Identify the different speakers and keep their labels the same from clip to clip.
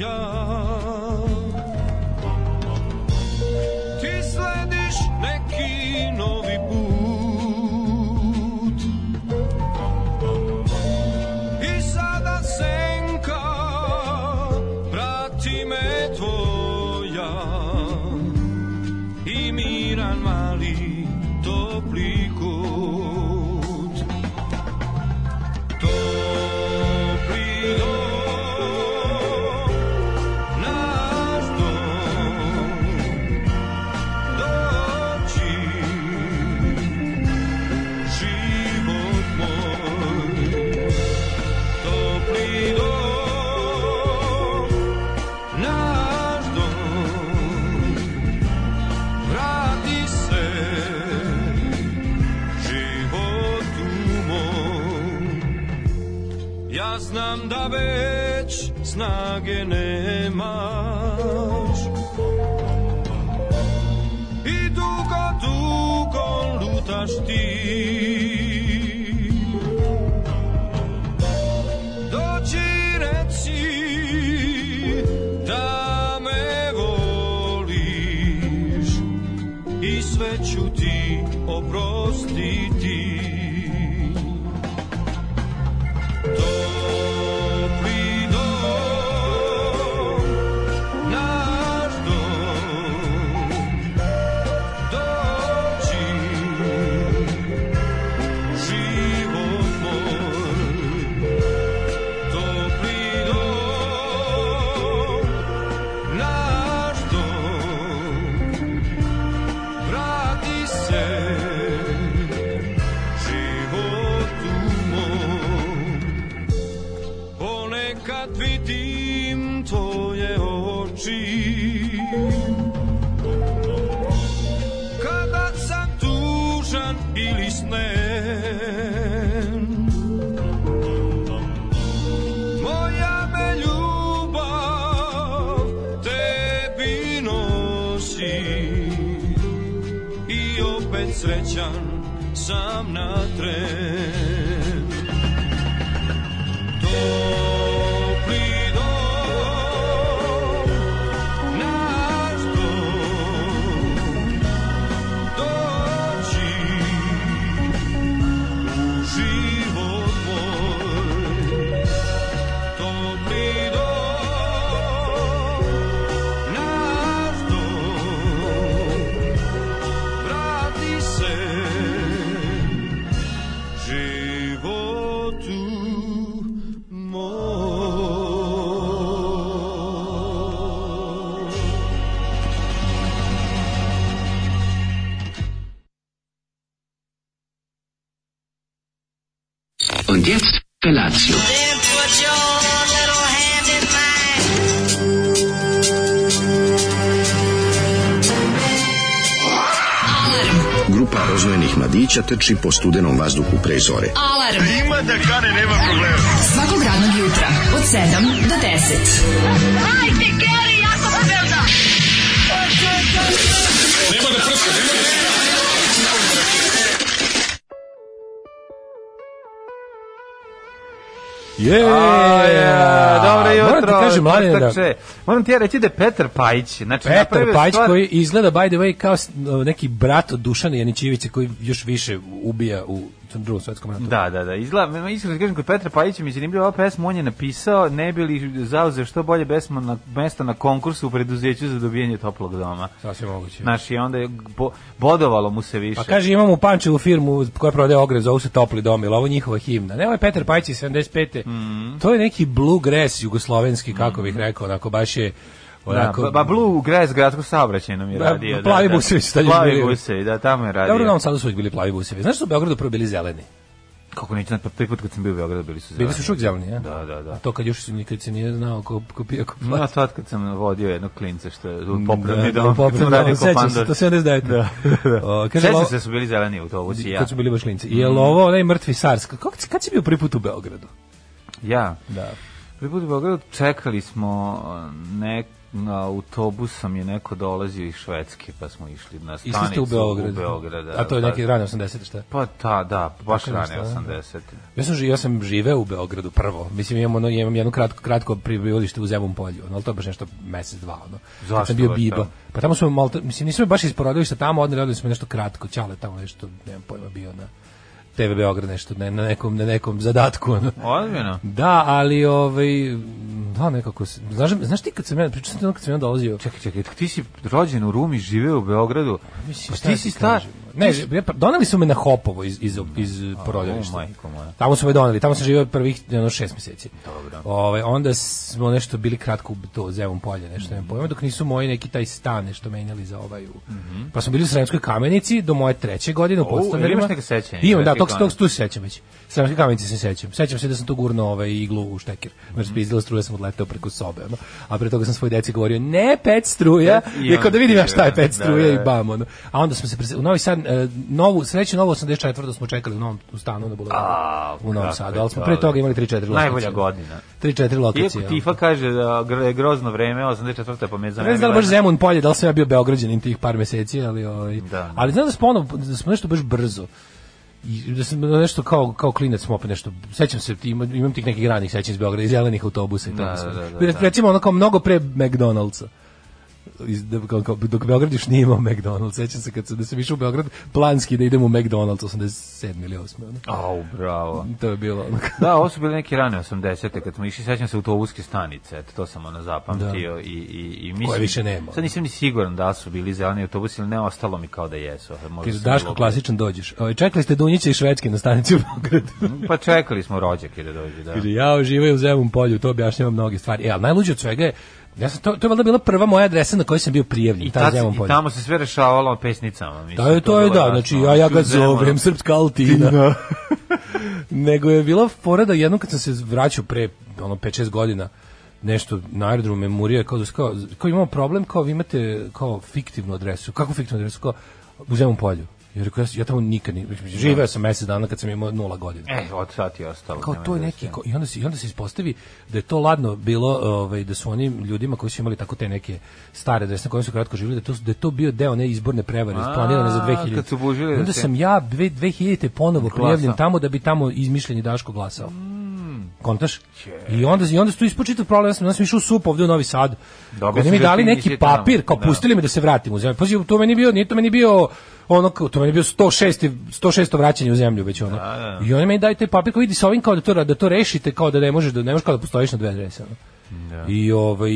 Speaker 1: ja Ti slediš neki novi put I sada senka prati me tvoja I miran mali topli kut Topli dom, naš dom Doći život moj Topli dom, naš dom Vrati se životu mom Ja znam da već snage nemaš I dugo, dugo lutaš ti doći reci da me voliš i sve ću ti oprostiti. Topli dom, naš dom, doći život moj. Topli dom, naš dom, vrati se životu mom. Ponekad vidim tvoje oči, kada sam tužan ili snen. Moja me ljubav tebi nosi I opet srećan sam na tren Topli dom, naš dom Doći u život moj Topli dom, naš dom, vrati se životu moj.
Speaker 2: Und jetzt Felatio.
Speaker 3: Then put your little hand in mine.
Speaker 4: Grupa rozvojenih mladića trči po studenom vazduhu pre zore.
Speaker 5: Alarm. Ima da kane, nema problema. Svakog radnog jutra, od 7 do 10. Hajde, Geri, jako se velda.
Speaker 6: da
Speaker 7: Je,
Speaker 8: Aja, dobro jutro.
Speaker 7: Moram ti kažem, mladine, da
Speaker 8: Četvrtče. Moram ti ja reći da je Petar Pajić. Znači,
Speaker 7: Petar
Speaker 8: napravio
Speaker 7: Pajić
Speaker 8: stvar-
Speaker 7: koji izgleda, by the way, kao s- neki brat od Dušana Janićevića koji još više ubija u drugom svetskom ratu.
Speaker 8: Da, da, da. Izgleda, ma, iskreno ti kažem, kod Petra Pajića mi je zanimljiva ova pesma, on je napisao, ne bi li zauzeo što bolje besmo na, mesto na konkursu u preduzeću za dobijanje toplog doma.
Speaker 7: Sasvim moguće.
Speaker 8: Znaš, i onda je bo, bodovalo mu se više.
Speaker 7: Pa kaže imamo u Pančevu firmu koja prodaje ogre, zovu se Topli dom, ili ovo je njihova himna. Ne, ovo je Petar Pajić iz 75.
Speaker 8: Mhm.
Speaker 7: To je neki bluegrass jugoslovenski, kako bih rekao, onako baš je onako...
Speaker 8: da, ba, ba Blue Grass gradsko saobraćajnom je
Speaker 7: Ba-
Speaker 8: radio. Da,
Speaker 7: plavi
Speaker 8: da.
Speaker 7: busevi su tad još
Speaker 8: Plavi
Speaker 7: bili.
Speaker 8: busevi, da, tamo je radio.
Speaker 7: Dobro, u Novom Sadu su uvijek bili plavi busevi. Znaš što su u Beogradu prvo bili zeleni?
Speaker 8: Kako neću, znati, pa prvi put kad sam bio u Beogradu bili su zeleni.
Speaker 7: Bili su šuk zeleni, ja?
Speaker 8: Da, da, da.
Speaker 7: A to kad još su nikad se nije znao ko, ko pija, ko
Speaker 8: No,
Speaker 7: plaća.
Speaker 8: to kad sam vodio jednog klinca što je u popravni
Speaker 7: Pa. Da,
Speaker 8: dom,
Speaker 7: da,
Speaker 8: kad sam
Speaker 7: popravni
Speaker 8: radio
Speaker 7: dom, sećam
Speaker 8: komandor.
Speaker 7: se, to se onda izdajete.
Speaker 8: Da,
Speaker 7: O,
Speaker 8: da.
Speaker 7: kaže,
Speaker 8: Sećam
Speaker 7: lo-
Speaker 8: se da su bili zeleni autobusi, ja. Mm.
Speaker 7: Kad su bili baš klinci. Jel ovo onaj mrtvi SARS? Kako, kad si bio prvi put u Beogradu?
Speaker 8: Ja.
Speaker 7: Da.
Speaker 8: Prvi put u Beogradu čekali smo nek autobusom je neko dolazio iz Švedske, pa smo išli na
Speaker 7: I
Speaker 8: stanicu.
Speaker 7: svi ste u Beogradu.
Speaker 8: U Beograd, da,
Speaker 7: A to je
Speaker 8: da,
Speaker 7: neki rane 80 šta?
Speaker 8: Pa ta, da, baš
Speaker 7: Tako
Speaker 8: rane
Speaker 7: nešto, da,
Speaker 8: 80.
Speaker 7: Ja sam, ži- ja sam živeo u Beogradu prvo. Mislim, imam, ono, imam jedno kratko, kratko prebivalište u Zemun polju, ono, ali to je baš nešto mesec, dva. Ono. Kad
Speaker 8: Zašto
Speaker 7: sam bio
Speaker 8: baš
Speaker 7: biba.
Speaker 8: tamo?
Speaker 7: Pa tamo su me malo, mislim, nisu me baš iz porodilišta tamo, odneli, odneli su me nešto kratko, čale tamo nešto, nemam pojma, bio na TV Beograd nešto, ne, na, nekom, na nekom zadatku. Ono.
Speaker 8: Ozbiljno?
Speaker 7: Da, ali ovaj da nekako se- znaš znaš ti kad sam ja pričao sam ti ono kad sam ja dolazio
Speaker 8: Čekaj, čekaj, ti si rođen u Rumi, živeo u Beogradu.
Speaker 7: Mislim,
Speaker 8: Pa
Speaker 7: šta
Speaker 8: ti
Speaker 7: da
Speaker 8: si
Speaker 7: ti
Speaker 8: star.
Speaker 7: kažem? Ne, ja, pa doneli su me na Hopovo iz, iz, iz porodilišta.
Speaker 8: o, majko moja.
Speaker 7: Tamo su me doneli, tamo sam živio prvih ono, šest meseci. Dobro. Ove, onda smo nešto bili kratko u to Zemun polje, nešto ne pojma, dok nisu moji neki taj stan nešto menjali za ovaj. U... Pa smo bili u Sremskoj kamenici do moje treće godine u
Speaker 8: O, Mhm. jel imaš
Speaker 7: podstanarima.
Speaker 8: neka sećanja iz
Speaker 7: Imam, da,
Speaker 8: Sremske
Speaker 7: tog, tog,
Speaker 8: kamenice?
Speaker 7: tu se sećam već. Sremske kamenice se sećam. Sećam se da sam tu gurno ovaj, iglu u štekir.
Speaker 8: Mhm.
Speaker 7: Znači, mm -hmm. struja sam odleteo preko sobe. Ono. A pre toga sam svoj deci govorio, ne pet struja,
Speaker 8: Pet i
Speaker 7: jer kao da
Speaker 8: onda
Speaker 7: vidim ja šta je
Speaker 8: ti je,
Speaker 7: pet
Speaker 8: da,
Speaker 7: struja
Speaker 8: da,
Speaker 7: i
Speaker 8: da.
Speaker 7: bam. Ono. A onda smo se prese- u Novi Sad, e, novu, sreću novu 84. smo čekali u novom u stanu na Bulevaru.
Speaker 8: A,
Speaker 7: u Novom
Speaker 8: kako
Speaker 7: Sadu,
Speaker 8: je
Speaker 7: ali smo
Speaker 8: to
Speaker 7: pre
Speaker 8: dobro.
Speaker 7: toga imali 3-4 lokacije.
Speaker 8: Najbolja godina.
Speaker 7: 3-4
Speaker 8: Iako
Speaker 7: lokacije.
Speaker 8: Tifa kaže da gr- je grozno vreme, 84. pa me
Speaker 7: Ne znam da li baš Zemun polje, da li sam ja bio Beograđanin tih par meseci, ali, ovaj,
Speaker 8: Da.
Speaker 7: ali znam da smo, ono, da smo nešto baš brzo. I da sam nešto kao, kao klinac smo opet nešto, sećam se, imam, imam tih nekih ranih sećanja iz Beograda, iz zelenih autobusa i
Speaker 8: Da,
Speaker 7: tako sve.
Speaker 8: da, da,
Speaker 7: Pre-
Speaker 8: da.
Speaker 7: Recimo ono kao mnogo pre McDonald'sa. Iz, da- kao, kao, dok Beograd još nije imao McDonald's, sećam se kad sam, da sam išao u Beograd, planski da idem u McDonald's 87 ili 8. Ono.
Speaker 8: Au, bravo.
Speaker 7: To je bilo ono kao-
Speaker 8: Da, ovo su bile neke rane 80. kad smo išli, sećam se autobuske stanice, eto, to sam ono zapamtio i, i, i mislim...
Speaker 7: Da. Koje više nema.
Speaker 8: Sad nisam ni siguran da li su bili zeleni autobusi ili ne, ostalo mi kao da jesu. ali Možda
Speaker 7: Kaže,
Speaker 8: sam
Speaker 7: Daško,
Speaker 8: bilo-
Speaker 7: klasičan dođeš. Ovaj, čekali ste Dunjića i Švedske na stanici u Beogradu.
Speaker 8: Pa čekali smo rođake da dođe, da.
Speaker 7: Kaže, ja uživaju u Zemun polju, to objašnjava mnoge stvari. E, ali najluđe od svega je, ja sam, to, to je valjda bila prva moja adresa na kojoj sam bio prijavljen,
Speaker 8: I,
Speaker 7: ta
Speaker 8: tad,
Speaker 7: Zemun
Speaker 8: I
Speaker 7: polju.
Speaker 8: tamo se sve rešavalo pesnicama. Mislim,
Speaker 7: To je, to je,
Speaker 8: bilo
Speaker 7: da,
Speaker 8: jasno.
Speaker 7: znači, ja, ja ga
Speaker 8: U Zemunu.
Speaker 7: zovem srpska altina. Nego je bila fora da jednom kad sam se vraćao pre, ono, 5-6 godina, nešto na aerodromu me murio je kao, da su kao, kao imamo problem, kao vi imate kao fiktivnu adresu. Kako fiktivnu adresu? Kao u Zemun polju. Ja rekao, ja, ja tamo nikad ni, živeo sam mesec dana kad sam imao nula godina.
Speaker 8: E, od sad je ostalo.
Speaker 7: kao
Speaker 8: nema
Speaker 7: to je
Speaker 8: veze.
Speaker 7: neki ko- i onda se i onda se ispostavi da je to ladno bilo ovaj da su oni ljudima koji su imali tako te neke stare adrese na kojima su kratko živjeli da to su- da je to bio deo ne izborne prevare
Speaker 8: A,
Speaker 7: planirane za 2000
Speaker 8: kad su bužili da
Speaker 7: onda
Speaker 8: se-
Speaker 7: sam ja dve- 2000 ponovo
Speaker 8: Glasao.
Speaker 7: prijavljen tamo da bi tamo izmišljeni Daško glasao kontaš i onda i onda su tu ispočitao problem ja sam, ja sam išao u sup ovde u Novi Sad
Speaker 8: Dobio
Speaker 7: oni
Speaker 8: si
Speaker 7: mi
Speaker 8: ga
Speaker 7: dali
Speaker 8: ti
Speaker 7: neki
Speaker 8: nisi tamo.
Speaker 7: papir kao
Speaker 8: Da.
Speaker 7: pustili me da se vratim u zemlju pazi to meni bio nije to meni bio ono kao to meni bio 106 106 vraćanje u zemlju već ono
Speaker 8: da.
Speaker 7: i oni meni daju taj papir kao vidi sa ovim kao da to, da to rešite, kao da ne možeš da ne možeš kao da postojiš na dve adrese. ono.
Speaker 8: Da.
Speaker 7: I ovaj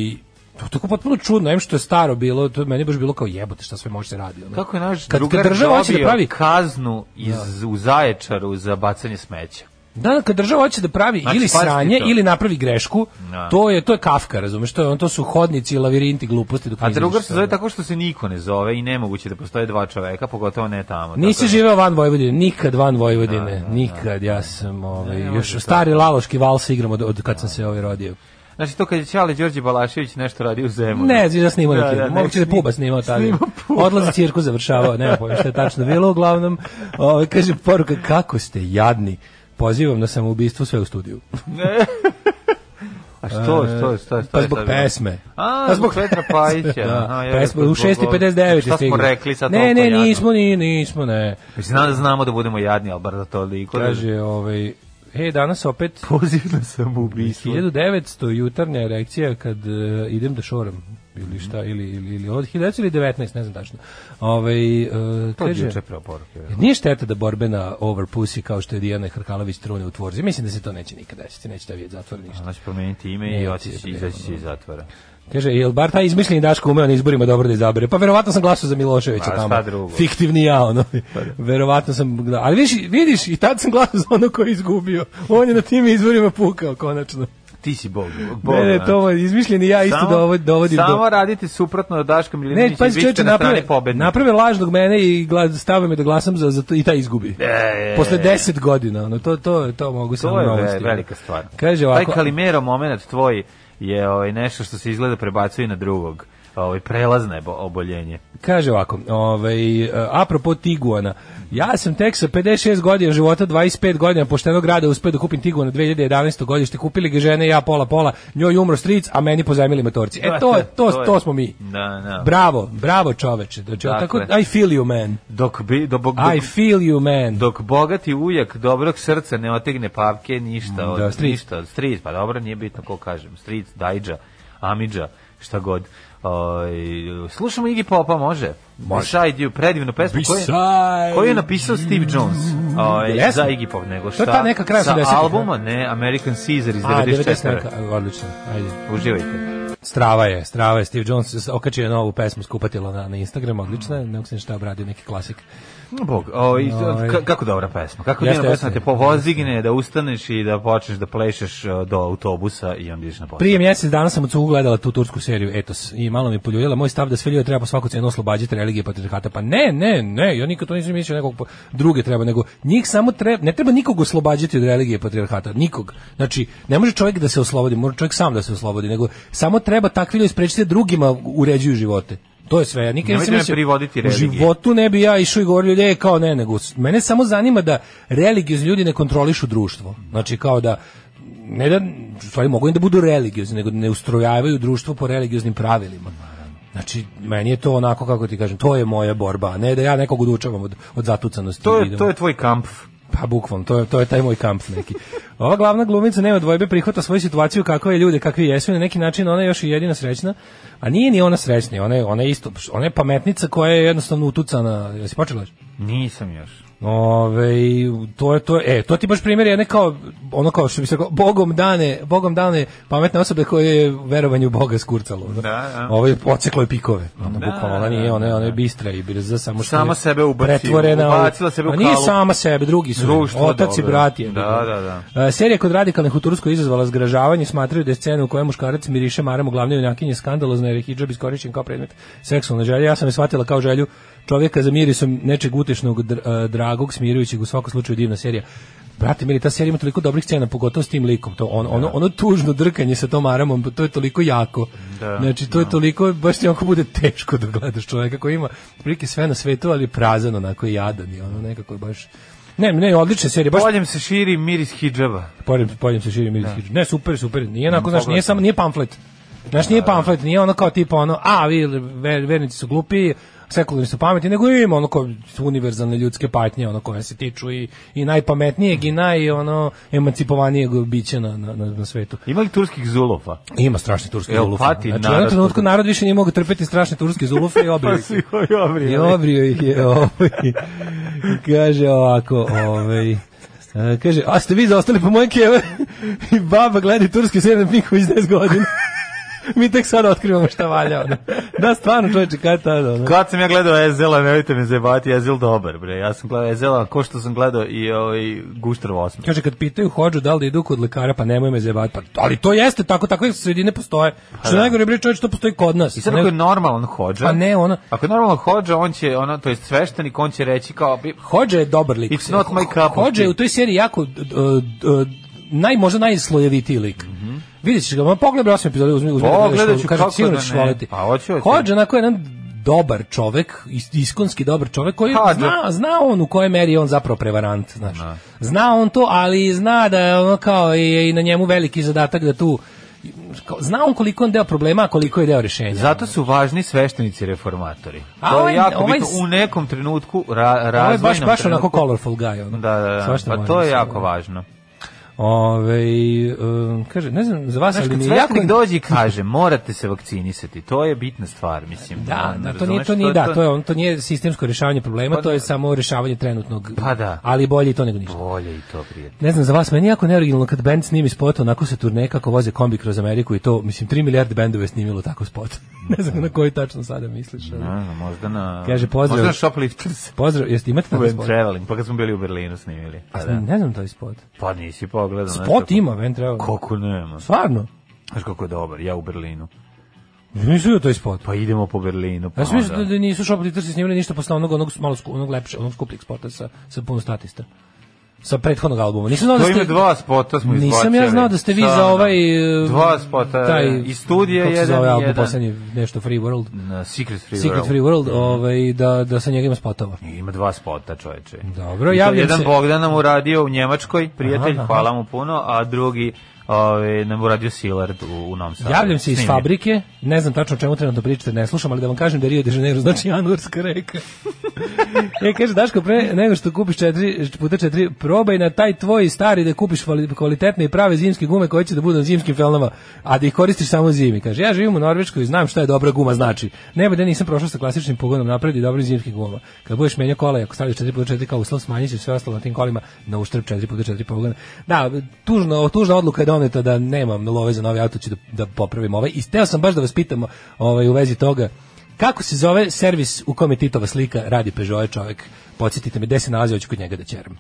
Speaker 7: to je tako potpuno čudno, em što je staro bilo, to je meni baš bilo kao jebote šta sve može se radi. ono.
Speaker 8: Kako je naš
Speaker 7: kad,
Speaker 8: drugar
Speaker 7: kad država hoće da
Speaker 8: dobio
Speaker 7: pravi,
Speaker 8: kaznu iz, u Zaječaru za bacanje smeća? Pa
Speaker 7: da, da, kad država hoće da pravi
Speaker 8: Znači,
Speaker 7: ili
Speaker 8: pazi ti
Speaker 7: sranje
Speaker 8: to.
Speaker 7: ili napravi grešku,
Speaker 8: Da.
Speaker 7: to je to je Kafka, razumeš, to je on to su hodnici, lavirinti gluposti dok
Speaker 8: A
Speaker 7: ne izađeš
Speaker 8: drugar
Speaker 7: iz
Speaker 8: se zove
Speaker 7: toga.
Speaker 8: tako što se niko ne zove i nemoguće da postoje dva čoveka, pogotovo ne tamo.
Speaker 7: Nisi
Speaker 8: Tako da-
Speaker 7: živeo van Vojvodine, nikad van Vojvodine, nikad, ja sam ovaj,
Speaker 8: Ne,
Speaker 7: još
Speaker 8: može
Speaker 7: stari laloški vals igram od, od kad sam se ovaj rodio.
Speaker 8: Znači to kad je Ćale Đorđe Balašević nešto radi u zemlju.
Speaker 7: Ne, znači da snimao
Speaker 8: Da,
Speaker 7: neki.
Speaker 8: da,
Speaker 7: Da,
Speaker 8: ne,
Speaker 7: Moguće da je
Speaker 8: snima-
Speaker 7: Puba snimao tada.
Speaker 8: snima Puba.
Speaker 7: Odlazi cirku završavao, nema pojma šta je tačno bilo, uglavnom, ovaj kaže poruka kako ste jadni. Pozivam na samoubistvo sve u studiju.
Speaker 8: A što, što, što, što?
Speaker 7: Pa
Speaker 8: je
Speaker 7: zbog
Speaker 8: sad bilo?
Speaker 7: pesme.
Speaker 8: A,
Speaker 7: Pa
Speaker 8: zbog Petra Pajića. Aha,
Speaker 7: da,
Speaker 8: ja,
Speaker 7: pesma u
Speaker 8: zbog-
Speaker 7: 6.59 je
Speaker 8: Šta smo
Speaker 7: stigla.
Speaker 8: rekli sad
Speaker 7: Ne,
Speaker 8: toliko
Speaker 7: ne,
Speaker 8: jadno?
Speaker 7: nismo, ni, nismo, ne.
Speaker 8: Mislim, znam, znamo da budemo jadni, ali bar da toliko.
Speaker 7: Kaže, ovaj, e, danas opet
Speaker 8: poziv na samoubistvo.
Speaker 7: 1900 jutarnja erekcija kad e, idem da šoram ili šta,
Speaker 8: Mhm.
Speaker 7: ili, ili, ili od 1900 ili 19, ne znam tačno. Ovaj, e,
Speaker 8: To je
Speaker 7: kaže-
Speaker 8: juče prva poruka. je.
Speaker 7: Nije šteta da borbena over pussy kao što je Dijana Hrkalović trune u tvorzi. Mislim da se to neće nikada desiti, neće da vidjeti zatvor ništa.
Speaker 8: Ona će Znači, promeniti ime i
Speaker 7: Ne,
Speaker 8: otići,
Speaker 7: ti-
Speaker 8: izaći će iz zatvora.
Speaker 7: Kaže, jel bar taj izmišljeni Daško umeo na izborima dobro da izabere? Pa verovatno sam glasao za Miloševića
Speaker 8: Pa, šta
Speaker 7: tamo.
Speaker 8: drugo? Pa da.
Speaker 7: Fiktivni ja, ono. Verovatno sam, da. ali vidiš, vidiš, i tad sam glasao za ono koji je izgubio. On je na tim izborima pukao, konačno.
Speaker 8: Ti si bog. bog
Speaker 7: Ne, ne,
Speaker 8: znači.
Speaker 7: to je izmišljeni ja isto dovodi, dovodim
Speaker 8: samo
Speaker 7: do...
Speaker 8: radite suprotno od Daška Milinovića
Speaker 7: Ne,
Speaker 8: i
Speaker 7: pazi,
Speaker 8: bit
Speaker 7: čovječe,
Speaker 8: ćete na strani
Speaker 7: naprave,
Speaker 8: pobednika.
Speaker 7: naprave lažnog mene i gla, stave me da glasam za, za to, i taj izgubi.
Speaker 8: E,
Speaker 7: Posle 10 godina, ono, to, to, to mogu
Speaker 8: To
Speaker 7: samo
Speaker 8: je ve-
Speaker 7: novosti.
Speaker 8: velika stvar.
Speaker 7: Kaže
Speaker 8: Taj
Speaker 7: ovako,
Speaker 8: Kalimero moment tvoj je ovaj, nešto što se izgleda prebacuje na drugog. ovaj, prelazne bo- oboljenje.
Speaker 7: Kaže ovako, ovaj, e, apropo Tiguana, ja sam tek sa 56 godina života, 25 godina poštenog rada uspeo da kupim Tiguana 2011. godište, kupili ga žene i ja pola pola, njoj umro stric, a meni pozajmili motorci. E to, je, to, to, smo mi.
Speaker 8: Da, da.
Speaker 7: Bravo, bravo čoveče. Znači,
Speaker 8: Dakle.
Speaker 7: tako, I feel you man.
Speaker 8: dok bi, do, dok,
Speaker 7: I feel you man.
Speaker 8: dok bogati ujak dobrog srca ne otegne papke, ništa od,
Speaker 7: da, stric.
Speaker 8: ništa od stric, pa dobro, nije bitno ko kažem, stric, dajđa, amidža, šta god. Oj, slušamo Iggy Popa, može? Može. Beside You, predivnu pesmu koju,
Speaker 7: Beside
Speaker 8: koju je napisao Steve Jones oj,
Speaker 7: Jesmo.
Speaker 8: za Iggy Pop, nego
Speaker 7: To
Speaker 8: šta?
Speaker 7: je ta neka kraja
Speaker 8: sa
Speaker 7: 80-ih,
Speaker 8: albuma, ne, American Caesar iz
Speaker 7: A, da. 90
Speaker 8: 94.
Speaker 7: neka, odlično. Ajde.
Speaker 8: Uživajte.
Speaker 7: Strava je, strava je. Steve Jones okačio je novu pesmu skupatila na, na Instagram, odlična je, ne mogu se šta obradio, neki klasik.
Speaker 8: No, Bog, o, i,
Speaker 7: Ovaj.
Speaker 8: ka- kako dobra pesma. Kako
Speaker 7: Jeste,
Speaker 8: njena pesma
Speaker 7: jeste.
Speaker 8: te povozigne, da ustaneš i da počneš da plešeš e, do autobusa i onda ideš na posao.
Speaker 7: Prije mjesec dana sam u Cugu gledala tu tursku seriju Etos i malo mi poljuljala moj stav da sve ljude treba po svaku cenu oslobađati religije i patriarhata. Pa ne, ne, ne, ja nikad to nisam mislio da nekog po- druge treba, nego njih samo treba, ne treba nikog oslobađati od religije i patriarhata, nikog. Znači, ne može čovjek da se oslobodi, može čovjek sam da se oslobodi, nego samo treba takvi ljudi sprečiti da drugima uređuju živote. To je sve. Ja nikad
Speaker 8: Nemojte
Speaker 7: nisam
Speaker 8: me
Speaker 7: mislio-
Speaker 8: privoditi
Speaker 7: u
Speaker 8: religiji.
Speaker 7: životu tu ne bi ja išao i govorio ljudi, e, kao ne, nego s- mene samo zanima da religiozni ljudi ne kontrolišu društvo. Znači kao da ne da u stvari mogu i da budu religiozni, nego da ne ustrojavaju društvo po religioznim pravilima. Znači, meni je to onako, kako ti kažem, to je moja borba, a ne da ja nekog odučavam od, od zatucanosti.
Speaker 8: To
Speaker 7: Idemo.
Speaker 8: je, to je tvoj kamp.
Speaker 7: Pa bukvalno, to je, to je taj moj kamp neki. Ova glavna glumica nema dvojbe, prihvata svoju situaciju kakva je ljude, kakvi jesu i na neki način ona je još i jedina srećna, a nije ni ona srećna, ona je, ona je isto, ona je pametnica koja je jednostavno utucana, jesi počela? još?
Speaker 8: Nisam još.
Speaker 7: Ove, to je to, je- e, to ti baš primjer je kao, ono kao što bi se rekao, bogom dane, bogom dane pametne osobe koje je verovanje u Boga skurcalo. ono.
Speaker 8: da.
Speaker 7: Ovo je poceklo je pikove. Ono,
Speaker 8: Da,
Speaker 7: bukvalno, ona nije, ona, je- ona je bistra i brza, samo što
Speaker 8: Sama
Speaker 7: je
Speaker 8: sebe ubacila,
Speaker 7: pretvorena u-
Speaker 8: ubacila sebe u
Speaker 7: A nije
Speaker 8: kalup.
Speaker 7: sama sebe, drugi su,
Speaker 8: Društvo,
Speaker 7: otac i
Speaker 8: dobro.
Speaker 7: brat je.
Speaker 8: Da, da,
Speaker 7: E, serija kod radikalnih u Turskoj izazvala zgražavanje, smatraju da je scena u kojoj muškarac miriše maram u glavne junakinje skandalozna jer je hijab iskorišćen kao predmet seksualne želje. Ja sam je shvatila kao želju čovjeka za mirisom nečeg utešnog, dr- e, dragog, smirujućeg, u svakom slučaju divna serija. Brate, mili, ta serija ima toliko dobrih scena, pogotovo s tim likom. To, on, ono, ono tužno drkanje sa tom aramom, to je toliko jako. znači, to je toliko, baš ti onako bude teško da gledaš čovjeka koji ima prilike sve na svetu, ali je prazan, onako je jadan i ono nekako je baš... Ne, ne, odlična serija, baš
Speaker 8: Poljem se širi miris hidžaba.
Speaker 7: Pojem, pojem se širi miris Ne, super, super. Nije onako, znaš, nije
Speaker 8: Da. Mm, pogledaj. Da.
Speaker 7: samo nije pamflet. Znaš, nije pamflet, nije ono kao tipa ono, a vi ver- vernici su glupi, sekularni su pametni, nego ima ono kao univerzalne ljudske patnje, ono koje se tiču i, i najpametnijeg i naj ono emancipovanijeg bića na, na, na, na svetu.
Speaker 8: Ima li turskih zulofa?
Speaker 7: Ima strašni turski
Speaker 8: Jel
Speaker 7: zuluf. Znači,
Speaker 8: pati
Speaker 7: u jednom
Speaker 8: narod-
Speaker 7: trenutku narod više nije mogao trpeti strašne turske zulufe i obrije. ih je.
Speaker 8: obrijali.
Speaker 7: I obrio ih je. Ovaj. Kaže ovako, ovaj. e, kaže, a ste vi zaostali po mojem keve? I baba gleda turski serije na Pinku iz 10 godina. Mi tek sad otkrivamo šta valja. Ono. Da, stvarno čovječe, kada tada? Ono.
Speaker 8: Kad sam ja gledao Ezela, nemojte me zebati, Ezel dobar, bre. Ja sam gledao Ezela, ko što sam gledao i ovaj Guštar Vosma.
Speaker 7: Kaže, kad pitaju hođu da li da idu kod lekara, pa nemoj me zebati. Pa, ali to jeste tako, takve sredine postoje. Što
Speaker 8: da.
Speaker 7: najgore, bre, čovječe, to postoji kod nas.
Speaker 8: I sad
Speaker 7: Ne-
Speaker 8: ako je normalan hođa,
Speaker 7: Pa ne, ono-
Speaker 8: Ako je normalan hođa, on će, ono, to jest sveštenik, on će reći kao, bi-
Speaker 7: Hođa je dobar lik.
Speaker 8: It's not my cup of
Speaker 7: Hođa je
Speaker 8: tea.
Speaker 7: u toj seriji jako d- d- d- naj možda najslojevitiji lik. Vidjet ćeš ga, ma pogledaj osam epizoda, uzmi uzmi.
Speaker 8: Mhm. Pogledat
Speaker 7: da gledaš,
Speaker 8: ću,
Speaker 7: kaže,
Speaker 8: kako
Speaker 7: sigurno
Speaker 8: da
Speaker 7: ćeš
Speaker 8: ne.
Speaker 7: voleti.
Speaker 8: Pa, hoću, hoću.
Speaker 7: Hođa onako je jedan dobar čovek, is- iskonski dobar čovek koji
Speaker 8: Hođa.
Speaker 7: zna, zna on u kojoj meri je on zapravo prevarant, znaš.
Speaker 8: Da.
Speaker 7: Zna on to, ali zna da je ono kao i, i na njemu veliki zadatak da tu kao- zna on koliko je on deo problema, a koliko je deo rješenja.
Speaker 8: zato su važni sveštenici reformatori.
Speaker 7: A
Speaker 8: to
Speaker 7: ovaj-
Speaker 8: je jako
Speaker 7: ovaj
Speaker 8: bitno
Speaker 7: s-
Speaker 8: u nekom trenutku, ra,
Speaker 7: Ovo je
Speaker 8: razvojnom
Speaker 7: baš, baš onako
Speaker 8: trenutku.
Speaker 7: colorful guy. Ono.
Speaker 8: Da, da, da.
Speaker 7: Svašta
Speaker 8: Pa
Speaker 7: može
Speaker 8: to je
Speaker 7: se-
Speaker 8: jako važno.
Speaker 7: Ove, um, kaže, ne znam za vas,
Speaker 8: Znaš,
Speaker 7: ali
Speaker 8: kad
Speaker 7: mi je jako...
Speaker 8: sveštenik dođe i kaže, morate se vakcinisati, to je bitna stvar, mislim.
Speaker 7: Da,
Speaker 8: ono,
Speaker 7: da, to
Speaker 8: razumeš,
Speaker 7: nije, to nije, da, to je, on, to nije sistemsko rješavanje problema,
Speaker 8: Pa
Speaker 7: to je
Speaker 8: da.
Speaker 7: samo rješavanje trenutnog.
Speaker 8: Pa da.
Speaker 7: Ali bolje i to nego ništa.
Speaker 8: Bolje i to prijatno.
Speaker 7: Ne znam za vas, meni je jako neoriginalno kad band snimi spot, onako se turne kako voze kombi kroz Ameriku i to, mislim, 3 milijarde bendove je snimilo tako spot. ne znam na koji tačno sada misliš. ali-
Speaker 8: Ne znam, možda na...
Speaker 7: Kaže, pozdrav.
Speaker 8: Možda na shoplifters.
Speaker 7: Pozdrav, jeste imate tamo
Speaker 8: Van
Speaker 7: spot?
Speaker 8: Traveling, pa kad smo bili u Berlinu snimili. Pa,
Speaker 7: A,
Speaker 8: da.
Speaker 7: ne znam taj spot.
Speaker 8: pa nisi pogledao.
Speaker 7: Spot ima, Van Traveling.
Speaker 8: Koliko nema.
Speaker 7: Stvarno?
Speaker 8: Znaš kako je dobar, ja u Berlinu.
Speaker 7: Nisam vidio taj spot.
Speaker 8: Pa idemo po Berlinu. Pa
Speaker 7: Ja sam mislio da,
Speaker 8: onda-
Speaker 7: da nisu šopati trsi snimili ništa posle onog, onog malo sku, onog lepše, onog skupljeg sporta sa, sa puno statista. sa prethodnog albuma. Nisam znao da
Speaker 8: To
Speaker 7: ste
Speaker 8: ima dva spota smo
Speaker 7: Nisam
Speaker 8: izbačili.
Speaker 7: ja znao da ste vi
Speaker 8: Šta
Speaker 7: za
Speaker 8: onda?
Speaker 7: ovaj e,
Speaker 8: Dva spota,
Speaker 7: taj
Speaker 8: i studija
Speaker 7: kako se
Speaker 8: jedan
Speaker 7: zove
Speaker 8: i
Speaker 7: album
Speaker 8: jedan.
Speaker 7: poslednji nešto Free World.
Speaker 8: Na Secret Free
Speaker 7: Secret
Speaker 8: World. Mm.
Speaker 7: Free World, ovaj da da sa njega ima spotova.
Speaker 8: Ima dva spota, čoveče.
Speaker 7: Dobro,
Speaker 8: I to
Speaker 7: javljam
Speaker 8: jedan
Speaker 7: se.
Speaker 8: Bogdan nam uradio u Njemačkoj, prijatelj,
Speaker 7: Aha, aha.
Speaker 8: hvala mu puno, a drugi ove, nam uradio Silard u, u Novom Sadu.
Speaker 7: Javljam se iz
Speaker 8: Snimio.
Speaker 7: fabrike, ne znam tačno o čemu trenutno pričate, ne slušam, ali da vam kažem da Rio de Janeiro znači januarska reka. e, kaže, Daško, pre nego što kupiš četiri, puta četiri, probaj na taj tvoj stari da kupiš kvali- kvalitetne i prave zimske gume koje će da budu na zimskim felnama, a da ih koristiš samo zimi. Kaže, ja živim u Norveškoj i znam šta je dobra guma znači. Nema da nisam prošao sa klasičnim pogonom napred i dobrim zimskih guma. Kad budeš menjao kola i ako staviš 4x4 kao uslov, smanjit će sve ostalo na tim kolima na uštrb 4x4 pogona. Da, tužno, tužna odluka je doneta da nemam love za novi auto, ću da, da popravim ovaj. I steo sam baš da vas pitam ovaj, u vezi toga, kako se zove servis u kome Titova slika radi Peugeot čovjek? Podsjetite me, gde se nalazi, hoću kod njega da ćeram.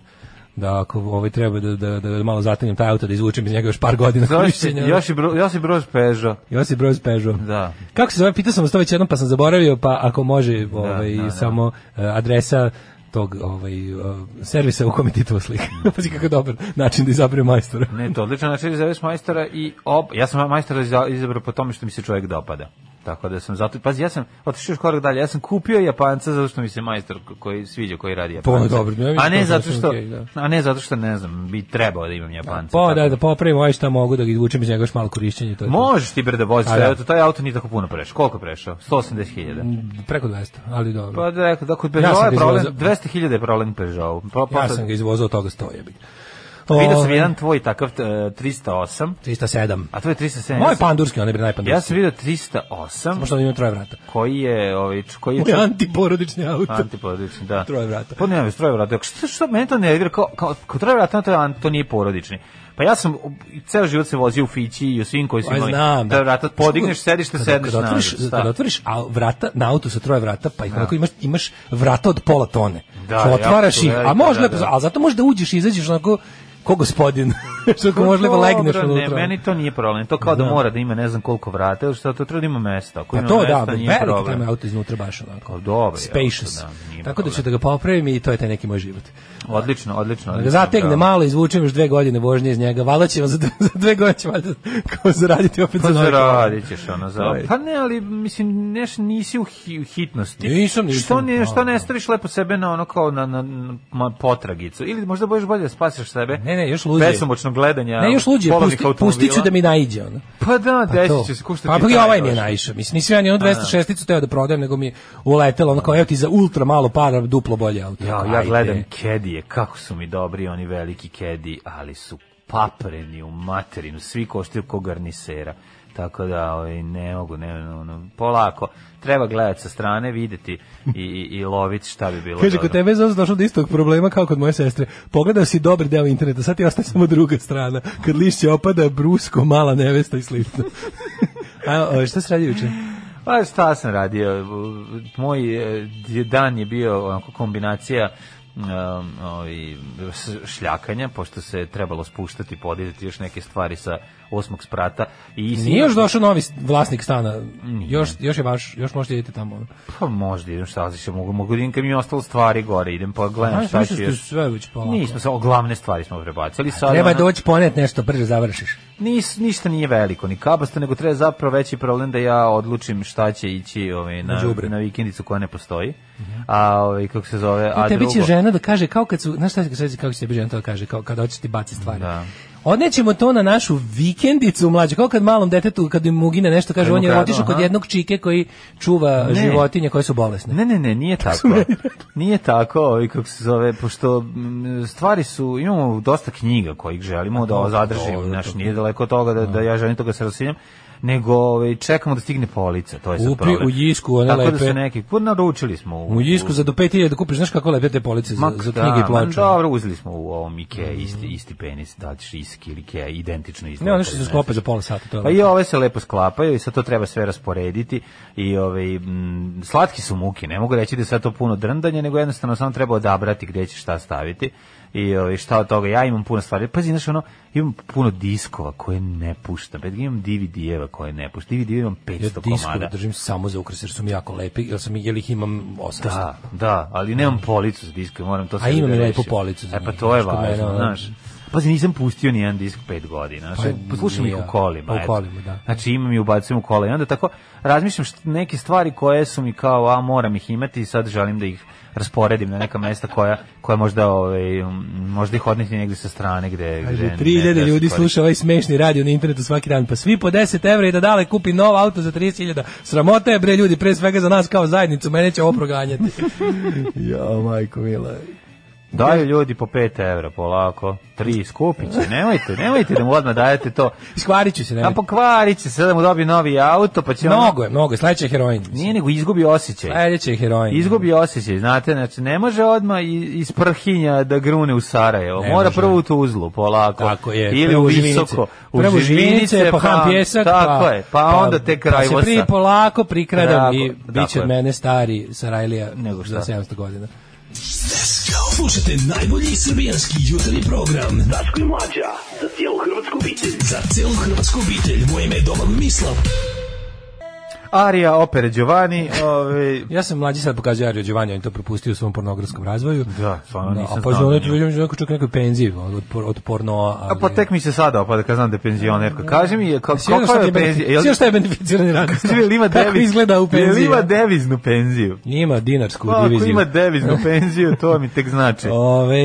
Speaker 7: Da ako ovaj treba da, da, da malo zatanjem taj auto, da izvučem iz njega još par godina.
Speaker 8: Zove se
Speaker 7: korišćenja.
Speaker 8: Josip Bro- Josip Broz Pežo.
Speaker 7: Josip Broz Peugeot.
Speaker 8: Da.
Speaker 7: Kako se zove, pitao sam vas to već jednom pa sam zaboravio, pa ako može ovaj,
Speaker 8: da, da.
Speaker 7: samo e, adresa tog ovaj, e, servisa u kome Titova slika.
Speaker 8: Da.
Speaker 7: Pazi kako je dobar način da izabere majstora.
Speaker 8: Ne, to je odlično, znači izaberaš majstora i op, ja sam majstora iza- izabrao po tome što mi se čovjek dopada. Tako da sam zato, pazi, ja sam otišao još korak dalje, ja sam kupio Japanca zato što mi se majstor ko- koji sviđa, koji radi
Speaker 7: Pa ono
Speaker 8: Japanca.
Speaker 7: je dobro, ne,
Speaker 8: a
Speaker 7: to
Speaker 8: ne
Speaker 7: je
Speaker 8: zato
Speaker 7: sasvim
Speaker 8: što,
Speaker 7: okej, da.
Speaker 8: a ne zato što ne znam, bi trebao da imam Japanca.
Speaker 7: Pa
Speaker 8: tako
Speaker 7: da, da popravim ovaj šta mogu da ga izvučem iz njega još malo korišćenja. i To je to.
Speaker 8: Možeš ti bre da voziš
Speaker 7: A,
Speaker 8: taj
Speaker 7: da.
Speaker 8: auto, taj auto nije tako puno prešao. Koliko je prešao? 180.000.
Speaker 7: Preko 200, ali dobro.
Speaker 8: Pa da, rekao, da kod
Speaker 7: Ja
Speaker 8: Peugeot
Speaker 7: sam ga
Speaker 8: je problem,
Speaker 7: izvozao.
Speaker 8: 200.000 je problem Peugeot. Pa,
Speaker 7: Ja
Speaker 8: posle-
Speaker 7: sam Ovaj- ga izvozao od toga stoje.
Speaker 8: Vidio sam jedan tvoj takav e, 308,
Speaker 7: 307.
Speaker 8: a to je 307.
Speaker 7: Moj
Speaker 8: Ja sam-
Speaker 7: pandurski, on je bio najpandurski.
Speaker 8: Ja sam vidio 308.
Speaker 7: Možda on ima troje vrata.
Speaker 8: koji je ovaj č- koji je
Speaker 7: Moj antiporodični auto.
Speaker 8: antiporodični, da.
Speaker 7: Troje vrata.
Speaker 8: Pa ne, troje vrata. Što, što meni to ne igra kao, kao, kao troje vrata, to, je, an- to nije porodični. Pa ja sam u- ceo život se vozio u Fići i u svim koji su
Speaker 7: Aj,
Speaker 8: imali.
Speaker 7: Pa znam, da.
Speaker 8: troje vrata, podigneš, sedište,
Speaker 7: Kada-
Speaker 8: sedneš
Speaker 7: kada
Speaker 8: na
Speaker 7: otvoriš,
Speaker 8: nož, šta?
Speaker 7: kada otvoriš a, vrata, na autu sa troje vrata, pa ih onako imaš, imaš vrata od pola tone.
Speaker 8: Da,
Speaker 7: Što otvaraš
Speaker 8: jako
Speaker 7: ih,
Speaker 8: su
Speaker 7: a
Speaker 8: velika,
Speaker 7: možda,
Speaker 8: da, da.
Speaker 7: a zato možda uđeš i izađeš onako ko gospodin. što ako
Speaker 8: Pa
Speaker 7: možda lepo
Speaker 8: dobro,
Speaker 7: legneš
Speaker 8: Ne,
Speaker 7: unutra.
Speaker 8: meni to nije problem. To kao da
Speaker 7: Da.
Speaker 8: mora da ima ne znam koliko vrata, što to treba da ima mesta. Ako
Speaker 7: Pa
Speaker 8: ima
Speaker 7: to
Speaker 8: mesta,
Speaker 7: da,
Speaker 8: nije
Speaker 7: veliki
Speaker 8: problem.
Speaker 7: problem auto iznutra baš onako.
Speaker 8: Pa dobro je,
Speaker 7: Spacious.
Speaker 8: auto, da, nije
Speaker 7: Tako da ću
Speaker 8: problem.
Speaker 7: da ga popravim i to je taj neki moj život.
Speaker 8: Odlično, odlično.
Speaker 7: Da ga
Speaker 8: odlično,
Speaker 7: zategne
Speaker 8: bravo.
Speaker 7: malo, izvučem još dve godine vožnje iz njega. Valjda će vam za dve, za dve godine će valjda kao zaraditi opet
Speaker 8: Pa
Speaker 7: za nove
Speaker 8: zaradit ćeš ono za...
Speaker 7: To je-
Speaker 8: Pa ne, ali mislim, neš, nisi u hi- u hitnosti.
Speaker 7: Nisam, nisam.
Speaker 8: Što, ne, što
Speaker 7: Da,
Speaker 8: ne
Speaker 7: da.
Speaker 8: staviš lepo sebe na ono kao na, na, na potragicu? Ili možda budeš bolje da spasiš sebe?
Speaker 7: Ne, ne, još luđe.
Speaker 8: Besomočno gledanja.
Speaker 7: Ne, još luđe,
Speaker 8: polovnih
Speaker 7: pusti, pustit ću
Speaker 8: automobila.
Speaker 7: da mi naiđe ono.
Speaker 8: Pa da,
Speaker 7: Pa to.
Speaker 8: desit će se, ko što
Speaker 7: Pa
Speaker 8: ti
Speaker 7: pa i
Speaker 8: taj
Speaker 7: ovaj mi je
Speaker 8: došao.
Speaker 7: naišao. Mislim, nisam ja ni on 206-icu teo da prodajem, nego mi je uletelo ono kao, evo ti za ultra malo para, duplo bolje auto.
Speaker 8: Ja, ja
Speaker 7: Ajde.
Speaker 8: gledam kedije, kako su mi dobri oni veliki kedi, ali su papreni u materinu, svi koštaju ko garnisera. Tako da ovaj, ne mogu, ne, ne, ono, polako. Treba gledati sa strane, videti i, i, i loviti šta bi bilo
Speaker 7: Kaže,
Speaker 8: dobro.
Speaker 7: kod tebe je Zozo došlo do istog problema kao kod moje sestre. Pogledao si dobar deo interneta, sad ti ostaje samo druga strana. Kad lišće opada, brusko, mala nevesta i slično. A, o, šta se radi juče?
Speaker 8: Pa šta sam radio? Moj e, dan je bio onako kombinacija um, ovi, s- šljakanja, pošto se trebalo spuštati, podizati još neke stvari sa osmog sprata. I
Speaker 7: Nije još došao novi vlasnik stana. Još, još je vaš, još možete idete tamo.
Speaker 8: Pa možda idem šta znači, mogu, mogu da idem kad mi je ostalo stvari gore, idem pa gledam
Speaker 7: Znaš,
Speaker 8: šta
Speaker 7: više
Speaker 8: ću
Speaker 7: ste
Speaker 8: još.
Speaker 7: da sve već polako.
Speaker 8: Nismo samo glavne stvari smo prebacili sad.
Speaker 7: Treba
Speaker 8: ono,
Speaker 7: doći ponet nešto, brže završiš.
Speaker 8: Nis, ništa nije veliko, ni kabasto, nego treba zapravo veći problem da ja odlučim šta će ići ovaj, na,
Speaker 7: Na đubre.
Speaker 8: na vikendicu koja ne postoji. A ovaj, kako se zove,
Speaker 7: A
Speaker 8: a
Speaker 7: E, tebi
Speaker 8: drugo...
Speaker 7: će žena da kaže kao kad su, znaš šta se kako će tebi žena to da kaže, kao kad hoćeš ti baci stvari.
Speaker 8: Da.
Speaker 7: Odnećemo to na našu vikendicu mlađe, kao kad malom detetu, kad im ugine nešto, kaže,
Speaker 8: Kad mu
Speaker 7: on je
Speaker 8: kradu,
Speaker 7: otišao kod
Speaker 8: aha.
Speaker 7: jednog čike koji čuva
Speaker 8: Ne.
Speaker 7: životinje koje su bolesne.
Speaker 8: Ne, ne, ne, nije tako. Nije tako, ovaj, kako se zove, pošto mm, stvari su, imamo dosta knjiga kojih želimo da zadržimo,
Speaker 7: dobro,
Speaker 8: znaš,
Speaker 7: to-
Speaker 8: nije daleko od toga da, da ja želim toga se rasinjam, nego ovaj, čekamo da stigne polica, to je sad
Speaker 7: Upri
Speaker 8: problem.
Speaker 7: u Jisku, one
Speaker 8: Tako da
Speaker 7: lepe.
Speaker 8: se neki, pa naručili smo.
Speaker 7: U Jisku za do 5000 kupiš, znaš kako lepe te police za,
Speaker 8: Ma,
Speaker 7: za
Speaker 8: da,
Speaker 7: knjige i
Speaker 8: ma
Speaker 7: ploče.
Speaker 8: Dobro, uzeli smo u ovom Ikea isti, isti penis, da li ćeš iski ili Ikea, identično isti.
Speaker 7: Ne, one što se sklope za pola sata, to je
Speaker 8: Pa
Speaker 7: lepo.
Speaker 8: i ove se lepo sklapaju i sad to treba sve rasporediti i ove, mm, slatki su muki, ne mogu reći da je sad to puno drndanje, nego jednostavno samo treba odabrati gde ćeš šta staviti i ovaj, šta od toga. Ja imam puno stvari. Pazi, znaš, ono, imam puno diskova koje ne puštam. Pa imam DVD-eva koje ne puštam. DVD-eva imam 500
Speaker 7: Ja
Speaker 8: komada.
Speaker 7: diskove držim samo za ukras jer su mi jako lepi, jer sam jel ih imam 800.
Speaker 8: Da, da, ali nemam policu s diskom, moram to
Speaker 7: A imam
Speaker 8: da
Speaker 7: i
Speaker 8: rešim.
Speaker 7: lepu policu za
Speaker 8: E pa
Speaker 7: njih,
Speaker 8: to je
Speaker 7: znaš, kod
Speaker 8: važno,
Speaker 7: mene, ono-
Speaker 8: znaš. Pazi, nisam pustio ni jedan disk pet godina. Znači,
Speaker 7: Pa,
Speaker 8: slušam ih
Speaker 7: nije.
Speaker 8: u kolima.
Speaker 7: Pa, u
Speaker 8: eto.
Speaker 7: kolima, da.
Speaker 8: Znači, imam i ubacujem u kola. I onda tako razmišljam št, neke stvari koje su mi kao, a moram ih imati i sad želim da ih rasporedim na neka mesta koja, koja možda, ovaj, m, možda ih odneti negde sa strane gde...
Speaker 7: Kaže,
Speaker 8: gde ne-
Speaker 7: 3000
Speaker 8: ne-
Speaker 7: ljudi
Speaker 8: ne-
Speaker 7: sluša ovaj smešni radio na internetu svaki dan, pa svi po 10 evra i da dale kupi nov auto za 30.000. Sramota je bre ljudi, pre svega za nas kao zajednicu, mene će ovo proganjati. ja, majko mila.
Speaker 8: Daju ljudi po 5 evra, polako. Tri skupit će, nemojte, nemojte da mu odmah dajete to.
Speaker 7: Iskvarit ću se,
Speaker 8: A pa-
Speaker 7: nema.
Speaker 8: pokvarit će se, sada mu dobije novi auto, pa će on-
Speaker 7: Mnogo je, E, mnogo je, sledeće je heroin.
Speaker 8: Nije nego izgubi osjećaj.
Speaker 7: Sledeće je heroin.
Speaker 8: Izgubi osjećaj, znate, znači ne može odmah i- iz Prhinja da grune u Sarajevo.
Speaker 7: Ne
Speaker 8: Mora
Speaker 7: može.
Speaker 8: prvo u Tuzlu, polako.
Speaker 7: Tako je,
Speaker 8: Ili
Speaker 7: prvo
Speaker 8: u
Speaker 7: u Živinice.
Speaker 8: Visoko. U
Speaker 7: Prvo u
Speaker 8: Živinice,
Speaker 7: živinice, pa ham pjesak,
Speaker 8: Tako je, pa, onda tek
Speaker 7: pa se
Speaker 8: Rajvosa.
Speaker 7: pri polako prikradam
Speaker 8: Tako,
Speaker 7: i bit
Speaker 8: tako
Speaker 7: će
Speaker 8: je.
Speaker 7: od mene stari Sarajlija
Speaker 8: Nego šta.
Speaker 7: za 700 godina.
Speaker 6: Slušajte najbolji srbijanski jutarnji program Daško i Mlađa za cijelu hrvatsku obitelj. Za cijelu hrvatsku obitelj. Moje ime je Domag Mislav.
Speaker 8: Arija, opere Giovanni, ovaj,
Speaker 7: Ja sam mlađi sad pokazuje Ario Giovanni, on je to propustio u svom pornografskom razvoju.
Speaker 8: Da, stvarno nisam
Speaker 7: A pa
Speaker 8: znao
Speaker 7: znao
Speaker 8: da
Speaker 7: da je neko čak u nekoj penziji od, por- od pornoa.
Speaker 8: A
Speaker 7: Ali...
Speaker 8: pa tek mi se sada opada kad znam da je penzionerka. Kaži mi, ka-
Speaker 7: Svi ono
Speaker 8: kakva je
Speaker 7: što je
Speaker 8: penzija? Jel-
Speaker 7: Sve što je beneficirani radnik.
Speaker 8: Kaži mi, jel ima
Speaker 7: Kako
Speaker 8: deviz-
Speaker 7: izgleda u
Speaker 8: jel
Speaker 7: penziji?
Speaker 8: ima deviznu penziju?
Speaker 7: Ima dinarsku
Speaker 8: Pa, Ako
Speaker 7: diviziju.
Speaker 8: ima deviznu penziju, to mi tek znači.
Speaker 7: Ove,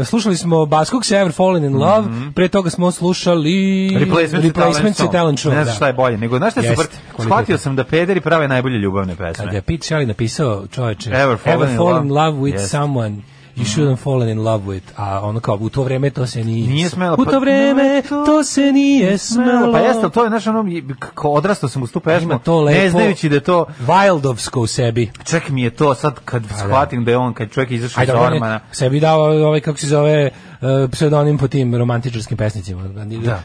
Speaker 7: e, slušali smo Baskog Ever Fallen in Love,
Speaker 8: Mhm.
Speaker 7: pre toga smo slušali
Speaker 8: Replacements,
Speaker 7: Replacements i Talent Show.
Speaker 8: Ne
Speaker 7: da.
Speaker 8: znam šta je bolje, nego znaš šta je
Speaker 7: Jeste,
Speaker 8: super?
Speaker 7: kvalitetno.
Speaker 8: Shvatio sam da pederi prave najbolje ljubavne pesme.
Speaker 7: Kada je Pete Shelley napisao čoveče
Speaker 8: Ever Fallen in
Speaker 7: fallen in
Speaker 8: Love. Mhm.
Speaker 7: love with
Speaker 8: Jeste.
Speaker 7: someone You shouldn't fallen in love with. A ono kao, u to vreme to se nije...
Speaker 8: Nije smelo,
Speaker 7: U
Speaker 8: pa-
Speaker 7: to vreme to se nije smelo.
Speaker 8: Pa jeste, ali to je, znaš, ono, i- kako odrastao sam uz tu
Speaker 7: Ima
Speaker 8: pesmu,
Speaker 7: to lepo.
Speaker 8: ne znajući da je to,
Speaker 7: Wildovsko u sebi.
Speaker 8: čak mi je to sad kad shvatim da je on, kad čovjek je izašao iz
Speaker 7: Pa Ajde, on je
Speaker 8: Ormana,
Speaker 7: sebi dao ovaj, kako se zove, uh, pseudonim po tim romantičarskim pesnicima.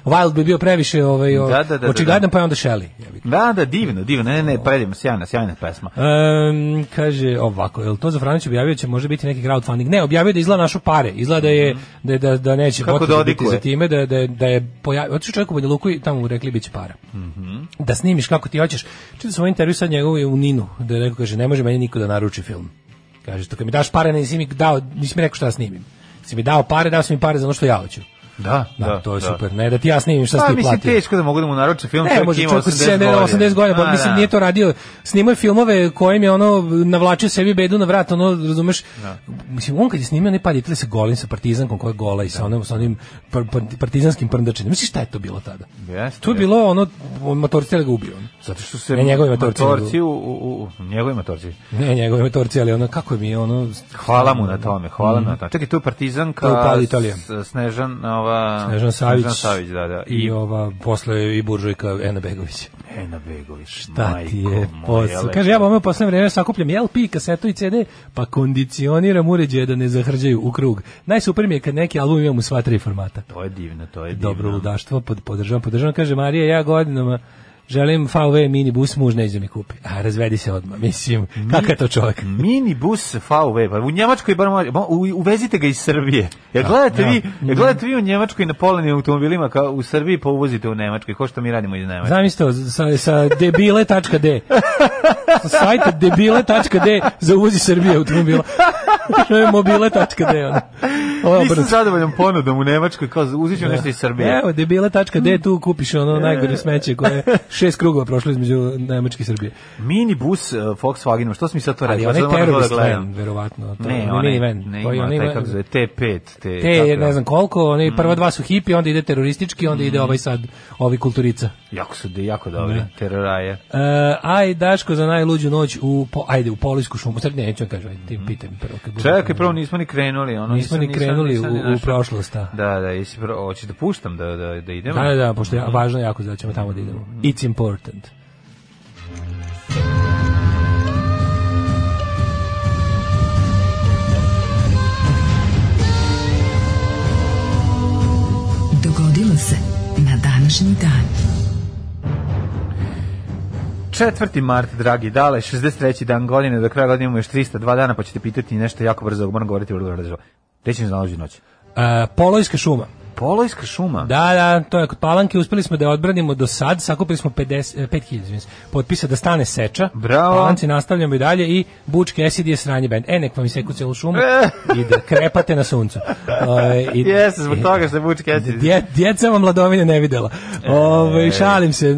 Speaker 7: Wild bi bio previše ovaj, o-
Speaker 8: Da, da, da, da,
Speaker 7: očigledan,
Speaker 8: da.
Speaker 7: pa je onda Shelley. jebi ga.
Speaker 8: Da, da, divno, divno, ne, ne, predivno, sjajna, sjajna pesma.
Speaker 7: Ehm, kaže ovako, jel to za Franić objavio će može biti neki crowdfunding? Ne, objavio je da izgleda našu pare. Izgleda da je da da da neće
Speaker 8: Kako
Speaker 7: potrebe biti
Speaker 8: dodikuje.
Speaker 7: za time da da da je pojavio otišao čovjek u Banja Luku i tamo mu rekli biće para. Da snimiš kako ti hoćeš. Čitao sam ovaj intervju sad njegov je u Ninu, da je rekao kaže ne može meni niko da naruči film. Kaže to kad mi daš pare nisi mi dao, nisi mi rekao šta da snimim. Si mi dao pare, dao si mi pare za ono što ja hoću.
Speaker 8: Da,
Speaker 7: Da, to je super. Ne da ti ja snimim šta
Speaker 8: Pa
Speaker 7: si ti
Speaker 8: mislim
Speaker 7: platio.
Speaker 8: teško da mogu da mu naruče film,
Speaker 7: Ne, E, može
Speaker 8: ima
Speaker 7: čovjek od
Speaker 8: 80
Speaker 7: sebe, 80 godina, pa
Speaker 8: Da,
Speaker 7: mislim
Speaker 8: da.
Speaker 7: nije to radio. Snimao je filmove kojim je ono navlačio sebi bedu na vrat, ono razumeš?
Speaker 8: Da.
Speaker 7: Mislim on kad je snimao ne paditele sa golim sa partizankom koja je gola
Speaker 8: Da.
Speaker 7: i sa onim sa onim par- par- partizanskim prndačenjem. Misliš šta je to bilo tada?
Speaker 8: Jeste,
Speaker 7: to je
Speaker 8: jeste.
Speaker 7: bilo ono motorci ga ubio. ono.
Speaker 8: Zato što se
Speaker 7: Ne, njegovi motorci.
Speaker 8: motorci u, u, u, u- njegovi motorci.
Speaker 7: Ne, njegove motorci, ali ono kako mi je ono
Speaker 8: Hvala mu na tome, hvala na tome. Čekaj, tu je Partizanka,
Speaker 7: To Mhm. je upala Italija.
Speaker 8: S- Snežan, ova,
Speaker 7: Snežan Savić.
Speaker 8: Snežan Savić, da, da.
Speaker 7: i
Speaker 8: I
Speaker 7: ova posle i buržujka Ena Begović.
Speaker 8: Ena Begović,
Speaker 7: Da ti je
Speaker 8: majko moja,
Speaker 7: posao.
Speaker 8: lepo.
Speaker 7: Kaže, ja bome u poslednje vreme sakupljam i LP, kasetu i CD, pa kondicioniram uređaje da ne zahrđaju u krug. Najsuper mi je kad neki album imam u sva tri formata.
Speaker 8: To je divno, to je divno.
Speaker 7: Dobro ludaštvo, pod, podržavam, podržavam. Kaže, Marija, ja godinama želim VW minibus, muž neće da mi kupi. A, razvedi se odmah, mislim, kakav je to čovjek?
Speaker 8: Minibus VW, pa u Njemačkoj bar može, mo- u- uvezite ga iz Srbije. Ja
Speaker 7: Da,
Speaker 8: gledate vi, ja
Speaker 7: Mhm.
Speaker 8: gledate vi u Njemačkoj na polenim automobilima kao u Srbiji pa uvozite u Nemačkoj, ko što mi radimo iz Nemačke.
Speaker 7: Zamislite, ovo, sa, sa debile.d Sa sajta debile.d za uvozi Srbije automobila. To je mobile.d. ono. Ovo je
Speaker 8: Nisam
Speaker 7: obrnuto.
Speaker 8: zadovoljan ponudom u Nemačkoj, kao uzet ću nešto iz Srbije. E.
Speaker 7: Evo, debile.de tu kupiš ono najgore smeće koje je šest krugova prošlo između Nemačke i Srbije.
Speaker 8: Minibus uh, Volkswagenom, što smo mi sad to
Speaker 7: Ali
Speaker 8: rekli?
Speaker 7: onaj
Speaker 8: Sad moram to
Speaker 7: terorist
Speaker 8: da
Speaker 7: van,
Speaker 8: gledam.
Speaker 7: verovatno. To,
Speaker 8: Ne,
Speaker 7: onaj
Speaker 8: onaj,
Speaker 7: minivan.
Speaker 8: ne
Speaker 7: To je
Speaker 8: ima,
Speaker 7: onaj
Speaker 8: taj
Speaker 7: van-
Speaker 8: kako se zove, T5. Te,
Speaker 7: Te, je,
Speaker 8: tako da. Mm.
Speaker 7: ne znam koliko, oni prva dva su hipi, onda ide teroristički, onda ide ovaj sad, ovi kulturica.
Speaker 8: Jako su, de- jako dobri, teroraje.
Speaker 7: E, aj, Daško, za najluđu noć u, po, ajde, u Polijsku šumu. Sad neću vam kažem, ajde, ti pitaj mi prvo. Kad budem-
Speaker 8: Mm-hmm. Čekaj, prvo nismo ni krenuli. Ono,
Speaker 7: Nismo
Speaker 8: nisam-
Speaker 7: ni
Speaker 8: nisam-
Speaker 7: krenuli
Speaker 8: nisam ni
Speaker 7: u- u
Speaker 8: našao.
Speaker 7: prošlost, da.
Speaker 8: Da, da, jesi, pro- hoćeš da puštam da, da, da idemo?
Speaker 7: Da, da, da, pošto je važno jako da ćemo tamo da idemo.
Speaker 8: Mm-hmm.
Speaker 7: It's important.
Speaker 5: Dogodilo se na današnji dan.
Speaker 8: 4. mart, dragi dale, 63. dan godine, do kraja godine imamo još 302 dana, pa ćete pitati nešto jako brzo, moram govoriti vrlo brzo. Gde ćemo se nalaziti noć?
Speaker 7: E, Polojska šuma.
Speaker 8: Polojska šuma?
Speaker 7: Da, da, to je kod Palanke, uspeli smo da je odbranimo do sad, sakupili smo 50, eh, 5000 izvinim se, potpisa da stane seča.
Speaker 8: Bravo.
Speaker 7: Palanci nastavljamo i dalje i Bučke Acid je sranje bend. E, nek vam iseku celu šumu i da krepate na suncu. E, i-
Speaker 8: Jeste, zbog toga E, što je Butch Cassidy.
Speaker 7: Dje, djeca vam mladovine ne videla. Ove, šalim se,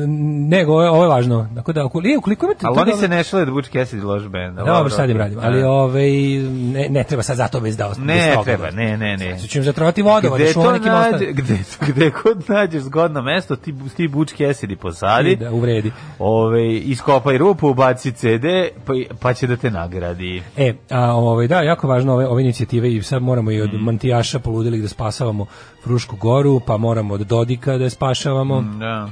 Speaker 7: nego ovo je, ovo je važno. Tako da, ukoliko, e, ukoliko imate...
Speaker 8: Ali
Speaker 7: to
Speaker 8: oni
Speaker 7: dobro-
Speaker 8: se ne šale da Butch Cassidy loš bend.
Speaker 7: Da, dobro, sad im radim, ali ove, ne, ne treba sad zato bez da ostavim.
Speaker 8: Ne, treba, ne, ne, ne.
Speaker 7: Sad ću im zatrovati vodova, da
Speaker 8: Gde
Speaker 7: šuma
Speaker 8: to
Speaker 7: nekim ostane.
Speaker 8: nađe, gde, gde god nađeš zgodno mesto, ti, ti Butch Cassidy posadi,
Speaker 7: Da, uvredi.
Speaker 8: ove, ovaj, iskopaj rupu, ubaci CD, pa, pa će da te nagradi.
Speaker 7: E, a, ovaj, da, jako važno ove, ove inicijative i sad moramo i od
Speaker 8: Mhm.
Speaker 7: mantijaša poludelih da spasavamo Frušku goru, pa moramo od Dodika da je spašavamo,
Speaker 8: Da.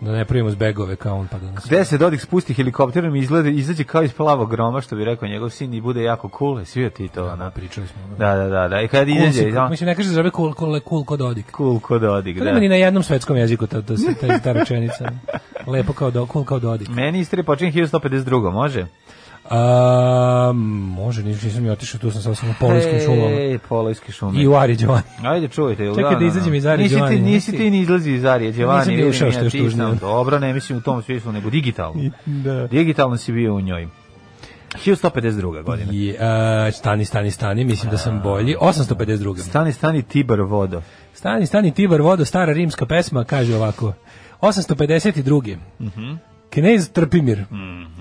Speaker 7: da ne pravimo zbegove kao on pa da nas...
Speaker 8: Gde se Dodik spusti helikopterom i izgleda, izađe kao iz plavog groma, što bi rekao njegov sin, i bude jako cool, i svi ti to, ona.
Speaker 7: Pričali smo. ono.
Speaker 8: Da, da, da, da. I kad
Speaker 7: Cool si,
Speaker 8: izađe, da,
Speaker 7: mislim, ne kaže da zove cool, cool, cool kod Dodik.
Speaker 8: cool ko Dodik,
Speaker 7: To
Speaker 8: da.
Speaker 7: nema ni na jednom svetskom jeziku ta, ta, ta, ta rečenica. Lepo kao do, cool kao Dodik.
Speaker 8: Meni istre počinje 1152, može?
Speaker 7: A, može, nis- nisam i otišao, tu sam sad samo u polijskim šumama.
Speaker 8: Ej, polojske šume.
Speaker 7: I u Ari Đovani.
Speaker 8: Ajde, čujte. jel
Speaker 7: Čekaj da izađem iz Arije
Speaker 8: nisi
Speaker 7: Đovani,
Speaker 8: Ti, nisi
Speaker 7: nisi?
Speaker 8: ti ni izlazi iz Arije Đovani.
Speaker 7: Nisam ni
Speaker 8: vidim
Speaker 7: ušao, što je
Speaker 8: ja, ti sam-
Speaker 7: tužnije.
Speaker 8: Dobro, ne mislim u tom smislu, nego digitalno.
Speaker 7: Da.
Speaker 8: Digitalno si bio u njoj. 1152. godina.
Speaker 7: I, a, stani, stani, stani, mislim da sam bolji. 852.
Speaker 8: Stani, stani Tibar vodo.
Speaker 7: Stani, stani Tibar vodo, stara rimska pesma, kaže ovako. 852. Mm
Speaker 8: Mhm.
Speaker 7: Knez Trpimir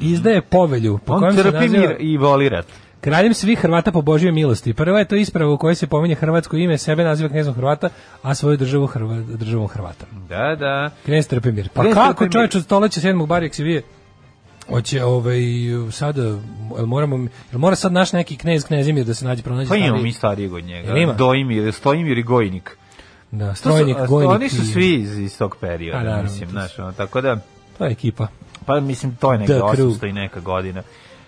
Speaker 7: izdaje povelju. Po
Speaker 8: On
Speaker 7: kojem se
Speaker 8: trpi
Speaker 7: naziva
Speaker 8: mir i voli rat.
Speaker 7: Kraljem svih Hrvata po Božjoj milosti. Prva je to isprava u kojoj se pominje hrvatsko ime, sebe naziva knezom Hrvata, a svoju državu Hrva, državom Hrvata.
Speaker 8: Da, da.
Speaker 7: Knez Trpimir. Pa
Speaker 8: Knez
Speaker 7: kako
Speaker 8: Trpimir.
Speaker 7: čovječ od stoleća sedmog barijek se vije? Hoće ovaj sada jel moramo jel mora sad naš neki knez Knezimir da se nađe pronađe
Speaker 8: Pa imamo
Speaker 7: stariji?
Speaker 8: mi starijeg od njega.
Speaker 7: Jel ima?
Speaker 8: Dojimir, Stojimir i Gojnik.
Speaker 7: da
Speaker 8: To su-
Speaker 7: strojnik
Speaker 8: a,
Speaker 7: gojnik.
Speaker 8: Oni su
Speaker 7: i-
Speaker 8: svi iz, iz tog
Speaker 7: Pa,
Speaker 8: perioda,
Speaker 7: naravno,
Speaker 8: mislim,
Speaker 7: to
Speaker 8: znaš, ono, tako da...
Speaker 7: to je ekipa.
Speaker 8: Pa mislim to je negde
Speaker 7: The Crew.
Speaker 8: 800 i neka godina.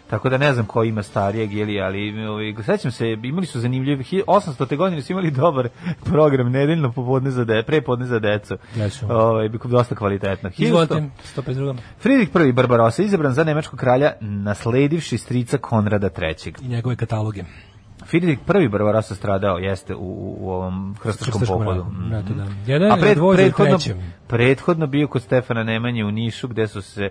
Speaker 8: Tako da ne znam ko ima starijeg ili, ali ovaj, sećam se, imali su zanimljiv, 800. godine su imali dobar program, nedeljno popodne za de, prepodne za decu.
Speaker 7: Ja ću.
Speaker 8: Ovaj, bi- dosta kvalitetno. 1100
Speaker 7: Izvolite 152.
Speaker 8: Fridrik I Barbarosa izabran za nemačkog kralja nasledivši strica Konrada III.
Speaker 7: i njegove kataloge.
Speaker 8: Fridrik I Barbarosa stradao jeste u, u, u ovom hrstačkom
Speaker 7: Krstaškom
Speaker 8: pohodu.
Speaker 7: ratu,
Speaker 8: Mhm.
Speaker 7: ratu, da. Jedan
Speaker 8: A
Speaker 7: je
Speaker 8: pred,
Speaker 7: dvoje za
Speaker 8: prethodno,
Speaker 7: trećem.
Speaker 8: prethodno bio kod Stefana Nemanje u Nišu, gde su se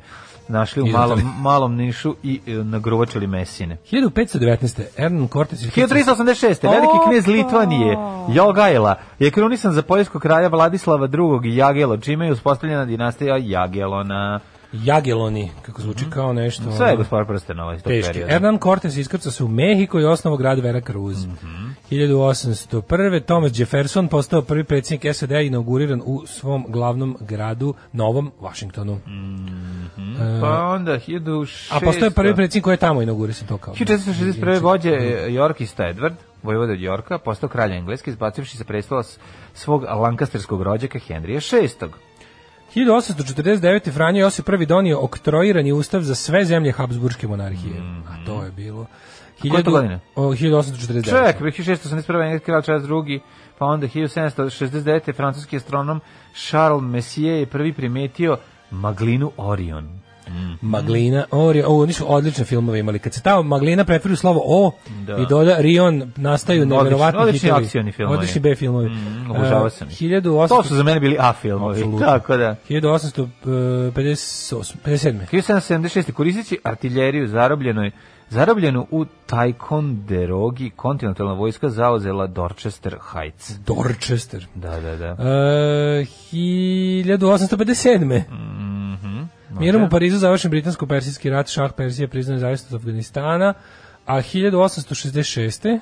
Speaker 8: našli u
Speaker 7: Izuzeli.
Speaker 8: malom, malom Nišu i e, nagruvačili mesine.
Speaker 7: 1519. Ernan Cortes iz
Speaker 8: 1386. Veliki knez Litvanije, Jogajla, je krunisan za poljskog kralja Vladislava II. i Jagelo, čime je uspostavljena dinastija Jagelona.
Speaker 7: Jageloni, kako zvuči kao nešto.
Speaker 8: Mhm. Sve je
Speaker 7: ono,
Speaker 8: gospodar prstenova iz tog
Speaker 7: Teški.
Speaker 8: perioda.
Speaker 7: Hernan Cortes iskrcao se u Mehiko i osnovo grad Veracruz. Mm
Speaker 8: Mhm.
Speaker 7: 1801. Thomas Jefferson postao prvi predsjednik SAD-a i inauguriran u svom glavnom gradu, Novom Washingtonu.
Speaker 8: Pa onda 1600...
Speaker 7: A postao je prvi predsjednik koji je tamo inaugurisan to kao.
Speaker 8: 1461. vođe e, Yorkista Edward, vojvoda od Yorka, postao kralj Engleske, izbacivši se prestola s- svog lankasterskog rođaka Henrija VI.
Speaker 7: 1849. Franjo Josip I donio oktroirani ustav za sve zemlje Habsburgske monarhije. A to je bilo...
Speaker 8: Mhm. Koje to godine?
Speaker 7: O, 1849.
Speaker 8: Čovjek, 1681. engleski kralj Charles II, pa onda 1769. francuski astronom Charles Messier je prvi primetio maglinu Orion.
Speaker 7: Maglina, Ori, o, oni su odlične filmove imali. Kad se ta Maglina pretvori u slovo O
Speaker 8: Da.
Speaker 7: i doda Rion, nastaju
Speaker 8: Odlični-
Speaker 7: neverovatni
Speaker 8: odlični
Speaker 7: hitovi.
Speaker 8: akcioni filmovi.
Speaker 7: Odlični B filmovi.
Speaker 8: Mm, obožavao
Speaker 7: E,
Speaker 8: sam ih.
Speaker 7: 1800
Speaker 8: To su za mene bili A filmovi,
Speaker 7: Apsolutno.
Speaker 8: tako da.
Speaker 7: uh, 1858, 57.
Speaker 8: 1776. koristeći artiljeriju zarobljenoj zarobljenu u Ticonderogi, kontinentalna vojska zauzela Dorchester Heights.
Speaker 7: Dorchester.
Speaker 8: Da, da, da.
Speaker 7: E, 1857. Mm
Speaker 8: Mhm.
Speaker 7: Mirom u Parizu završen britansko-persijski rat, šah Persije priznao nezavisnost Afganistana, a 1866.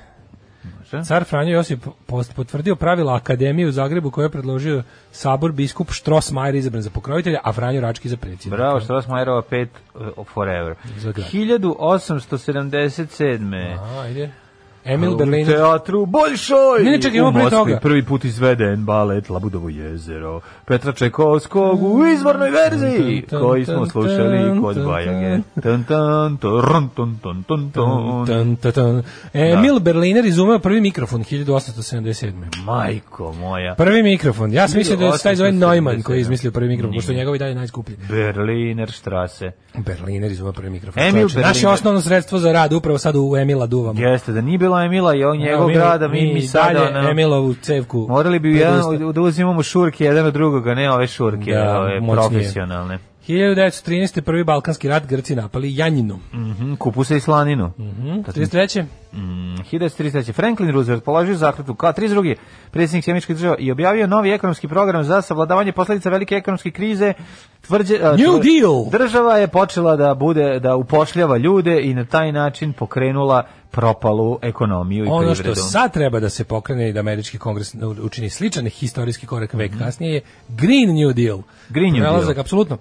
Speaker 8: Može.
Speaker 7: Car Franjo Josip post potvrdio pravila Akademije u Zagrebu koju je predložio sabor biskup Štrosmajer izabran za pokrovitelja, a Franjo Rački za predsjednika.
Speaker 8: Bravo, što vas Majerova 5 forever.
Speaker 7: Za grad.
Speaker 8: 1877.
Speaker 7: A, ajde. Emil
Speaker 8: U
Speaker 7: Berlin.
Speaker 8: teatru Bolšoj
Speaker 7: Ne, ne, čekaj,
Speaker 8: u
Speaker 7: imamo pre
Speaker 8: Moskvi
Speaker 7: toga.
Speaker 8: prvi put izveden balet Labudovo jezero Petra Čekovskog u izvornoj verziji
Speaker 7: Tun, tun,
Speaker 8: koji smo
Speaker 7: tun,
Speaker 8: slušali
Speaker 7: tun,
Speaker 8: kod
Speaker 7: tun,
Speaker 8: Bajage.
Speaker 7: tun.
Speaker 8: Tun, tun, turun, tun, tun, tun,
Speaker 7: Tan,
Speaker 8: tun.
Speaker 7: tan,
Speaker 8: Da.
Speaker 7: tan. Emil Berliner izumeo prvi mikrofon 1877.
Speaker 8: Majko moja.
Speaker 7: Prvi mikrofon. Ja sam mislio da je taj zove
Speaker 8: 1877.
Speaker 7: Neumann koji je izmislio prvi mikrofon, pošto je
Speaker 8: Nije.
Speaker 7: njegov i dalje najskuplji.
Speaker 8: Berliner štrase.
Speaker 7: Berliner izumeo prvi mikrofon.
Speaker 8: Emil
Speaker 7: Čovječe, Naše
Speaker 8: Berliner.
Speaker 7: osnovno sredstvo za rad upravo sad u Emila duvamo.
Speaker 8: Jeste, da nije bilo bilo Emila i on njegov
Speaker 7: mi-
Speaker 8: grada, mi, mi,
Speaker 7: mi
Speaker 8: sada...
Speaker 7: dalje
Speaker 8: ono,
Speaker 7: Emilovu cevku.
Speaker 8: Morali bi u jedan,
Speaker 7: predustav-
Speaker 8: da uzimamo šurke jedan od drugoga, ne ove šurke,
Speaker 7: Da,
Speaker 8: ove
Speaker 7: moćnije.
Speaker 8: profesionalne.
Speaker 7: 1913. prvi balkanski rat Grci napali Janjinu.
Speaker 8: Mhm, Kupusa i slaninu.
Speaker 7: Mm, 33.
Speaker 8: 1933. Franklin Roosevelt položio zakletvu kao 32. predsjednik Sjemičkih država i objavio novi ekonomski program za savladavanje posledica velike ekonomske krize. Tvrđe, a,
Speaker 7: New
Speaker 8: tvr-
Speaker 7: Deal!
Speaker 8: Država je počela da bude da upošljava ljude i na taj način pokrenula propalu ekonomiju i
Speaker 7: Ono što
Speaker 8: privredu.
Speaker 7: sad treba da se pokrene i da američki kongres učini sličan historijski korak vek kasnije je Green New Deal.
Speaker 8: Mhm. Green New
Speaker 7: Prelazak,
Speaker 8: Deal.
Speaker 7: apsolutno.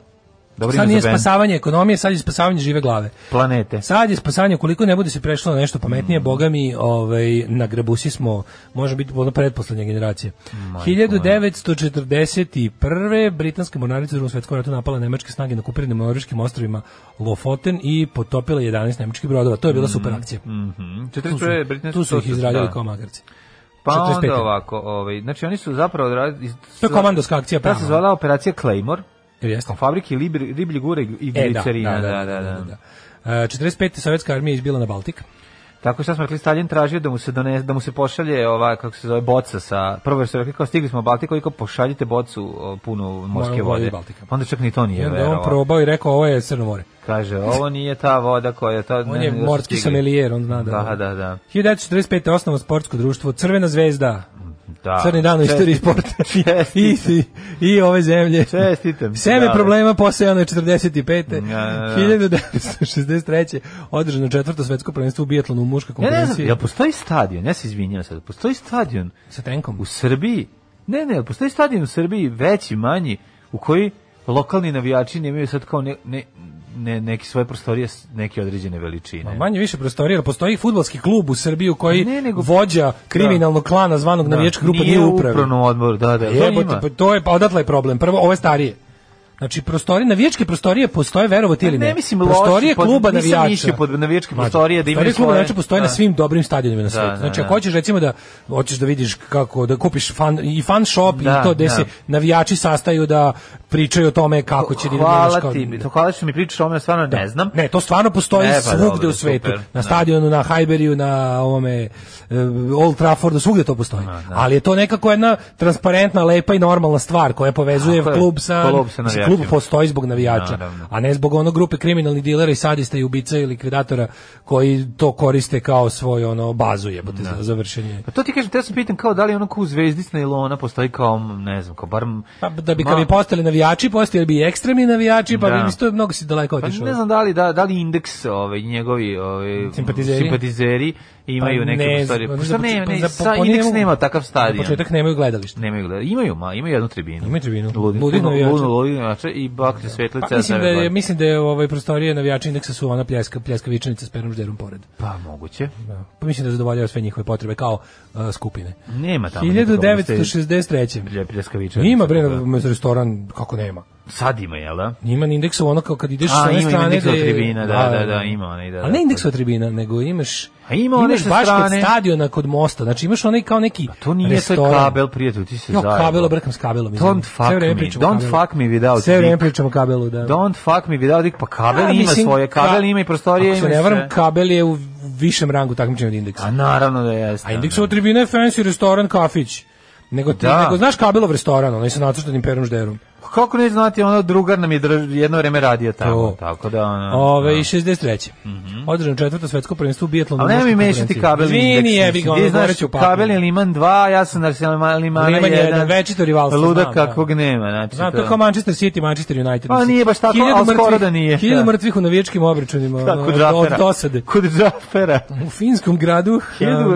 Speaker 8: Dobro
Speaker 7: sad
Speaker 8: ime
Speaker 7: nije
Speaker 8: za band.
Speaker 7: spasavanje ekonomije, sad je spasavanje žive glave.
Speaker 8: Planete.
Speaker 7: Sad je spasavanje, koliko ne bude se prešlo na nešto pametnije, boga mi, ovaj, na grabusi smo, može biti ono predposlednja generacija. 1941. Britanska mornarica u drugom svetskom ratu napala nemačke snage na kupiranim norveškim ostrovima Lofoten i potopila 11 nemačkih brodova. To je bila super akcija.
Speaker 8: Mhm.
Speaker 7: Tu su,
Speaker 8: 41. Britanski
Speaker 7: tu su ih
Speaker 8: susret,
Speaker 7: izradili
Speaker 8: da.
Speaker 7: kao magarci.
Speaker 8: Pa
Speaker 7: 45..
Speaker 8: onda ovako, ovaj, znači oni su zapravo... odradili-
Speaker 7: To je komandoska akcija
Speaker 8: Ta se
Speaker 7: prava.
Speaker 8: zvala operacija Claymore,
Speaker 7: Jel jeste?
Speaker 8: u fabrike libri, riblje gure i
Speaker 7: E, da,
Speaker 8: glicerina.
Speaker 7: da, da, da, da. E, 45. sovjetska armija je izbila na Baltik.
Speaker 8: Tako što smo rekli, Stalin tražio da mu se donese, da mu se pošalje ova, kako se zove, boca sa, prvo jer su rekli kao stigli smo u Baltik, koliko pošaljite bocu o, punu morske
Speaker 7: Moje vode
Speaker 8: vode. Pa
Speaker 7: iz Baltika.
Speaker 8: Onda čak ni to
Speaker 7: I
Speaker 8: nije
Speaker 7: onda je on
Speaker 8: verovao.
Speaker 7: probao i rekao ovo je Crno more.
Speaker 8: Kaže, ovo nije ta voda koja je to...
Speaker 7: On je morski somelijer, on zna da.
Speaker 8: Da, da, da.
Speaker 7: 1945. osnovo sportsko društvo Crvena zvezda.
Speaker 8: da.
Speaker 7: Crni dan u
Speaker 8: Čest-
Speaker 7: istoriji sporta. I,
Speaker 8: Čestitam.
Speaker 7: i, I ove zemlje.
Speaker 8: Čestitam.
Speaker 7: Seme
Speaker 8: Da.
Speaker 7: problema posejano je 45.
Speaker 8: Da, da, da.
Speaker 7: 1963. održano četvrto svetsko prvenstvo u bijatlonu u muškoj
Speaker 8: Ja ne znam,
Speaker 7: konkurenciji.
Speaker 8: jel postoji stadion? Ja se izvinjam sad. Postoji stadion
Speaker 7: Sa tenkom.
Speaker 8: u Srbiji? Ne, ne, jel postoji stadion u Srbiji veći, manji, u koji lokalni navijači nemaju sad kao ne, ne, ne, neke svoje prostorije s- neke određene veličine.
Speaker 7: Ma manje više prostorija, jer postoji fudbalski klub u Srbiji u koji
Speaker 8: Ne, nego-
Speaker 7: vođa kriminalnog klana zvanog
Speaker 8: Da.
Speaker 7: navijačka grupa nije
Speaker 8: u
Speaker 7: upravi.
Speaker 8: upravnom odboru, da, da, to
Speaker 7: Jebote,
Speaker 8: ima.
Speaker 7: pa to je pa odatle je problem. Prvo ove starije. Znači prostorije navijačke prostorije postoje verovati ili ne.
Speaker 8: Pa Ne mislim loši,
Speaker 7: prostorije
Speaker 8: pod-
Speaker 7: kluba
Speaker 8: nisam
Speaker 7: navijača.
Speaker 8: išao pod navijačke
Speaker 7: Mađo,
Speaker 8: prostorije da imaju
Speaker 7: prostorije kluba
Speaker 8: svoje-
Speaker 7: navijača postoje na
Speaker 8: Da.
Speaker 7: svim dobrim stadionima na svetu.
Speaker 8: da,
Speaker 7: znači
Speaker 8: da.
Speaker 7: ako hoćeš recimo da hoćeš da vidiš kako da kupiš fan i fan shop
Speaker 8: Da,
Speaker 7: i to gde
Speaker 8: da.
Speaker 7: se navijači sastaju da pričaju o tome kako će da idu, znaš,
Speaker 8: Hvala
Speaker 7: kao-
Speaker 8: ti, to hvala što mi pričaš o me stvarno ne znam.
Speaker 7: Da. Ne, to stvarno postoji
Speaker 8: Ne, pa
Speaker 7: svugde
Speaker 8: dobro,
Speaker 7: u svetu.
Speaker 8: super,
Speaker 7: na
Speaker 8: da.
Speaker 7: stadionu, na Highbury-u, na ovome e, Old Traffordu, svugde to postoji.
Speaker 8: Da,
Speaker 7: Ali je to nekako jedna transparentna, lepa i normalna stvar koja povezuje
Speaker 8: Tako je,
Speaker 7: klub sa,
Speaker 8: klub sa
Speaker 7: mislim,
Speaker 8: navijačima.
Speaker 7: klub postoji zbog navijača,
Speaker 8: Naravno.
Speaker 7: a ne zbog onog grupe kriminalnih dilera i sadista i ubica ili likvidatora koji to koriste kao svoju ono bazu jebote za, za vršenje.
Speaker 8: Pa to ti kažem, te sam pitam kao da li ono kao u zvezdic na Ilona postoji kao, ne znam, kao bar...
Speaker 7: Pa da bi
Speaker 8: ma-
Speaker 7: kad bi postali navijači, postali bi i ekstremni navijači, pa
Speaker 8: Da.
Speaker 7: bi isto mnogo si daleko
Speaker 8: Pa
Speaker 7: otišao.
Speaker 8: ne znam da li, da, da li indeks ovaj, njegovi ovaj,
Speaker 7: Simpatizeri?
Speaker 8: simpatizeri imaju
Speaker 7: Pa
Speaker 8: neke
Speaker 7: ne,
Speaker 8: prostorije.
Speaker 7: za-
Speaker 8: Pa
Speaker 7: za
Speaker 8: šta
Speaker 7: početak-
Speaker 8: ne, ne,
Speaker 7: za po-
Speaker 8: sa,
Speaker 7: po
Speaker 8: indeks
Speaker 7: njemu-
Speaker 8: nema takav
Speaker 7: Na
Speaker 8: stadion.
Speaker 7: početak nemaju gledalište.
Speaker 8: Nemaju gleda. Imaju, ma, imaju jednu tribinu.
Speaker 7: Imaju tribinu.
Speaker 8: Ludi,
Speaker 7: Ludih
Speaker 8: puno,
Speaker 7: navijača.
Speaker 8: puno ludih navijača i bakre svetlice.
Speaker 7: Pa, mislim
Speaker 8: ja
Speaker 7: da
Speaker 8: sam
Speaker 7: je,
Speaker 8: gledao.
Speaker 7: mislim da je ovaj prostorije navijača indeksa su ona pljeska, pljeska vičanica s pernom žderom pored.
Speaker 8: Pa moguće.
Speaker 7: Da. Pa mislim da zadovoljava sve njihove potrebe kao uh, skupine.
Speaker 8: Nema tamo. nikog
Speaker 7: 1963.
Speaker 8: Plje- pljeskavičarnica.
Speaker 7: Ima bre na- restoran kako nema.
Speaker 8: Sad ima, jel da?
Speaker 7: Ima na indeksu ono kao kad ideš
Speaker 8: A,
Speaker 7: sa one
Speaker 8: ima
Speaker 7: strane
Speaker 8: indeksova
Speaker 7: gde-
Speaker 8: tribina, da, da, da, ima onaj, da,
Speaker 7: A
Speaker 8: da.
Speaker 7: ne indeksa tribina, nego imaš
Speaker 8: A ima one
Speaker 7: imaš
Speaker 8: sa
Speaker 7: baš kod
Speaker 8: strane. Pa
Speaker 7: stadiona kod mosta. Znači imaš onaj kao neki
Speaker 8: To nije sve
Speaker 7: restoran.
Speaker 8: kabel, prijatelj, ti se
Speaker 7: Jo,
Speaker 8: zajebao.
Speaker 7: kabelo, brkam s kabelom. izvini.
Speaker 8: Don't
Speaker 7: Sve
Speaker 8: fuck
Speaker 7: vreme
Speaker 8: me,
Speaker 7: pričamo o
Speaker 8: don't
Speaker 7: kabelu.
Speaker 8: fuck me without
Speaker 7: Sve vreme
Speaker 8: dick.
Speaker 7: pričamo o kabelu, da.
Speaker 8: Don't fuck me without dick, pa kabel
Speaker 7: A,
Speaker 8: ima
Speaker 7: mislim,
Speaker 8: svoje, kabel
Speaker 7: ka-
Speaker 8: ima i prostorije,
Speaker 7: Ako
Speaker 8: ima
Speaker 7: se
Speaker 8: i
Speaker 7: ne
Speaker 8: sve.
Speaker 7: varam, kabel je u višem rangu takmičenja od indeksa.
Speaker 8: A naravno da jeste.
Speaker 7: A Indexova tribina je fancy restoran, kafić. Nego, ti,
Speaker 8: Da.
Speaker 7: nego znaš kabelov restoran, onaj sa nacrtanim perom žderom.
Speaker 8: Pa Kako ne znati, ono drugar nam je drž, jedno vreme radio tamo,
Speaker 7: To.
Speaker 8: tako da ono...
Speaker 7: Ove, i
Speaker 8: da.
Speaker 7: 63. Održano četvrto svetsko prvenstvo u bijetlonu.
Speaker 8: Ali nemoj mi mešati kabel i indeks.
Speaker 7: Izvini, jebi ga,
Speaker 8: Ti
Speaker 7: ono
Speaker 8: znaš,
Speaker 7: morat ću upaknuti.
Speaker 8: kabel je Liman 2, ja sam na Limana 1.
Speaker 7: Liman jedan, večito rivalstvo,
Speaker 8: Luda
Speaker 7: znam, da.
Speaker 8: kakvog nema, znači
Speaker 7: Znam, to
Speaker 8: to.
Speaker 7: je kao Manchester City, Manchester United.
Speaker 8: Pa nije baš tako,
Speaker 7: Hiljadu
Speaker 8: ali skoro
Speaker 7: mrtvih-
Speaker 8: da nije,
Speaker 7: Hiljadu
Speaker 8: da.
Speaker 7: mrtvih u navijačkim obračunima.
Speaker 8: Kako
Speaker 7: ono,
Speaker 8: kod
Speaker 7: od Da,
Speaker 8: džafera.
Speaker 7: dosade.
Speaker 8: Kod džafera.
Speaker 7: U finskom gradu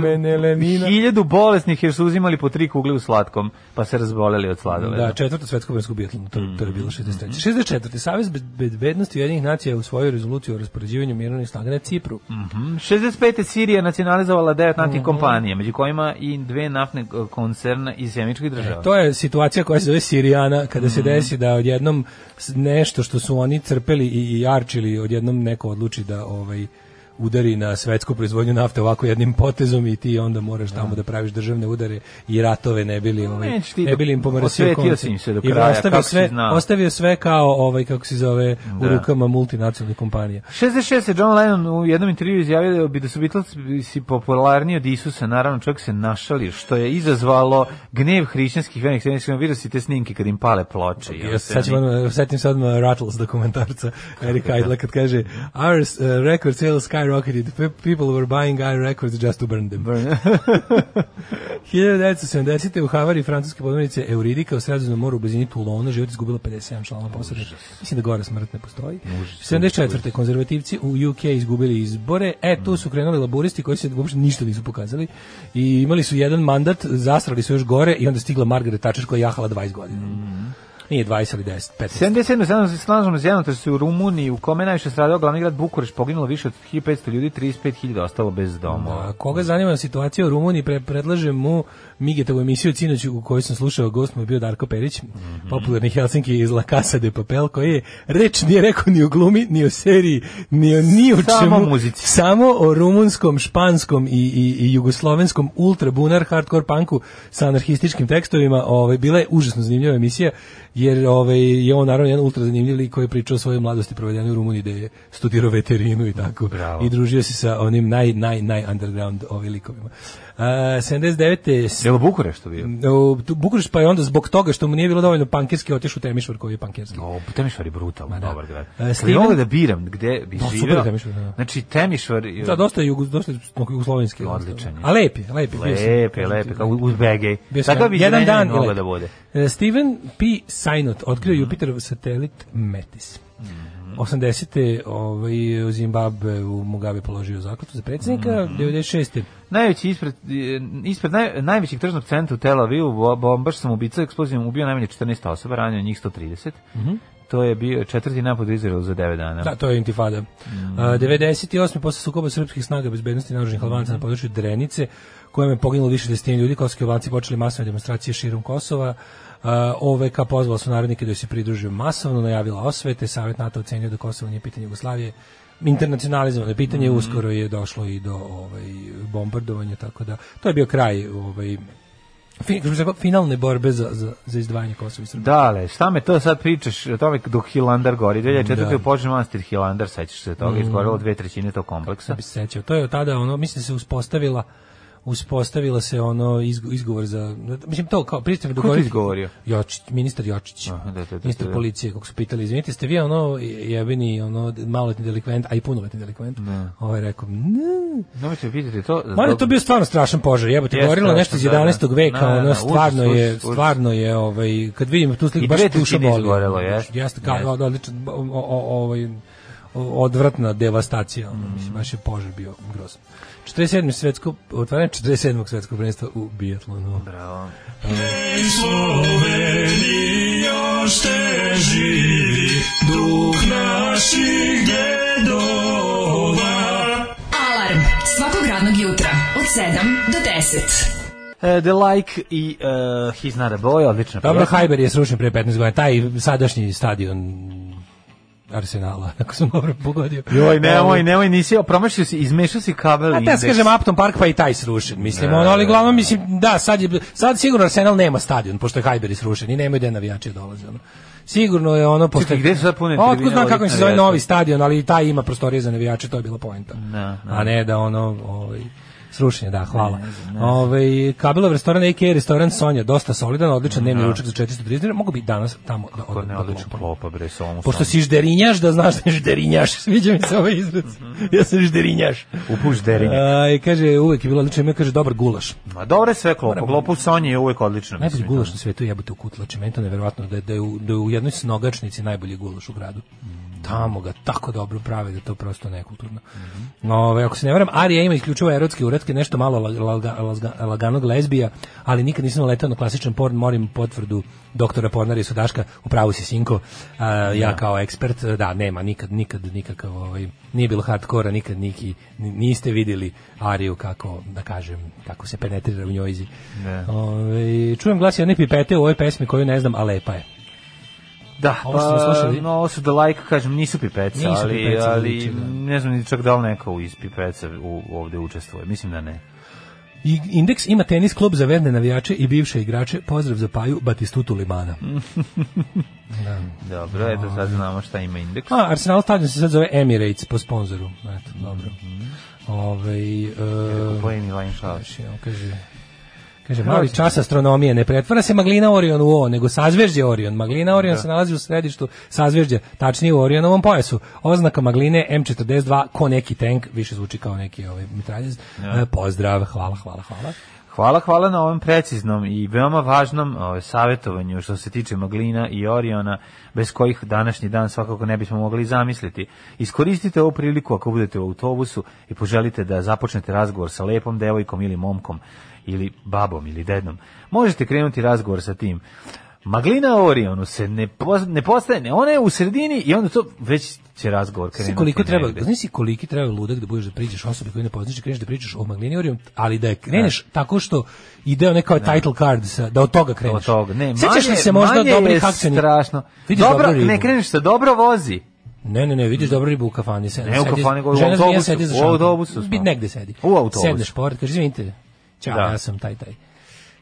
Speaker 7: Hamenelemina.
Speaker 8: hiljadu bolesnih jer su uzimali po tri kugle u slatkom, pa se razboleli od sladoleda.
Speaker 7: Da, četvrto svetsko vrhunsko biatlon, to, to je
Speaker 8: Mhm,
Speaker 7: bilo 63. 64. Savez bez- bezbednosti Ujedinjenih nacija je usvojio rezoluciju o raspoređivanju mirovnih snaga na Cipru.
Speaker 8: Mhm. 65. Sirija nacionalizovala devet naftnih
Speaker 7: Mhm.
Speaker 8: kompanija, među kojima i dve naftne eh, koncerna iz sjemičkih država.
Speaker 7: E, To je situacija koja se zove Sirijana, kada
Speaker 8: Mhm.
Speaker 7: se desi da odjednom s- nešto što su oni crpeli i, i jarčili, odjednom neko odluči da ovaj udari na svetsku proizvodnju nafte ovako jednim potezom i ti onda moraš tamo da praviš državne udare i ratove ne bili ovaj
Speaker 8: Nećeš ti
Speaker 7: ne
Speaker 8: do-
Speaker 7: bili im pomarsio
Speaker 8: osvetio si im se do
Speaker 7: i
Speaker 8: kraja,
Speaker 7: ostavio
Speaker 8: kako si
Speaker 7: sve
Speaker 8: znao.
Speaker 7: ostavio sve kao ovaj kako se zove u
Speaker 8: Da.
Speaker 7: rukama multinacionalnih kompanija
Speaker 8: 66. je John Lennon u jednom intervju izjavio da bi da su Beatlesi popularniji od Isusa, naravno čovjek se našalio, što je izazvalo gnev hrišćanskih venih srednjih, vidio si te snimke kad im pale ploče. i
Speaker 7: Ja
Speaker 8: onda
Speaker 7: se
Speaker 8: se
Speaker 7: sad ću
Speaker 8: oni-
Speaker 7: vam, setim se odmah Rattles dokumentarca Erika Idla kad kaže Our uh, record sales skyrocketed. Pe- People were buying our records just to burn them. 1970. u Havari francuske podmornice Euridika u Sredozemnom moru u blizini Toulona život izgubila 57 članova posade. Mislim da gore smrt ne postoji. 74. konzervativci u UK izgubili izbore. E, tu su krenuli laburisti koji se uopšte ništa nisu pokazali i imali su jedan mandat, zastrali su još gore i onda stigla Margaret Thatcher koja je jahala 20 godina. Nije 20 ali 10, 15.
Speaker 8: 77. sada se slažemo s jednom, to se u Rumuniji, u kome je najviše stradao glavni grad Bukureš, poginulo više od 1500 ljudi, 35.000 ostalo bez domova.
Speaker 7: A Da, koga zanima situacija u Rumuniji, pre, predlažem mu Migetovu emisiju Cinoć u kojoj sam slušao, gost mu je bio Darko Perić,
Speaker 8: Mhm.
Speaker 7: popularni Helsinki iz La Casa de Papel, koji je reč nije rekao ni o glumi, ni o seriji, ni o ni o
Speaker 8: Samo
Speaker 7: čemu.
Speaker 8: o muzici.
Speaker 7: Samo o rumunskom, španskom i, i, i jugoslovenskom ultrabunar hardcore punku sa anarhističkim tekstovima. Ovaj, bila je užasno zanimljiva emisija, jer ovaj, je on naravno jedan ultra zanimljiv lik koji je pričao o svojoj mladosti provedenoj u Rumuniji, da je studirao veterinu i tako.
Speaker 8: Bravo.
Speaker 7: I družio se sa onim naj, naj, naj underground ovaj likovima. Uh, 79. s-
Speaker 8: Je li Bukureš to bio?
Speaker 7: u tu- Bukurešt pa je onda zbog toga što mu nije bilo dovoljno pankerski otišao u Temišvar koji je pankerski.
Speaker 8: O, Temišvar je brutalno
Speaker 7: da.
Speaker 8: dobar grad.
Speaker 7: E,
Speaker 8: Kad bi
Speaker 7: Steven-
Speaker 8: mogao da biram gde bi
Speaker 7: super je
Speaker 8: živeo,
Speaker 7: Temišvar, da.
Speaker 8: znači Temišvar... je-
Speaker 7: Da, dosta je jugo, dosta je jugoslovenski.
Speaker 8: Odličan je.
Speaker 7: A lep je, lep je. bio sam.
Speaker 8: Lepe, lepe, kao uz BG.
Speaker 7: Bio sam
Speaker 8: Takav bi
Speaker 7: jedan dan
Speaker 8: mogla
Speaker 7: ili-
Speaker 8: da bude. Mhm.
Speaker 7: E, Steven P. Sinot otkrio Jupiterov satelit Metis. 80. Ovaj, u Zimbabwe u Mugabe položio zakletu za predsjednika,
Speaker 8: Mhm.
Speaker 7: 96.
Speaker 8: Najveći ispred, e, ispred naj, najvećeg tržnog centra u Tel Avivu, bo- bombaš sam ubica eksplozijom ubio najmanje 14 osoba, ranio njih 130. To je bio četvrti napad u Izraelu za 9 dana.
Speaker 7: Mhm. Da, to je intifada. A, 98. posle sukoba srpskih snaga bezbednosti naoružanih Albanaca na području Drenice, kojem je poginulo više desetina ljudi, kosovski Albanci počeli masovne demonstracije širom Kosova. A, OVK pozvala su narodnike da joj se pridružuju masovno, najavila osvete, Savjet NATO ocenio da Kosovo nije pitanje Jugoslavije. Internacionalizam, pitanje uskoro je došlo i do ovaj, bombardovanja, tako da to je bio kraj ovaj, fin- kako bih rekao, finalne borbe za, za, za izdvajanje Kosova i Srbije.
Speaker 8: Dale, šta me to sad pričaš o tome dok Hilandar gori? 2004.
Speaker 7: Da. Mhm.
Speaker 8: je počeo manastir Hilandar, sećaš se toga, izgorelo dve trećine tog kompleksa.
Speaker 7: Da bi se sećao. To je od tada ono, mislim da se uspostavila uspostavila se ono izgo- izgovor za mislim to kao pristav
Speaker 8: Ko je to izgovorio?
Speaker 7: Jočić, ministar Jočić.
Speaker 8: Aha, da, da, da,
Speaker 7: ministar
Speaker 8: da.
Speaker 7: policije kako su pitali, izvinite, ste vi ono jebeni ono maloletni delikvent, a i punoletni delikvent. Ovaj rekao, "Ne."
Speaker 8: Nemojte vidjeti to.
Speaker 7: Ma je to bio stvarno strašan požar, jebote,
Speaker 8: Jeste,
Speaker 7: gorilo nešto iz
Speaker 8: strašno, da,
Speaker 7: 11.
Speaker 8: da.
Speaker 7: veka,
Speaker 8: Da, da,
Speaker 7: ono
Speaker 8: da,
Speaker 7: stvarno
Speaker 8: užas,
Speaker 7: je,
Speaker 8: užas, užas.
Speaker 7: stvarno je, ovaj kad vidim tu sliku
Speaker 8: I
Speaker 7: baš
Speaker 8: dve
Speaker 7: duša
Speaker 8: trećine
Speaker 7: boli.
Speaker 8: izgorelo, jest,
Speaker 7: Jeste, kao
Speaker 8: jest.
Speaker 7: od- odličan o- o- o- ovaj o- odvratna devastacija,
Speaker 8: Mm.
Speaker 7: ono, mislim baš je požar bio grozan. 47. svetsko otvaranje 47. svetskog prvenstva u biatlonu.
Speaker 8: Bravo.
Speaker 6: Još te živi duh naših dedova.
Speaker 5: Alarm svakog radnog jutra od 7 do 10.
Speaker 8: E, The Like i e, He's Not a Boy, odlična
Speaker 7: Dobro,
Speaker 8: pjesma.
Speaker 7: Hajber je srušen pre 15 godina, taj sadašnji stadion Arsenala, ako sam dobro pogodio.
Speaker 8: Joj, nemoj, nemoj, nisi, promašio si, izmešao si kabel
Speaker 7: E, ovaj- A
Speaker 8: indeks.
Speaker 7: te
Speaker 8: Da,
Speaker 7: kažem Upton Park pa i taj srušen, mislim, ono, ali glavno mislim, da, sad, je, sad sigurno Arsenal nema stadion, pošto je Hajberi srušen i nemaju gde navijači da dolaze, ono. Sigurno je ono, pošto...
Speaker 8: Čekaj, gde su sad pune
Speaker 7: A, otkud
Speaker 8: tribine
Speaker 7: znam
Speaker 8: ovih
Speaker 7: kako im se zove
Speaker 8: navijača?
Speaker 7: novi stadion, ali i taj ima prostorije za navijače, to je bila poenta.
Speaker 8: Da, da.
Speaker 7: A ne da ono, ovaj, srušenje, da, hvala. Ovaj Kabelov restoran AK restoran Sonja, dosta solidan, odličan dnevni ručak za 430 dinara, mogu bi danas tamo da
Speaker 8: Da. Kako
Speaker 7: odem
Speaker 8: ne
Speaker 7: da
Speaker 8: odlično
Speaker 7: lupam.
Speaker 8: klopa, bre, sa ovom
Speaker 7: Pošto
Speaker 8: samom.
Speaker 7: si žderinjaš, da znaš da je žderinjaš. Sviđa mi se ovaj izraz.
Speaker 8: Mhm.
Speaker 7: Ja sam žderinjaš.
Speaker 8: Upuš derinje.
Speaker 7: A, I kaže, uvek je bilo odlično ime, kaže, dobar gulaš.
Speaker 8: Ma dobro je sve klopa, klopa u Sonji je uvijek odlično.
Speaker 7: Najbolji
Speaker 8: mislim,
Speaker 7: gulaš na svetu jebote u kutlači, meni to neverovatno da je, da, je u, da je u jednoj snogačnici najbolji gulaš u gradu. Tamo ga tako dobro prave da je to prosto nekulturno. Ove, ako se ne varam, Arija ima isključivo erotske uretke, nešto malo la- la- la- laganog lezbija, ali nikad nisam letao na klasičan porn, morim potvrdu doktora Pornara i Sudaška, u pravu si Sinko, A, ja kao ekspert, da, nema, nikad, nikad, nikakav, ovaj, nije bilo hardkora, nikad niki, ni- niste vidjeli Ariju kako, da kažem, kako se penetrira u Ovaj, njojzi. Ove, čujem glas jedne pipete u ovoj pesmi koju ne znam, a lepa je.
Speaker 8: Da,
Speaker 7: Ovo smo slušali?
Speaker 8: no, ovo su The Like, kažem, nisu pipeca,
Speaker 7: Nisu
Speaker 8: ali,
Speaker 7: pipeca,
Speaker 8: ali
Speaker 7: zvuči, da.
Speaker 8: ne znam ni čak da li neka u- iz pipeca u, ovde učestvuje, mislim da ne.
Speaker 7: I- Indeks ima tenis klub za verne navijače i bivše igrače. Pozdrav za Paju Batistutu Limana.
Speaker 8: Dobro, eto sad znamo šta ima indeks.
Speaker 7: A, Arsenal stadion se sad zove Emirates po sponzoru. Eto, dobro. Ovaj e,
Speaker 8: Pojeni Lajnšalaš.
Speaker 7: Znači, on kaže... Kaže, mali čas astronomije, ne pretvara se Maglina Orion u O, nego sazvežđe Orion. Maglina
Speaker 8: Da.
Speaker 7: Orion se nalazi u središtu sazvežđa, tačnije u Orionovom pojasu. Oznaka Magline M42, ko neki tank, više zvuči kao neki ovaj mitraljez.
Speaker 8: Da.
Speaker 7: E, pozdrav, hvala, hvala, hvala.
Speaker 8: Hvala, hvala na ovom preciznom i veoma važnom ovaj, savjetovanju što se tiče Maglina i Oriona, bez kojih današnji dan svakako ne bismo mogli zamisliti. Iskoristite ovu priliku ako budete u autobusu i poželite da započnete razgovor sa lepom devojkom ili momkom ili babom ili dedom. Možete krenuti razgovor sa tim. Maglina Orionu se ne, poz- ne postaje, ne, ona je u sredini i onda to već će razgovor krenuti.
Speaker 7: Znaš koliko treba,
Speaker 8: negde.
Speaker 7: znaš si koliki treba ludak da budeš da pričaš osobi koju ne poznaš i kreneš da pričaš o Maglini Orion, ali da je kreneš tako što ide onaj kao title card sa, da od toga kreneš.
Speaker 8: od toga. Ne,
Speaker 7: Sećaš li
Speaker 8: manje-
Speaker 7: se možda
Speaker 8: manje
Speaker 7: dobrih
Speaker 8: je
Speaker 7: akcionih?
Speaker 8: strašno.
Speaker 7: Vidiš
Speaker 8: dobro,
Speaker 7: dobru ribu.
Speaker 8: ne kreneš se, dobro vozi.
Speaker 7: Ne, ne, ne, vidiš dobro ribu u kafani. Sedi,
Speaker 8: Mm. Ne u
Speaker 7: sedi-
Speaker 8: kafani, nego u
Speaker 7: žena s- ja
Speaker 8: autobusu,
Speaker 7: sedi za
Speaker 8: u
Speaker 7: šankom.
Speaker 8: autobusu smo.
Speaker 7: Bi- negde sedi.
Speaker 8: U autobusu.
Speaker 7: Sedneš pored, kaže, izvinite, čao,
Speaker 8: Da.
Speaker 7: ja sam taj, taj.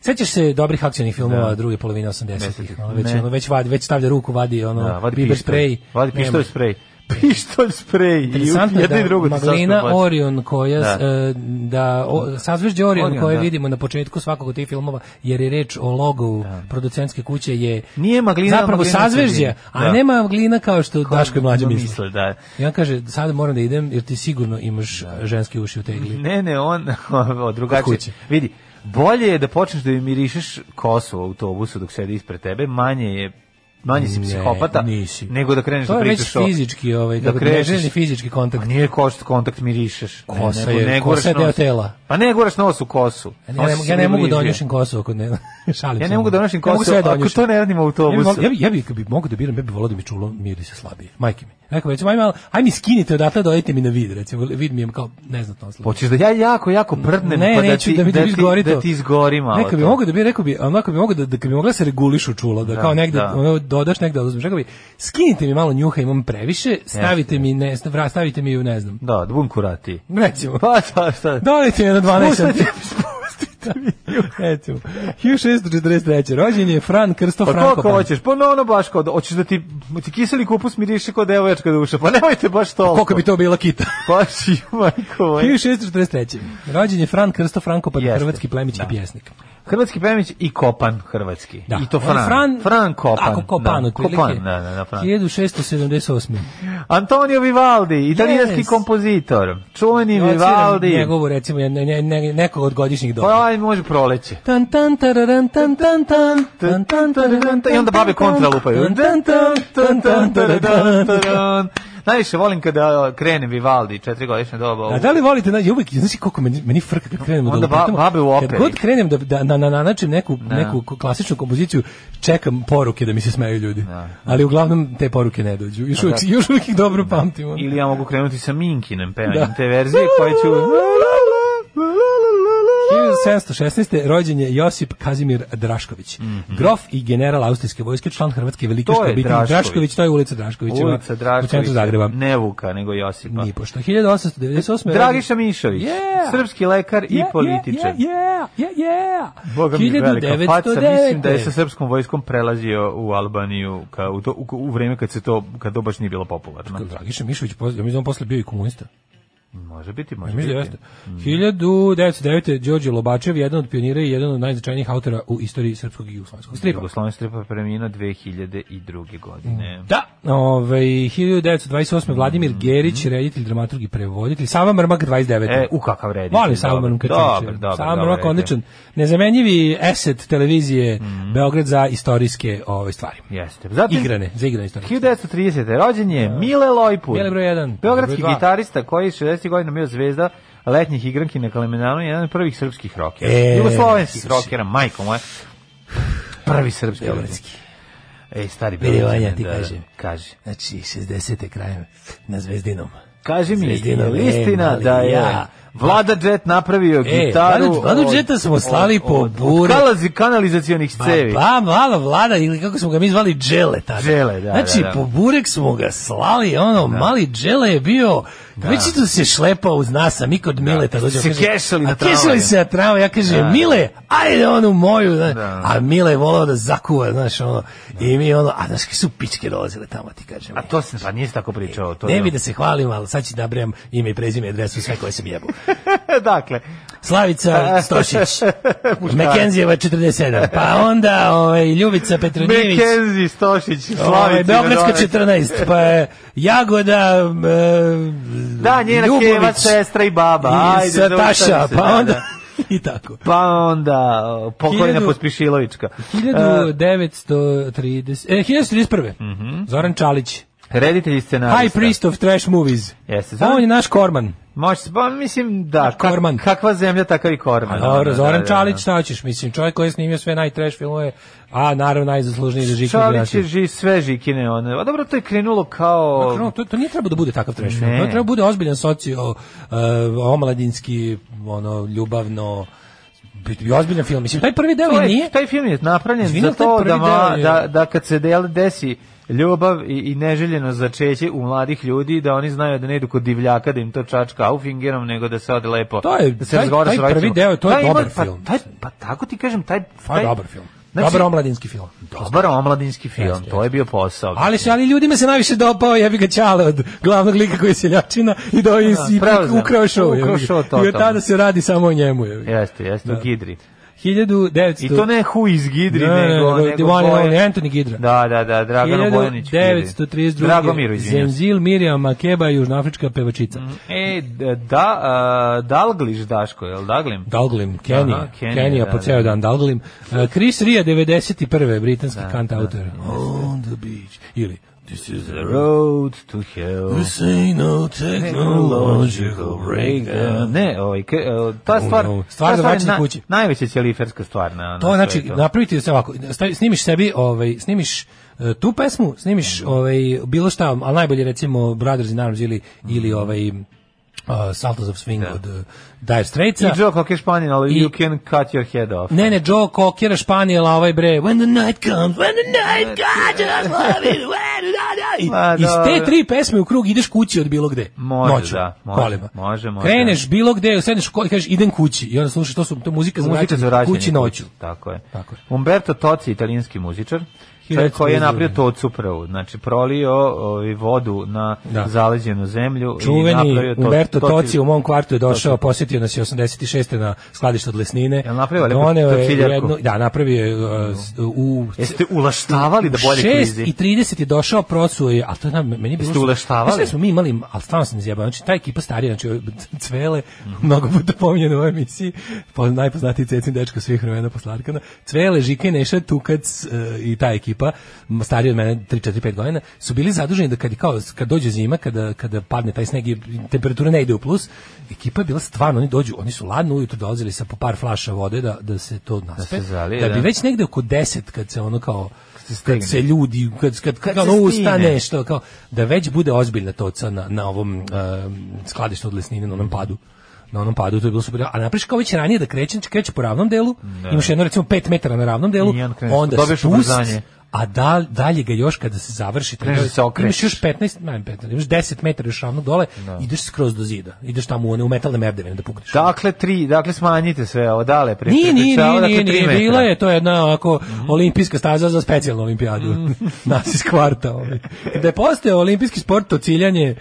Speaker 7: Sećaš se dobrih akcionih filmova druge polovine 80-ih? Ono, već,
Speaker 8: Ne.
Speaker 7: ono, već, vadi, već stavlja ruku, vadi ono,
Speaker 8: Da, vadi
Speaker 7: biber
Speaker 8: pištolj.
Speaker 7: sprej.
Speaker 8: Vadi
Speaker 7: Nema.
Speaker 8: pištolj sprej. Pištolj sprej. I
Speaker 7: Interesantno je
Speaker 8: jedno i
Speaker 7: da
Speaker 8: drugo ti
Speaker 7: Maglina
Speaker 8: sastavlja.
Speaker 7: Orion koja da,
Speaker 8: Da.
Speaker 7: da o, sazvežđe Orion,
Speaker 8: Orion,
Speaker 7: koje
Speaker 8: da.
Speaker 7: vidimo na početku svakog od tih filmova jer je reč o logovu producentske kuće je
Speaker 8: Da. Nije Maglina,
Speaker 7: zapravo
Speaker 8: Maglina
Speaker 7: sazvežđe,
Speaker 8: sredini.
Speaker 7: a
Speaker 8: Da.
Speaker 7: nema Maglina kao što Daško i mlađe misle.
Speaker 8: misle da.
Speaker 7: I on kaže, sada moram da idem, jer ti sigurno imaš da. ženski uši u tegli.
Speaker 8: Ne, ne, on o, drugačije.
Speaker 7: kući.
Speaker 8: Vidi, bolje je da počneš da mirišeš kosu u autobusu dok sedi ispred tebe, manje je manje si
Speaker 7: Ne,
Speaker 8: psihopata
Speaker 7: nisi.
Speaker 8: nego da kreneš
Speaker 7: To
Speaker 8: da
Speaker 7: je
Speaker 8: pričaš.
Speaker 7: već
Speaker 8: o- da
Speaker 7: fizički, ovaj, kako ti
Speaker 8: kreneš-
Speaker 7: neželjeni fizički kontakt.
Speaker 8: A Pa nije kost kontakt mirišeš. Ne,
Speaker 7: Kosa
Speaker 8: nego
Speaker 7: je-
Speaker 8: ne
Speaker 7: kosa
Speaker 8: guraš
Speaker 7: je deo
Speaker 8: nos.
Speaker 7: tela.
Speaker 8: Pa ne guraš nos u kosu.
Speaker 7: Ja
Speaker 8: On
Speaker 7: ne,
Speaker 8: se
Speaker 7: ja ne mogu da
Speaker 8: približio.
Speaker 7: onjušim kosu ako ne, šalim
Speaker 8: Ja
Speaker 7: se.
Speaker 8: ne mogu da onjušim
Speaker 7: Ne mogu
Speaker 8: kosu
Speaker 7: sve da
Speaker 8: ako
Speaker 7: onjušim.
Speaker 8: to ne radim u autobusu.
Speaker 7: Ja bi, ja bi, ja bi, kad bi mogu da biram, ja bi volao da mi čulo miri se slabije. Majke mi. Rekao, recimo, ajme, malo, aj mi skinite odatle, dojedite mi na vid, recimo, vid mi je kao neznatno slabo.
Speaker 8: Hoćeš da ja jako, jako prdnem,
Speaker 7: ne,
Speaker 8: pa da
Speaker 7: neću
Speaker 8: ti,
Speaker 7: da mi
Speaker 8: da,
Speaker 7: da,
Speaker 8: ti,
Speaker 7: izgori to.
Speaker 8: da ti izgori malo
Speaker 7: Neka bi
Speaker 8: to.
Speaker 7: mogu da bi rekao bi, onako bi mogu da, da kad bi mogla se regulišu čula, da,
Speaker 8: Da,
Speaker 7: kao negde
Speaker 8: da.
Speaker 7: ono, dodaš negde oduzmeš. Rekao bi, skinite mi malo njuha, imam previše, stavite mi ne, vra- stavite mi ju, ne znam.
Speaker 8: Da, da budem kurati.
Speaker 7: Recimo.
Speaker 8: Pa šta, šta?
Speaker 7: Dodajte mi na 12.
Speaker 8: Pustite,
Speaker 7: Pustite mi. Recimo. 1643. Rođen je Fran Krsto
Speaker 8: Pa
Speaker 7: Franko.
Speaker 8: koliko hoćeš? Pa no, ono baš kao, da- hoćeš da ti, ti kiseli kupus miriše kao devojačka duša. Pa nemojte baš toliko.
Speaker 7: Koliko bi to bila kita?
Speaker 8: Pa ši, majko. moja.
Speaker 7: 1643. Rođen je Fran Krsto Franko, pa
Speaker 8: Jeste.
Speaker 7: hrvatski plemić i
Speaker 8: Da.
Speaker 7: pjesnik.
Speaker 8: Hrvatski pemić i Kopan hrvatski.
Speaker 7: Da.
Speaker 8: I to
Speaker 7: On je
Speaker 8: Fran.
Speaker 7: Fran,
Speaker 8: Fran Kopan.
Speaker 7: Tako Kopan,
Speaker 8: da,
Speaker 7: otprilike.
Speaker 8: Kopan, da, da, da, Fran.
Speaker 7: 1678.
Speaker 8: Antonio Vivaldi, italijanski
Speaker 7: Yes.
Speaker 8: kompozitor. Čuveni
Speaker 7: Ja
Speaker 8: Vivaldi.
Speaker 7: ociram Njegovu, recimo, ne, ne, ne, nekog od godišnjih doba.
Speaker 8: Pa aj, može proleće.
Speaker 7: Tan tan tararan tan tan tan tan tan tararan
Speaker 8: I onda babe kontra
Speaker 7: Tan
Speaker 8: lupaju.
Speaker 7: tan tan tan tan tararan, tan.
Speaker 8: Najviše volim kada krene Vivaldi, četiri godišnje doba.
Speaker 7: A da li volite na uvek znači koliko meni meni frka kad krenemo da
Speaker 8: Onda ba-
Speaker 7: lupetamo.
Speaker 8: babe u
Speaker 7: Kad
Speaker 8: operi.
Speaker 7: god krenem da da na na na način neku neku ko- klasičnu kompoziciju čekam poruke da da. mi se smeju ljudi. Ali uglavnom te poruke ne dođu. Još uvek još uvek ih dobro pamtim. ono.
Speaker 8: Ili ja mogu krenuti sa Minkinem pevanjem
Speaker 7: Da.
Speaker 8: te verzije koje ću...
Speaker 7: 1716. rođen je Josip Kazimir Drašković. Grof i general austrijske vojske, član Hrvatske velike
Speaker 8: Mhm. To je
Speaker 7: obitelji Drašković.
Speaker 8: Drašković.
Speaker 7: to je ulica Draškovića,
Speaker 8: Ulica
Speaker 7: u
Speaker 8: Drašković.
Speaker 7: centru Zagreba.
Speaker 8: Ne Vuka, nego Josipa.
Speaker 7: Ni pošto 1898.
Speaker 8: Dragiša Mišović,
Speaker 7: Yeah.
Speaker 8: srpski lekar i
Speaker 7: Yeah,
Speaker 8: političar.
Speaker 7: Yeah, yeah, yeah, yeah, yeah.
Speaker 8: Boga mi velika faca,
Speaker 7: 1909.
Speaker 8: mislim da je sa srpskom vojskom prelazio u Albaniju ka, u, to, u, u vreme kad se to, kad to baš nije bilo popularno.
Speaker 7: Dragiša Mišović, poz- ja mislim da on posle bio i komunista.
Speaker 8: Može biti,
Speaker 7: Ja
Speaker 8: može
Speaker 7: mislim da
Speaker 8: biti.
Speaker 7: jeste. 1909. Đorđe Lobačev, jedan od pionira i jedan od najznačajnijih autora u istoriji srpskog i jugoslovenskog stripa.
Speaker 8: Jugoslovenski stripa je preminuo 2002. godine.
Speaker 7: Da, ovaj 1928. Vladimir
Speaker 8: Mhm.
Speaker 7: Gerić, reditelj, dramaturg i prevoditelj. Sava Mrmak 29.
Speaker 8: E, u kakav reditelj.
Speaker 7: Volim Sava
Speaker 8: dobar.
Speaker 7: Mrmka.
Speaker 8: Dobar, dobar,
Speaker 7: Sava
Speaker 8: dobar
Speaker 7: Mrmak
Speaker 8: reditelj.
Speaker 7: odličan. Nezamenjivi eset televizije
Speaker 8: Mhm.
Speaker 7: Beograd za istorijske ove stvari.
Speaker 8: Jeste. Zatim,
Speaker 7: Igrane, za igrane istorije.
Speaker 8: 1930. rođen je Mile Lojpur.
Speaker 7: Mile broj jedan,
Speaker 8: Beogradski
Speaker 7: broj dva.
Speaker 8: gitarista koji je 60. godina bio zvezda letnjih igranki na Kalemendanu i jedan od prvih srpskih rokera.
Speaker 7: E,
Speaker 8: Jugoslovenskih
Speaker 7: slušaj.
Speaker 8: rokera, majko moja. Prvi srpski
Speaker 7: Beogradski.
Speaker 8: Ej, stari
Speaker 7: Vidi,
Speaker 8: Beograđanin,
Speaker 7: Vanja, ti
Speaker 8: da, da.
Speaker 7: kaže.
Speaker 8: Kaže.
Speaker 7: Znači, 60. krajem na Zvezdinom.
Speaker 8: Kaži mi, je
Speaker 7: Zvezdinom,
Speaker 8: li
Speaker 7: e,
Speaker 8: istina
Speaker 7: mali,
Speaker 8: da je
Speaker 7: ja,
Speaker 8: Vlada Jet napravio
Speaker 7: E,
Speaker 8: gitaru.
Speaker 7: Vladu- Vladu
Speaker 8: od-
Speaker 7: Jeta smo
Speaker 8: od-
Speaker 7: slali po
Speaker 8: od- od
Speaker 7: buri.
Speaker 8: kalazi- kanalizacionih cevi.
Speaker 7: Pa, ba, mala vlada, ili kako smo ga mi zvali, Džele tada.
Speaker 8: Džele, da,
Speaker 7: Znači,
Speaker 8: da, da.
Speaker 7: po burek smo ga slali, ono, mali Džele je bio,
Speaker 8: Da.
Speaker 7: već tu se šlepao uz nas, a mi kod Mileta dođemo.
Speaker 8: Se
Speaker 7: kaže,
Speaker 8: kešali na
Speaker 7: a kešali
Speaker 8: tramvaju.
Speaker 7: se na tramvaju, ja kažem,
Speaker 8: Da.
Speaker 7: Mile, ajde onu moju, znaš.
Speaker 8: Da.
Speaker 7: a Mile je volao da zakuva, znaš, ono, i mi ono, a znaš, kaj su pičke dolazile tamo, ti kažem.
Speaker 8: A to se, pa nije se tako pričao. To
Speaker 7: ne
Speaker 8: je-
Speaker 7: bi da se hvalim, ali sad ću da brem ime i prezime i adresu sve koje sam jebao.
Speaker 8: dakle,
Speaker 7: Slavica Stošić, Mekenzijeva 47, pa onda ovaj, Ljubica Petronijević,
Speaker 8: Mekenzi Stošić,
Speaker 7: ovaj,
Speaker 8: Slavica.
Speaker 7: Beogradska
Speaker 8: Radovanović.
Speaker 7: 14, pa je Jagoda, e,
Speaker 8: Da, njena
Speaker 7: Ljubović
Speaker 8: keva, sestra i baba.
Speaker 7: i
Speaker 8: Ajde, zaustavi
Speaker 7: Sataša,
Speaker 8: se,
Speaker 7: pa
Speaker 8: da,
Speaker 7: onda
Speaker 8: da.
Speaker 7: i tako.
Speaker 8: Pa onda, o, pokojna
Speaker 7: Hiljadu-
Speaker 8: Pospišilovička.
Speaker 7: 1930, e, 1931.
Speaker 8: Mhm.
Speaker 7: Zoran Čalić,
Speaker 8: E, reditelj i scenarista.
Speaker 7: High Priest of Trash Movies.
Speaker 8: Jeste, Zoran-
Speaker 7: On je naš korman.
Speaker 8: Može se, pa mislim da, kak-
Speaker 7: Korman.
Speaker 8: kakva zemlja, takav i Korman. Da,
Speaker 7: Dobro,
Speaker 8: da,
Speaker 7: Zoran
Speaker 8: da, da.
Speaker 7: Čalić, šta ćeš? Mislim, čovjek koji je snimio sve najtrash filmove, a naravno najzaslužniji za Žiku
Speaker 8: Čalić
Speaker 7: Đurašića.
Speaker 8: je ži, sve žikine, one. A dobro, to je krenulo kao...
Speaker 7: Krenulo, to, to nije trebao da bude takav trash film.
Speaker 8: Pa Ne.
Speaker 7: To treba bude ozbiljan socio, uh, omladinski, ono, ljubavno, biti ozbiljan film. Mislim, taj prvi deo
Speaker 8: To
Speaker 7: i
Speaker 8: je-
Speaker 7: nije.
Speaker 8: Taj film je napravljen
Speaker 7: Izvini,
Speaker 8: za to
Speaker 7: taj prvi
Speaker 8: da, ma,
Speaker 7: deo je-
Speaker 8: da, da kad se del, desi ljubav i, i neželjeno začeće u mladih ljudi, da oni znaju da ne idu kod divljaka, da im to čačka aufingerom, nego da se ode lepo.
Speaker 7: To je-
Speaker 8: da se
Speaker 7: taj-
Speaker 8: razgovara
Speaker 7: taj
Speaker 8: s roditeljima.
Speaker 7: prvi deo, to je
Speaker 8: Taj ima-
Speaker 7: dobar
Speaker 8: pa,
Speaker 7: film.
Speaker 8: Taj, pa tako ti kažem, taj...
Speaker 7: Pa,
Speaker 8: taj
Speaker 7: dobar film.
Speaker 8: Znači,
Speaker 7: dobar omladinski film.
Speaker 8: Dobar omladinski film,
Speaker 7: Jeste,
Speaker 8: to je bio posao.
Speaker 7: Ali se ali ljudima se najviše dopao jebi ga čale od glavnog lika koji je seljačina i da je i
Speaker 8: preuzeo.
Speaker 7: ukrao show. jebi
Speaker 8: Ukrao
Speaker 7: ga.
Speaker 8: show
Speaker 7: I
Speaker 8: totalno.
Speaker 7: od tada se radi samo o njemu. jebi ga.
Speaker 8: Jeste, jeste, u Gidri.
Speaker 7: 1900
Speaker 8: I to ne Hu iz Gidri,
Speaker 7: Ne, ne,
Speaker 8: nego...
Speaker 7: nego the one and
Speaker 8: Bojan-
Speaker 7: only Anthony Gidra.
Speaker 8: Da, da, da, Dragano Bojanić. Gidri.
Speaker 7: 1932.
Speaker 8: Dragomiru, izvinjam se.
Speaker 7: Zenzil Mirjam Makeba, južnoafrička pevačica.
Speaker 8: E, d- da, a, Dalgliš Daško, jel Daglim?
Speaker 7: Dalglim, Kenija,
Speaker 8: Aha, Kenija,
Speaker 7: Kenija
Speaker 8: da,
Speaker 7: po
Speaker 8: da. Da,
Speaker 7: ceo dan Dalglim. Uh, Chris Ria, 91. britanski kantautor. On the beach. Ili, this is the road.
Speaker 8: Road to Hell.
Speaker 7: This ain't no technological breakdown.
Speaker 8: Ne, ovaj, k- e, ta stvar,
Speaker 7: no.
Speaker 8: ta
Speaker 7: Stvar za
Speaker 8: je
Speaker 7: vraćanje kući.
Speaker 8: najveća ćeliferska stvar na, na
Speaker 7: To znači
Speaker 8: svetu.
Speaker 7: napraviti se ovako, stavi- snimiš sebi, ovaj snimiš e, tu pesmu, snimiš
Speaker 8: Da.
Speaker 7: ovaj bilo šta, ali najbolje recimo Brothers in Arms ili ili ovaj uh, Saltos of Swing od uh, Dire Straitsa.
Speaker 8: Da. I Joe Cocker Spaniel, ali
Speaker 7: I-
Speaker 8: you can cut your head off.
Speaker 7: Ne, ne, Joe Cocker, Španijela, ovaj bre, when the night comes, when the
Speaker 8: Znači,
Speaker 7: night comes, I just love it, when the night-
Speaker 8: da, Ma,
Speaker 7: I- Iz te
Speaker 8: dobro.
Speaker 7: tri pesme u krug ideš kući od bilo gde.
Speaker 8: Može,
Speaker 7: Noću,
Speaker 8: da, može,
Speaker 7: kolima.
Speaker 8: može, može.
Speaker 7: Kreneš bilo gde, sedneš u koli, kažeš idem kući i onda slušaš, to su to je muzika,
Speaker 8: Muzika za vraćanje
Speaker 7: Znači, kući noću.
Speaker 8: Tako je.
Speaker 7: Tako je.
Speaker 8: Umberto Toci, italijanski muzičar, čovjek koji je napravio tocu prvu, znači prolio ovaj, vodu na
Speaker 7: Da.
Speaker 8: zaleđenu zemlju i
Speaker 7: Čuveni
Speaker 8: napravio to-
Speaker 7: Umberto
Speaker 8: Toci-
Speaker 7: Toci u mom kvartu je došao, posjetio nas je 86. na skladištu od Lesnine.
Speaker 8: Jel napravio lepu
Speaker 7: Doneo je
Speaker 8: tociljku?
Speaker 7: jednu- Da, napravio je uh, s- u...
Speaker 8: Jeste ulaštavali da bolje
Speaker 7: Šest
Speaker 8: klizi?
Speaker 7: i 30 je došao, prosuo je, a to je na, meni je bilo...
Speaker 8: Jeste uleštavali?
Speaker 7: Mislim da smo mi imali, ali stvarno sam izjebao, znači ta ekipa starija, znači Cvele, mnogo puta pominjena u ovoj emisiji, po, najpoznatiji cecin dečko svih vremena posle Arkana, Cvele, Žika i Neša, Tukac e, i ta ekipa, m, stariji od mene 3, 4, 5 godina, su bili zaduženi da kad, je kao, kad dođe zima, kada, kada padne taj sneg i temperatura ne ide u plus, ekipa je bila stvarno, oni dođu, oni su ladno ujutru dolazili sa po par flaša vode da, da se to naspe,
Speaker 8: zalije,
Speaker 7: da bi
Speaker 8: da.
Speaker 7: već negde oko 10 kad se ono kao
Speaker 8: se stegne.
Speaker 7: kad se ljudi kad kad, kad,
Speaker 8: Kad se
Speaker 7: ono
Speaker 8: stigne.
Speaker 7: ustane što kao da već bude ozbiljna toca na na ovom em, skladištu od lesnine na onom
Speaker 8: Mhm.
Speaker 7: padu na onom padu to je bilo super a napriš kao već ranije da krećem kreće po ravnom delu imaš jedno recimo 5 metara na ravnom delu
Speaker 8: Da. I onda kreneš,
Speaker 7: onda
Speaker 8: dobiješ
Speaker 7: spust
Speaker 8: ubrzanje.
Speaker 7: a da, dalje ga još kada se završi taj
Speaker 8: Kreneš
Speaker 7: deo,
Speaker 8: da se okrećeš.
Speaker 7: imaš
Speaker 8: Da.
Speaker 7: još 15 ne, 15 imaš 10 metara još ravno dole ideš skroz do zida ideš tamo u one u metalne merdevine da pukneš
Speaker 8: Dakle, tri, dakle smanjite sve, ovo dale pre.
Speaker 7: Nije, nije, nije,
Speaker 8: prepričava, dakle,
Speaker 7: nije,
Speaker 8: tri
Speaker 7: nije,
Speaker 8: metra.
Speaker 7: bila je to jedna onako olimpijska staza za specijalnu olimpijadu.
Speaker 8: Mm.
Speaker 7: Nas iz kvarta. Ovaj. Da je postao olimpijski sport to ciljanje,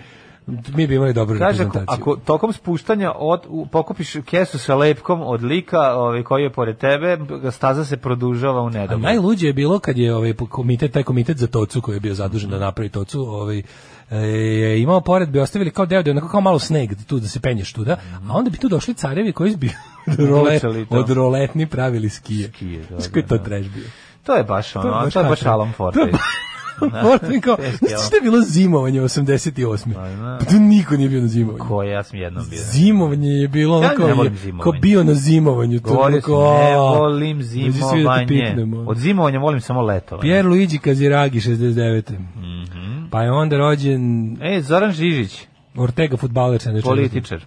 Speaker 7: mi bi imali dobru
Speaker 8: Kaže, ako,
Speaker 7: reprezentaciju.
Speaker 8: ako tokom spuštanja od, u, pokupiš kesu sa lepkom od lika ovaj, koji je pored tebe, b- staza se produžava u
Speaker 7: A
Speaker 8: nedogled.
Speaker 7: najluđe je bilo kad je ovaj komitet, taj komitet za tocu koji je bio zadužen da napravi tocu, ovaj e, je imao pored bi ostavili kao deo, da je onako kao malo sneg tu da se penješ tu da, a onda bi tu došli carevi koji bi od, rolet,
Speaker 8: Odlučili to.
Speaker 7: od roletni pravili skije.
Speaker 8: Skije, da,
Speaker 7: Znaš koji je to
Speaker 8: da, da.
Speaker 7: trash bio?
Speaker 8: To je baš ono, to je baš,
Speaker 7: tako.
Speaker 8: Alan Forte.
Speaker 7: To je baš- Forte da kao,
Speaker 8: Da. teški,
Speaker 7: znaš
Speaker 8: ono.
Speaker 7: šta je bilo zimovanje 88.
Speaker 8: da.
Speaker 7: Pa tu niko nije bio na zimovanju.
Speaker 8: Koje ja sam jednom bio.
Speaker 7: Zimovanje je bilo
Speaker 8: Ja
Speaker 7: ono
Speaker 8: ne
Speaker 7: kao,
Speaker 8: volim
Speaker 7: je,
Speaker 8: zimovanje.
Speaker 7: kao bio na zimovanju. to je
Speaker 8: Govorio sam,
Speaker 7: bilo kao,
Speaker 8: ne
Speaker 7: "A,
Speaker 8: volim
Speaker 7: dođi svi da te
Speaker 8: zimovanje.
Speaker 7: piknemo, ono."
Speaker 8: Od zimovanja volim samo letovanje.
Speaker 7: Pier Luigi Kaziragi, 69.
Speaker 8: Mhm.
Speaker 7: Pa je onda rođen
Speaker 8: E, Zoran Žižić,
Speaker 7: Ortega, futbaler, se ne čuje.
Speaker 8: političar.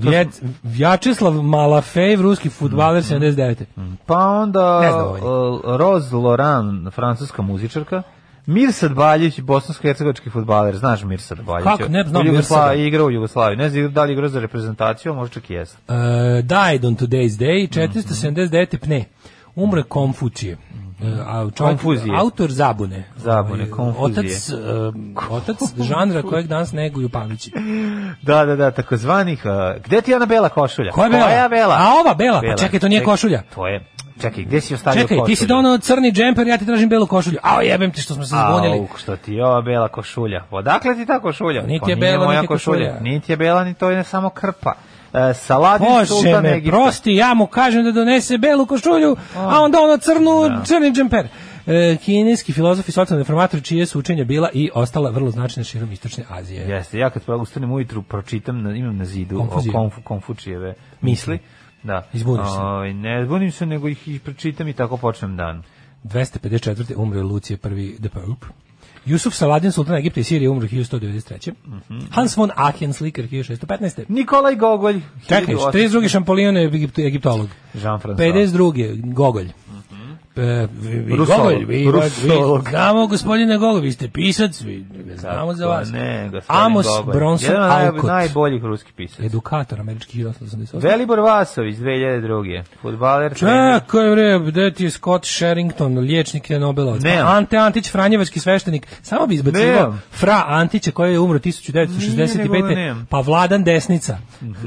Speaker 7: Vjed, E, Vjačeslav Malafej, ruski futbaler,
Speaker 8: Mhm.
Speaker 7: 79.
Speaker 8: Pa onda
Speaker 7: Ne znam ovaj.
Speaker 8: uh, Roz Loran, francuska muzičarka. Mirsad Baljić, bosansko-hercegovački futbaler. Znaš Mirsad Baljić?
Speaker 7: Kako ne znam Mirsada?
Speaker 8: Jugoslaviji, igra u Jugoslaviji. Ne znam da li igra za reprezentaciju, a možda čak i jeste.
Speaker 7: Uh, died on today's day, 479. pne. Umre Konfučije. Uh, a čovjek,
Speaker 8: Konfuzije.
Speaker 7: autor Zabune.
Speaker 8: Zabune,
Speaker 7: Ovaj,
Speaker 8: Konfuzije.
Speaker 7: Otac, uh, otac žanra kojeg danas neguju pamići.
Speaker 8: Da, da, da, takozvanih... Uh, gde ti je ona bela košulja?
Speaker 7: Koja je bela?
Speaker 8: Koja bela?
Speaker 7: A ova bela? Pa čekaj, to nije košulja.
Speaker 8: To je... Čekaj, gde si ostavio
Speaker 7: Čekaj,
Speaker 8: košulju?
Speaker 7: ti si donao crni džemper, ja ti tražim belu košulju. Ao, jebem ti što smo se zbunili.
Speaker 8: Au, što ti je ova bela košulja? Odakle ti ta košulja?
Speaker 7: Niti
Speaker 8: Pa
Speaker 7: je
Speaker 8: nije
Speaker 7: bela,
Speaker 8: moja
Speaker 7: niti je košulja.
Speaker 8: Niti je bela, ni to je samo krpa. E, Saladin
Speaker 7: Bože
Speaker 8: Sultan
Speaker 7: me,
Speaker 8: Egipta.
Speaker 7: prosti, ja mu kažem da donese belu košulju, a Da. onda ono crnu, crni džemper. E, kineski filozof i socijalni reformator čije su učenja bila i ostala vrlo značajna širom istočne Azije.
Speaker 8: Jeste, ja kad ustanem ujutru pročitam, na, imam na zidu
Speaker 7: Konfuzije.
Speaker 8: o konfu, Konfučijeve
Speaker 7: Misli.
Speaker 8: misli. Da.
Speaker 7: Izbuniš se.
Speaker 8: Ovaj, ne zbunim se, nego ih i pročitam i tako počnem dan.
Speaker 7: 254. umre Lucije I the Pope. Jusuf Saladin, sultan Egipta i Sirije, umro 1193. Hans von Aachen, slikar, 1615.
Speaker 8: Nikolaj Gogolj.
Speaker 7: Čekaj,
Speaker 8: 1800.
Speaker 7: 42. Šampolion je egipto- egiptolog.
Speaker 8: Jean-François.
Speaker 7: 52. Gogolj. E, vi, vi,
Speaker 8: Mhm. Rusolog.
Speaker 7: Gogolj, vi,
Speaker 8: Rusolog.
Speaker 7: vi znamo gospodine Gogolj, vi ste pisac, vi znamo za vas.
Speaker 8: Pa Ne, gospodin
Speaker 7: Amos
Speaker 8: Gogolj.
Speaker 7: Bronson
Speaker 8: Jedan od naj-
Speaker 7: Alcott,
Speaker 8: najboljih ruskih pisaca.
Speaker 7: edukator američki 1888.
Speaker 8: Velibor Vasović, 2002. Futbaler. trener.
Speaker 7: Čekaj bre, gde ti je Scott Sherrington, liječnik je Nobelovac.
Speaker 8: Ne.
Speaker 7: Pa Ante Antić, Franjevački sveštenik. Samo bi izbacivo
Speaker 8: Ne.
Speaker 7: Fra Antića koji je umro
Speaker 8: Nije, nego da
Speaker 7: 1965.
Speaker 8: nemam.
Speaker 7: Pa Vladan Desnica.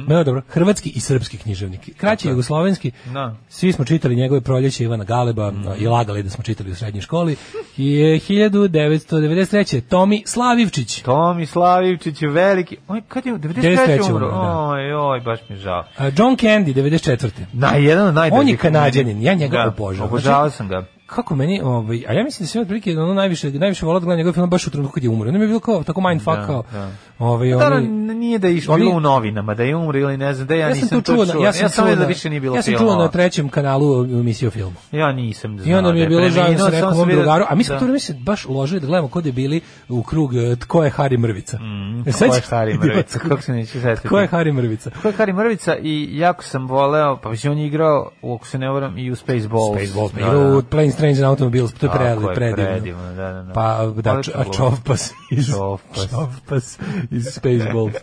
Speaker 7: Meo dobro, hrvatski i srpski književnik. Kraći jugoslovenski.
Speaker 8: Da.
Speaker 7: Svi smo čitali njegove proljeće Ivana Galeba i lagali da smo čitali u srednjoj školi. I je 1993. Tomi Slavivčić.
Speaker 8: Tomislavivčić je veliki. Oj, kad je u 93.
Speaker 7: 93.
Speaker 8: umro?
Speaker 7: umro, da.
Speaker 8: Oj, oj, baš mi je žao.
Speaker 7: A, John Candy, 94.
Speaker 8: Na, jedan od najboljih.
Speaker 7: On je Kanađanin, ja njega
Speaker 8: Da,
Speaker 7: obožavam.
Speaker 8: Obožavao
Speaker 7: Znači,
Speaker 8: sam ga.
Speaker 7: kako meni, ovaj, a ja mislim da se otprilike ono najviše najviše volao da gledam njegov film baš u trenutku kad je umro. Ono mi je bilo kao tako mindfuck
Speaker 8: Da,
Speaker 7: kao.
Speaker 8: da.
Speaker 7: Ovaj
Speaker 8: Da,
Speaker 7: oni
Speaker 8: da, nije da je išlo
Speaker 7: oni-
Speaker 8: bilo u novinama, da je umro ili ne znam, da ja,
Speaker 7: Ja sam
Speaker 8: nisam
Speaker 7: tu čuo, na- ja sam, čuo,
Speaker 8: vidio da
Speaker 7: na-
Speaker 8: više nije bilo
Speaker 7: ja sam čuo
Speaker 8: filmova.
Speaker 7: na trećem kanalu um, emisiju o filmu.
Speaker 8: Ja nisam znao.
Speaker 7: I onda mi je
Speaker 8: da
Speaker 7: bilo žao da sam
Speaker 8: preminuo, samo
Speaker 7: rekao
Speaker 8: sam
Speaker 7: mom
Speaker 8: vidio-
Speaker 7: drugaru, a mi smo
Speaker 8: da.
Speaker 7: tu vreme se baš ložili da gledamo kod je bili u krug e, tko je Hari Mrvica.
Speaker 8: Mm,
Speaker 7: E,
Speaker 8: Ko je
Speaker 7: sećaš?
Speaker 8: Hari Mrvica? Kako se neće setiti?
Speaker 7: Tko je Hari Mrvica?
Speaker 8: Ko je Hari Mrvica i jako sam voleo, pa mislim on je igrao, u, ako se ne varam, i u Spaceballs.
Speaker 7: Spaceballs,
Speaker 8: Da,
Speaker 7: igra
Speaker 8: da.
Speaker 7: u Planes, Trains and Automobiles, to je
Speaker 8: Tako
Speaker 7: predivno.
Speaker 8: je,
Speaker 7: predivno.
Speaker 8: predivno, da, da, da.
Speaker 7: Pa, da,
Speaker 8: Odlično
Speaker 7: č- a
Speaker 8: glumi.
Speaker 7: Čovpas iz,
Speaker 8: Čovpas.
Speaker 7: Čovpas iz Spaceballs.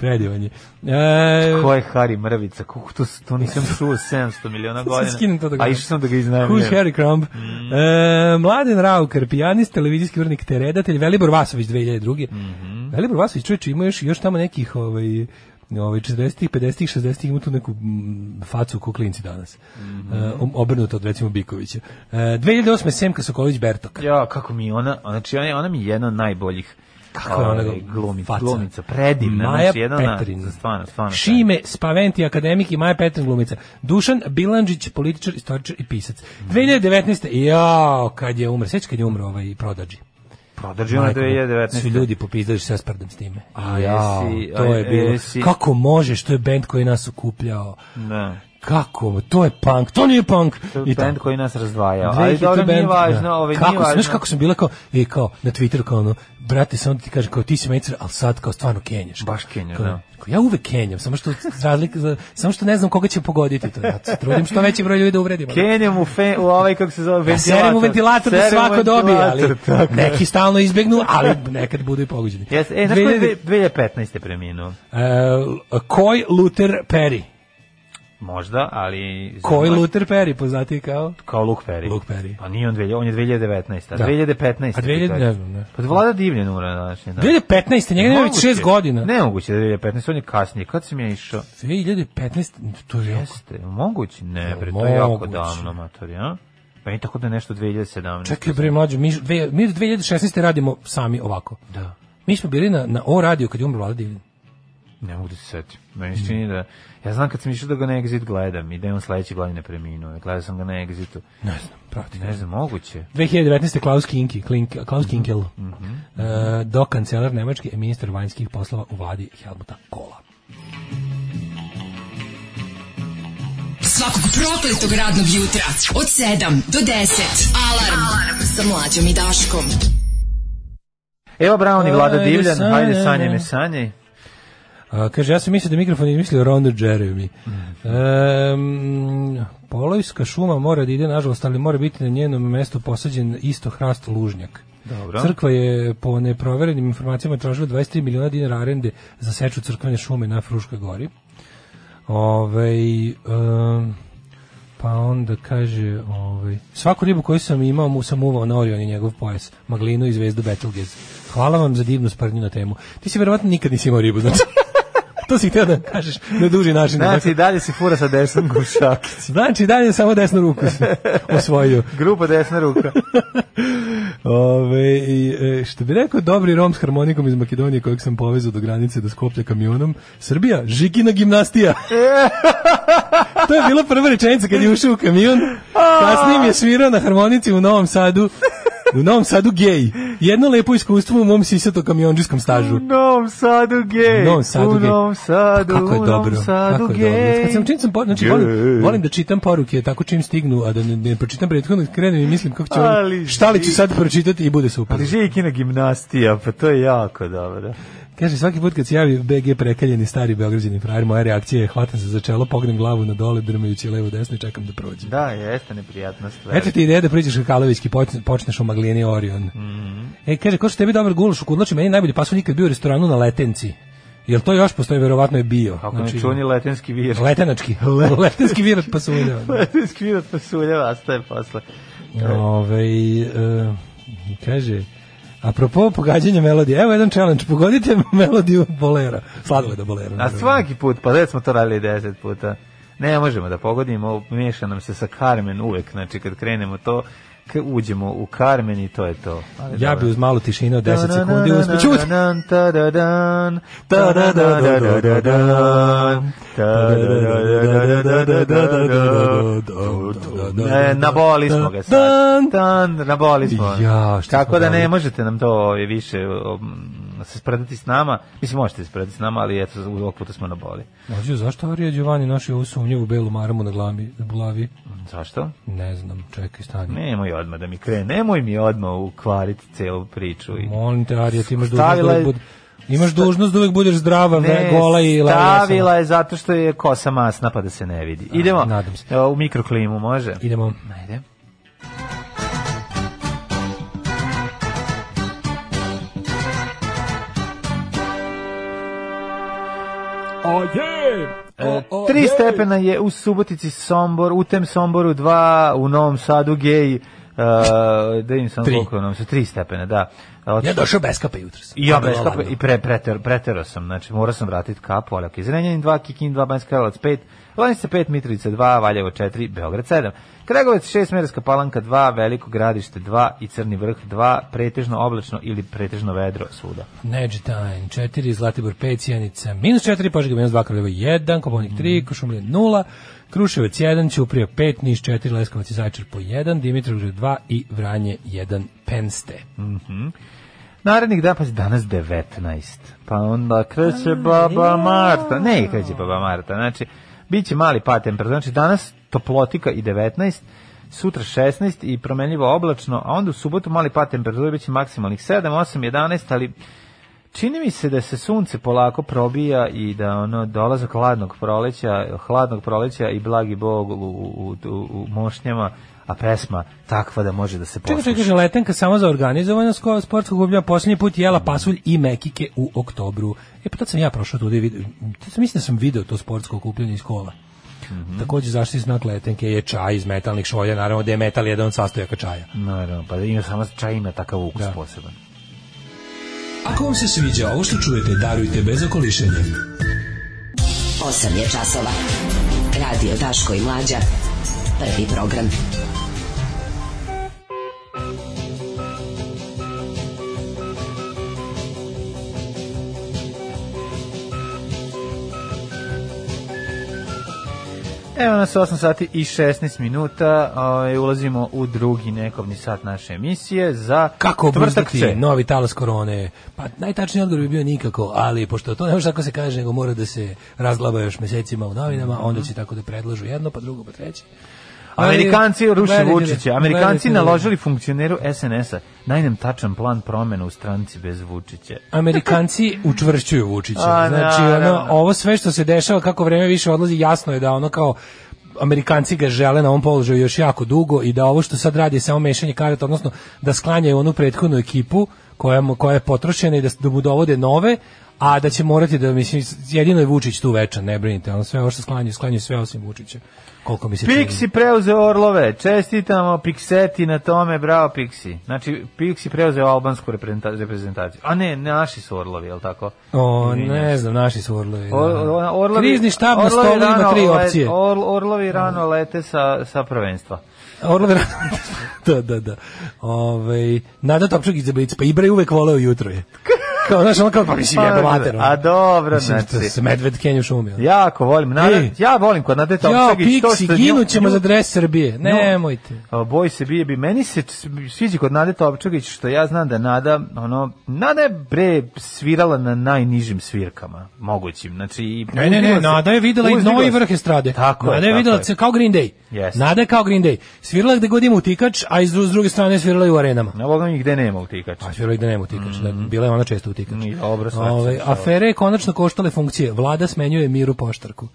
Speaker 7: Predivan je. E,
Speaker 8: Ko je Hari Mrvica? Kako to, to nisam čuo 700 miliona godina.
Speaker 7: skinem to da
Speaker 8: A
Speaker 7: gledam.
Speaker 8: išao sam da ga
Speaker 7: Who's
Speaker 8: iznajemljujem.
Speaker 7: Harry Crumb?
Speaker 8: Mm.
Speaker 7: E, Mladen Raukar, pijanist, televizijski urednik te redatelj, Velibor Vasović 2002.
Speaker 8: Mhm.
Speaker 7: Velibor Vasović, čovječe, ima još, još tamo nekih ovaj, ovaj 40-ih, 50-ih, 60-ih, ima tu neku mm, facu ko klinci danas.
Speaker 8: Mhm.
Speaker 7: E, om- obrnuto od recimo Bikovića. E, 2008. Semka Sokolić Bertok.
Speaker 8: Ja, kako mi je ona, znači ona, je- ona mi je jedna od najboljih
Speaker 7: Kako je ona
Speaker 8: ovaj, glumi,
Speaker 7: faca.
Speaker 8: glumica, predivna,
Speaker 7: Maja
Speaker 8: znači jedna na-
Speaker 7: Petrin.
Speaker 8: stvarno, stvarno. da.
Speaker 7: Šime Spaventi, akademik i Maja Petrin glumica. Dušan Bilandžić, političar, istoričar i pisac. 2019. Jao, kad je umro, sveći kad je umro ovaj prodađi.
Speaker 8: Prodrži ona
Speaker 7: Majko,
Speaker 8: 2019.
Speaker 7: Su ljudi popizdali što se ja sprdam s time.
Speaker 8: A
Speaker 7: Jao,
Speaker 8: jesi,
Speaker 7: to
Speaker 8: a
Speaker 7: je bilo.
Speaker 8: jesi-
Speaker 7: Kako možeš, to je bend koji je nas okupljao.
Speaker 8: Da.
Speaker 7: Kako, to je punk, to nije punk.
Speaker 8: To je
Speaker 7: I
Speaker 8: band
Speaker 7: tako.
Speaker 8: koji nas razdvajao.
Speaker 7: Dve
Speaker 8: Ali
Speaker 7: hit
Speaker 8: dobro, nije
Speaker 7: band,
Speaker 8: važno,
Speaker 7: da.
Speaker 8: ovaj,
Speaker 7: kako,
Speaker 8: nije važno.
Speaker 7: Znaš kako sam bila kao, i kao, na Twitteru kao ono, brate, samo ti kažem, kao ti si mecer, ali sad kao stvarno kenjaš.
Speaker 8: Baš kenjaš,
Speaker 7: Kao,
Speaker 8: da.
Speaker 7: kao, ja uvek kenjam, samo što, razlik, za- samo što ne znam koga će pogoditi to. Ja se trudim što veći broj ljudi da uvredim. ali-
Speaker 8: Kenjam u, fe, u ovaj, kako se zove,
Speaker 7: Ja
Speaker 8: ventilator.
Speaker 7: serem u ventilator da
Speaker 8: Serem u
Speaker 7: svako dobije, ali
Speaker 8: ventilator, tako.
Speaker 7: neki stalno izbegnu, ali nekad budu i pogođeni.
Speaker 8: Jes, e, znaš ko je dve- 2015. preminuo?
Speaker 7: Uh, Koj Luther Perry.
Speaker 8: Možda, ali...
Speaker 7: Koj
Speaker 8: znam-
Speaker 7: Luther Perry, poznati kao?
Speaker 8: Kao Luke Perry.
Speaker 7: Luke Perry.
Speaker 8: Pa nije on, 2000, on je 2019. A
Speaker 7: Da.
Speaker 8: 2015.
Speaker 7: A 2000 ne
Speaker 8: ti kažeš.
Speaker 7: znam, ne.
Speaker 8: Pa vlada divljen umra današnje. Da.
Speaker 7: 2015. Njega nema već 6 godina.
Speaker 8: Nemoguće da je 2015, on je kasnije. Kad sam ja išao?
Speaker 7: 2015. To je jako.
Speaker 8: Jeste, moguće? Ne, bre, to je jako
Speaker 7: Moguće.
Speaker 8: davno, mater, ja? Pa i tako da je nešto 2017.
Speaker 7: Čekaj bre mlađo, mi, dve- mi od 2016. radimo sami ovako.
Speaker 8: Da.
Speaker 7: Mi smo bili na, na O radiju kad je umro Vlada Divljan.
Speaker 8: Ne mogu da se setim. Meni se čini da... Ja znam kad sam išao da ga na Exit gledam i da je on sledeće godine preminuo. Gledao sam ga na Exitu.
Speaker 7: Ne znam, prati.
Speaker 8: Ne znam, moguće.
Speaker 7: 2019. Klaus Kinki, Klink, Klaus Kinkel, e, dokancelar Nemački i ministar vanjskih poslova u vladi Helmuta Kola.
Speaker 5: Svakog prokletog radnog jutra od 7 do 10. Alarm, Alarm. sa mlađom i Daškom.
Speaker 8: Evo Brown i Vlada
Speaker 7: Ajde,
Speaker 8: Divljan,
Speaker 7: sanjaj
Speaker 8: hajde
Speaker 7: me.
Speaker 8: sanje me sanje.
Speaker 7: A, A, kaže, ja sam mislio da mikrofon je mislio Ronda Jeremy. Ehm, Polojska E, šuma mora da ide, nažalost, ali mora biti na njenom mestu posađen isto hrast lužnjak.
Speaker 8: Dobro.
Speaker 7: Crkva je po neproverenim informacijama tražila 23 miliona dinara arende za seču crkvene šume na Fruškoj gori. Ove, um, pa onda kaže, ovaj, svaku ribu koju sam imao mu sam uvao na Orion i njegov pojas, maglinu i zvezdu Betelgez. Hvala vam za divnu sprdnju na temu. Ti si verovatno nikad nisi imao ribu, znači. to si htio da kažeš na duži način.
Speaker 8: Znači, i dalje si fura sa desnom gušakić.
Speaker 7: Znači, dalje samo desnu ruku si osvojio.
Speaker 8: Grupa desna ruka.
Speaker 7: Ove, i, e, što bi rekao dobri rom s harmonikom iz Makedonije kojeg sam povezao do granice do Skoplja kamionom, Srbija, žikina gimnastija. to je bila prva rečenica kad je ušao u kamion, kasnije mi je svirao na harmonici u Novom Sadu, u Novom Sadu gej. Jedno lepo iskustvo u mom sisato kamionđiskom stažu.
Speaker 8: Novom Sadu gej.
Speaker 7: U Novom Sadu
Speaker 8: u
Speaker 7: gej.
Speaker 8: Novom Sadu,
Speaker 7: Pa kako je
Speaker 8: u
Speaker 7: dobro,
Speaker 8: Novom Sadu
Speaker 7: kako je
Speaker 8: gej.
Speaker 7: dobro. Kad sam čim sam, po, znači, volim, volim da čitam poruke tako čim stignu, a da ne, ne pročitam prethodno, krenem i mislim kako ću,
Speaker 8: Ali
Speaker 7: ali, šta li ću
Speaker 8: živi.
Speaker 7: sad pročitati i bude super.
Speaker 8: Ali živi kina gimnastija, pa to je jako dobro.
Speaker 7: Kaže, svaki put kad se javi BG prekaljeni stari beograđani frajer, moja reakcija je hvatam se za čelo, pognem glavu na dole, drmajući levo desno i čekam da prođe.
Speaker 8: Da, jeste neprijatna stvar.
Speaker 7: Eto ti ideja da priđeš Kakalovićki, počne- počneš u Maglijeni Orion.
Speaker 8: Mhm.
Speaker 7: E, kaže, ko što tebi dobar gulaš u kudlači, meni je najbolji pasulj nikad bio u restoranu na Letenci. Jel to još postoji, verovatno je bio.
Speaker 8: Kako znači, ne čuni letenski vir.
Speaker 7: Letenački. Letenski virat pasulja.
Speaker 8: Letenski vir od pasulja ostaje posle.
Speaker 7: Ove, e, kaže, apropo pogađanja melodije, evo jedan challenge, pogodite melodiju bolera, sladoleda bolera.
Speaker 8: A
Speaker 7: naravno.
Speaker 8: svaki put, pa već smo to radili deset puta. Ne možemo da pogodimo, miješa nam se sa Carmen uvek, znači kad krenemo to, k- uđemo u Carmen i to je to. Ali
Speaker 7: Ja
Speaker 8: dobro.
Speaker 7: bi uz malu tišinu od 10 sekundi uspeo čuti.
Speaker 8: Tadadadan,
Speaker 7: da,
Speaker 8: tadadadan, da,
Speaker 7: da,
Speaker 8: tadadadadadadadan,
Speaker 7: da,
Speaker 8: tadadadadadadadadan. E, Naboli smo ga sad. Tan, naboli smo.
Speaker 7: Ja, šta
Speaker 8: Tako
Speaker 7: smo
Speaker 8: da ne
Speaker 7: dali?
Speaker 8: možete nam to ovaj, više um, se spredati s nama. Mislim, možete se spredati s nama, ali eto, u ovog puta smo naboli.
Speaker 7: Mlađo, zašto Arija Giovanni nosi ovu sumnjivu belu maramu na glavi, na glavi?
Speaker 8: Zašto?
Speaker 7: Ne znam, čekaj, stani.
Speaker 8: Nemoj odmah da mi krene, nemoj mi odmah ukvariti celu priču. I...
Speaker 7: Molim te, Arija, ti imaš dužnost
Speaker 8: Stavila
Speaker 7: da
Speaker 8: je-
Speaker 7: uvek bud... Imaš dužnost da uvek budeš zdrava, ne, gola i lajasa.
Speaker 8: stavila je zato što je kosa masna pa da se ne vidi. Idemo
Speaker 7: nadam se.
Speaker 8: Evo, u mikroklimu, može?
Speaker 7: Idemo.
Speaker 8: Ajde. E, tri stepena je u Subotici Sombor, u tem Somboru dva, u Novom Sadu gej, e, da im sam
Speaker 7: Tri.
Speaker 8: koliko je u Novom Sadu, tri stepena, da. Od-
Speaker 7: Ja došao bez kape jutros.
Speaker 8: I ja bez kape, i pre, preter, pretero sam, znači morao sam vratiti kapu, ali ok, Zrenjanin 2, Kikin 2, Banjska Karlovac 5, Lanica 5, Mitrovica 2, Valjevo 4, Beograd 7, Kragovec 6, Merska Palanka 2, Veliko Gradište 2 i Crni vrh 2, pretežno oblačno ili pretežno vedro svuda.
Speaker 7: Neđetajn, 4, Zlatibor 5, Cijanica, minus 4, Požega minus 2, Kraljevo 1, Koponik
Speaker 8: Mhm.
Speaker 7: 3, Košumlija 0, Kruševac 1, Ćuprija 5, Niš 4, Leskovac i Zajčar po 1, Dimitrovgrad 2 i Vranje 1, Penste.
Speaker 8: Narednih dana, pa danas 19. Pa onda kreće baba Marta. Ne kreće baba Marta, znači, bit će mali pad temperatura. Znači, danas toplotika i 19, sutra 16 i promenljivo oblačno, a onda u subotu mali pad temperatura bit će maksimalnih 7, 8, 11, ali čini mi se da se sunce polako probija i da ono dolazak hladnog proleća, hladnog proleća i blagi bog u, u, u, u mošnjama, a pesma takva da može da se
Speaker 7: Čekaj, čekaj,
Speaker 8: posluša.
Speaker 7: kaže, letenka samo za organizovano sko- sportskog gublja, posljednji put jela pasulj i mekike u oktobru. E, pa tad sam ja prošao tude i vidio, tad sam mislim da sam video to sportsko okupljanje iz kola. Takođe zaštitni znak letenke je čaj iz metalnih šolja, naravno da je metal jedan od sastojaka čaja.
Speaker 8: Naravno, pa ima samo čaj ima takav ukus
Speaker 7: Da.
Speaker 8: poseban.
Speaker 6: Ako vam se sviđa ovo što čujete, darujte bez okolišenja.
Speaker 5: 8 je časova. Radio Daško i Mlađa. Prvi program.
Speaker 8: Evo nas 8 sati i 16 minuta, ovaj, ulazimo u drugi nekovni sat naše emisije za
Speaker 7: Kako
Speaker 8: tvrtak
Speaker 7: obuzdati
Speaker 8: će.
Speaker 7: novi talas korone? Pa najtačniji odgovor bi bio nikako, ali pošto to ne može tako se kaže, nego mora da se razglaba još mesecima u novinama, onda će tako da predlažu jedno, pa drugo, pa treće.
Speaker 8: Amerikanci ruše
Speaker 7: gledaj,
Speaker 8: Vučića.
Speaker 7: gledaj,
Speaker 8: Amerikanci
Speaker 7: gledaj.
Speaker 8: naložili funkcioneru SNS-a. Daj nam tačan plan promjena u stranci bez Vučića.
Speaker 7: Amerikanci učvršćuju Vučića.
Speaker 8: A,
Speaker 7: Znači, ono,
Speaker 8: naravno.
Speaker 7: ovo sve što se dešava, kako vreme više odlazi, jasno je da ono kao Amerikanci ga žele na ovom položaju još jako dugo i da ovo što sad radi je samo mešanje karata, odnosno da sklanjaju onu prethodnu ekipu koja, mu- koja je potrošena i da, s- da mu dovode nove, a da će morati da, mislim, jedino je Vučić tu večan, ne brinite, ono sve ovo što sklanjaju, sklanjaju sve osim Vučića. Koliko mi se čini.
Speaker 8: Pixi preuzeo Orlove. Čestitamo Pixeti na tome, bravo Pixi. Znači, Pixi preuzeo albansku reprezenta- reprezentaciju. A ne, naši su Orlovi, jel tako?
Speaker 7: O,
Speaker 8: Izvinjam
Speaker 7: ne znam, naši su Orlovi. da.
Speaker 8: O- o- Orlovi,
Speaker 7: Krizni štab na
Speaker 8: Orlovi
Speaker 7: stolu ima
Speaker 8: rano ovaj,
Speaker 7: tri
Speaker 8: le-
Speaker 7: opcije.
Speaker 8: Or- orlovi rano lete sa, sa prvenstva.
Speaker 7: Orlov da, da, da. Ove, Nada Topčagić za Blic, pa Ibra je uvek voleo jutro je. Kao, znaš, ono kao, pa mislim,
Speaker 8: Pa,
Speaker 7: jebo mater. ono.
Speaker 8: a dobro,
Speaker 7: mislim,
Speaker 8: znači.
Speaker 7: znači. Se medved kenju šumi. ono.
Speaker 8: Jako volim. Nada,
Speaker 7: Ej.
Speaker 8: ja volim kod Nade
Speaker 7: Jao,
Speaker 8: Topčagić. to što
Speaker 7: Pixi,
Speaker 8: nju-
Speaker 7: ginućemo
Speaker 8: nju-
Speaker 7: za dres Srbije. Nemojte.
Speaker 8: A, Boj se bije bi. Meni se č- sviđa kod Nade Topčagić što ja znam da Nada, ono, Nada je bre svirala na najnižim svirkama mogućim. Znači, i
Speaker 7: Ne, ne, ne,
Speaker 8: uzdigla se-
Speaker 7: Nada je videla i
Speaker 8: uzdigla
Speaker 7: novi
Speaker 8: se.
Speaker 7: vrh estrade.
Speaker 8: Tako je,
Speaker 7: Nada je
Speaker 8: tako
Speaker 7: videla
Speaker 8: je.
Speaker 7: se kao Green Day.
Speaker 8: Jeste.
Speaker 7: Nada je kao Green Day. Svirala gde god ima utikač, a iz s druge strane je svirala i u arenama.
Speaker 8: Na Boga mi gde nema utikač.
Speaker 7: Pa svirala i da nema utikač, da bila je ona često utikač.
Speaker 8: Nije, dobro, svašta
Speaker 7: Ove,
Speaker 8: dešava.
Speaker 7: Ovaj, afere je konačno koštale funkcije. Vlada smenjuje Miru Poštarku.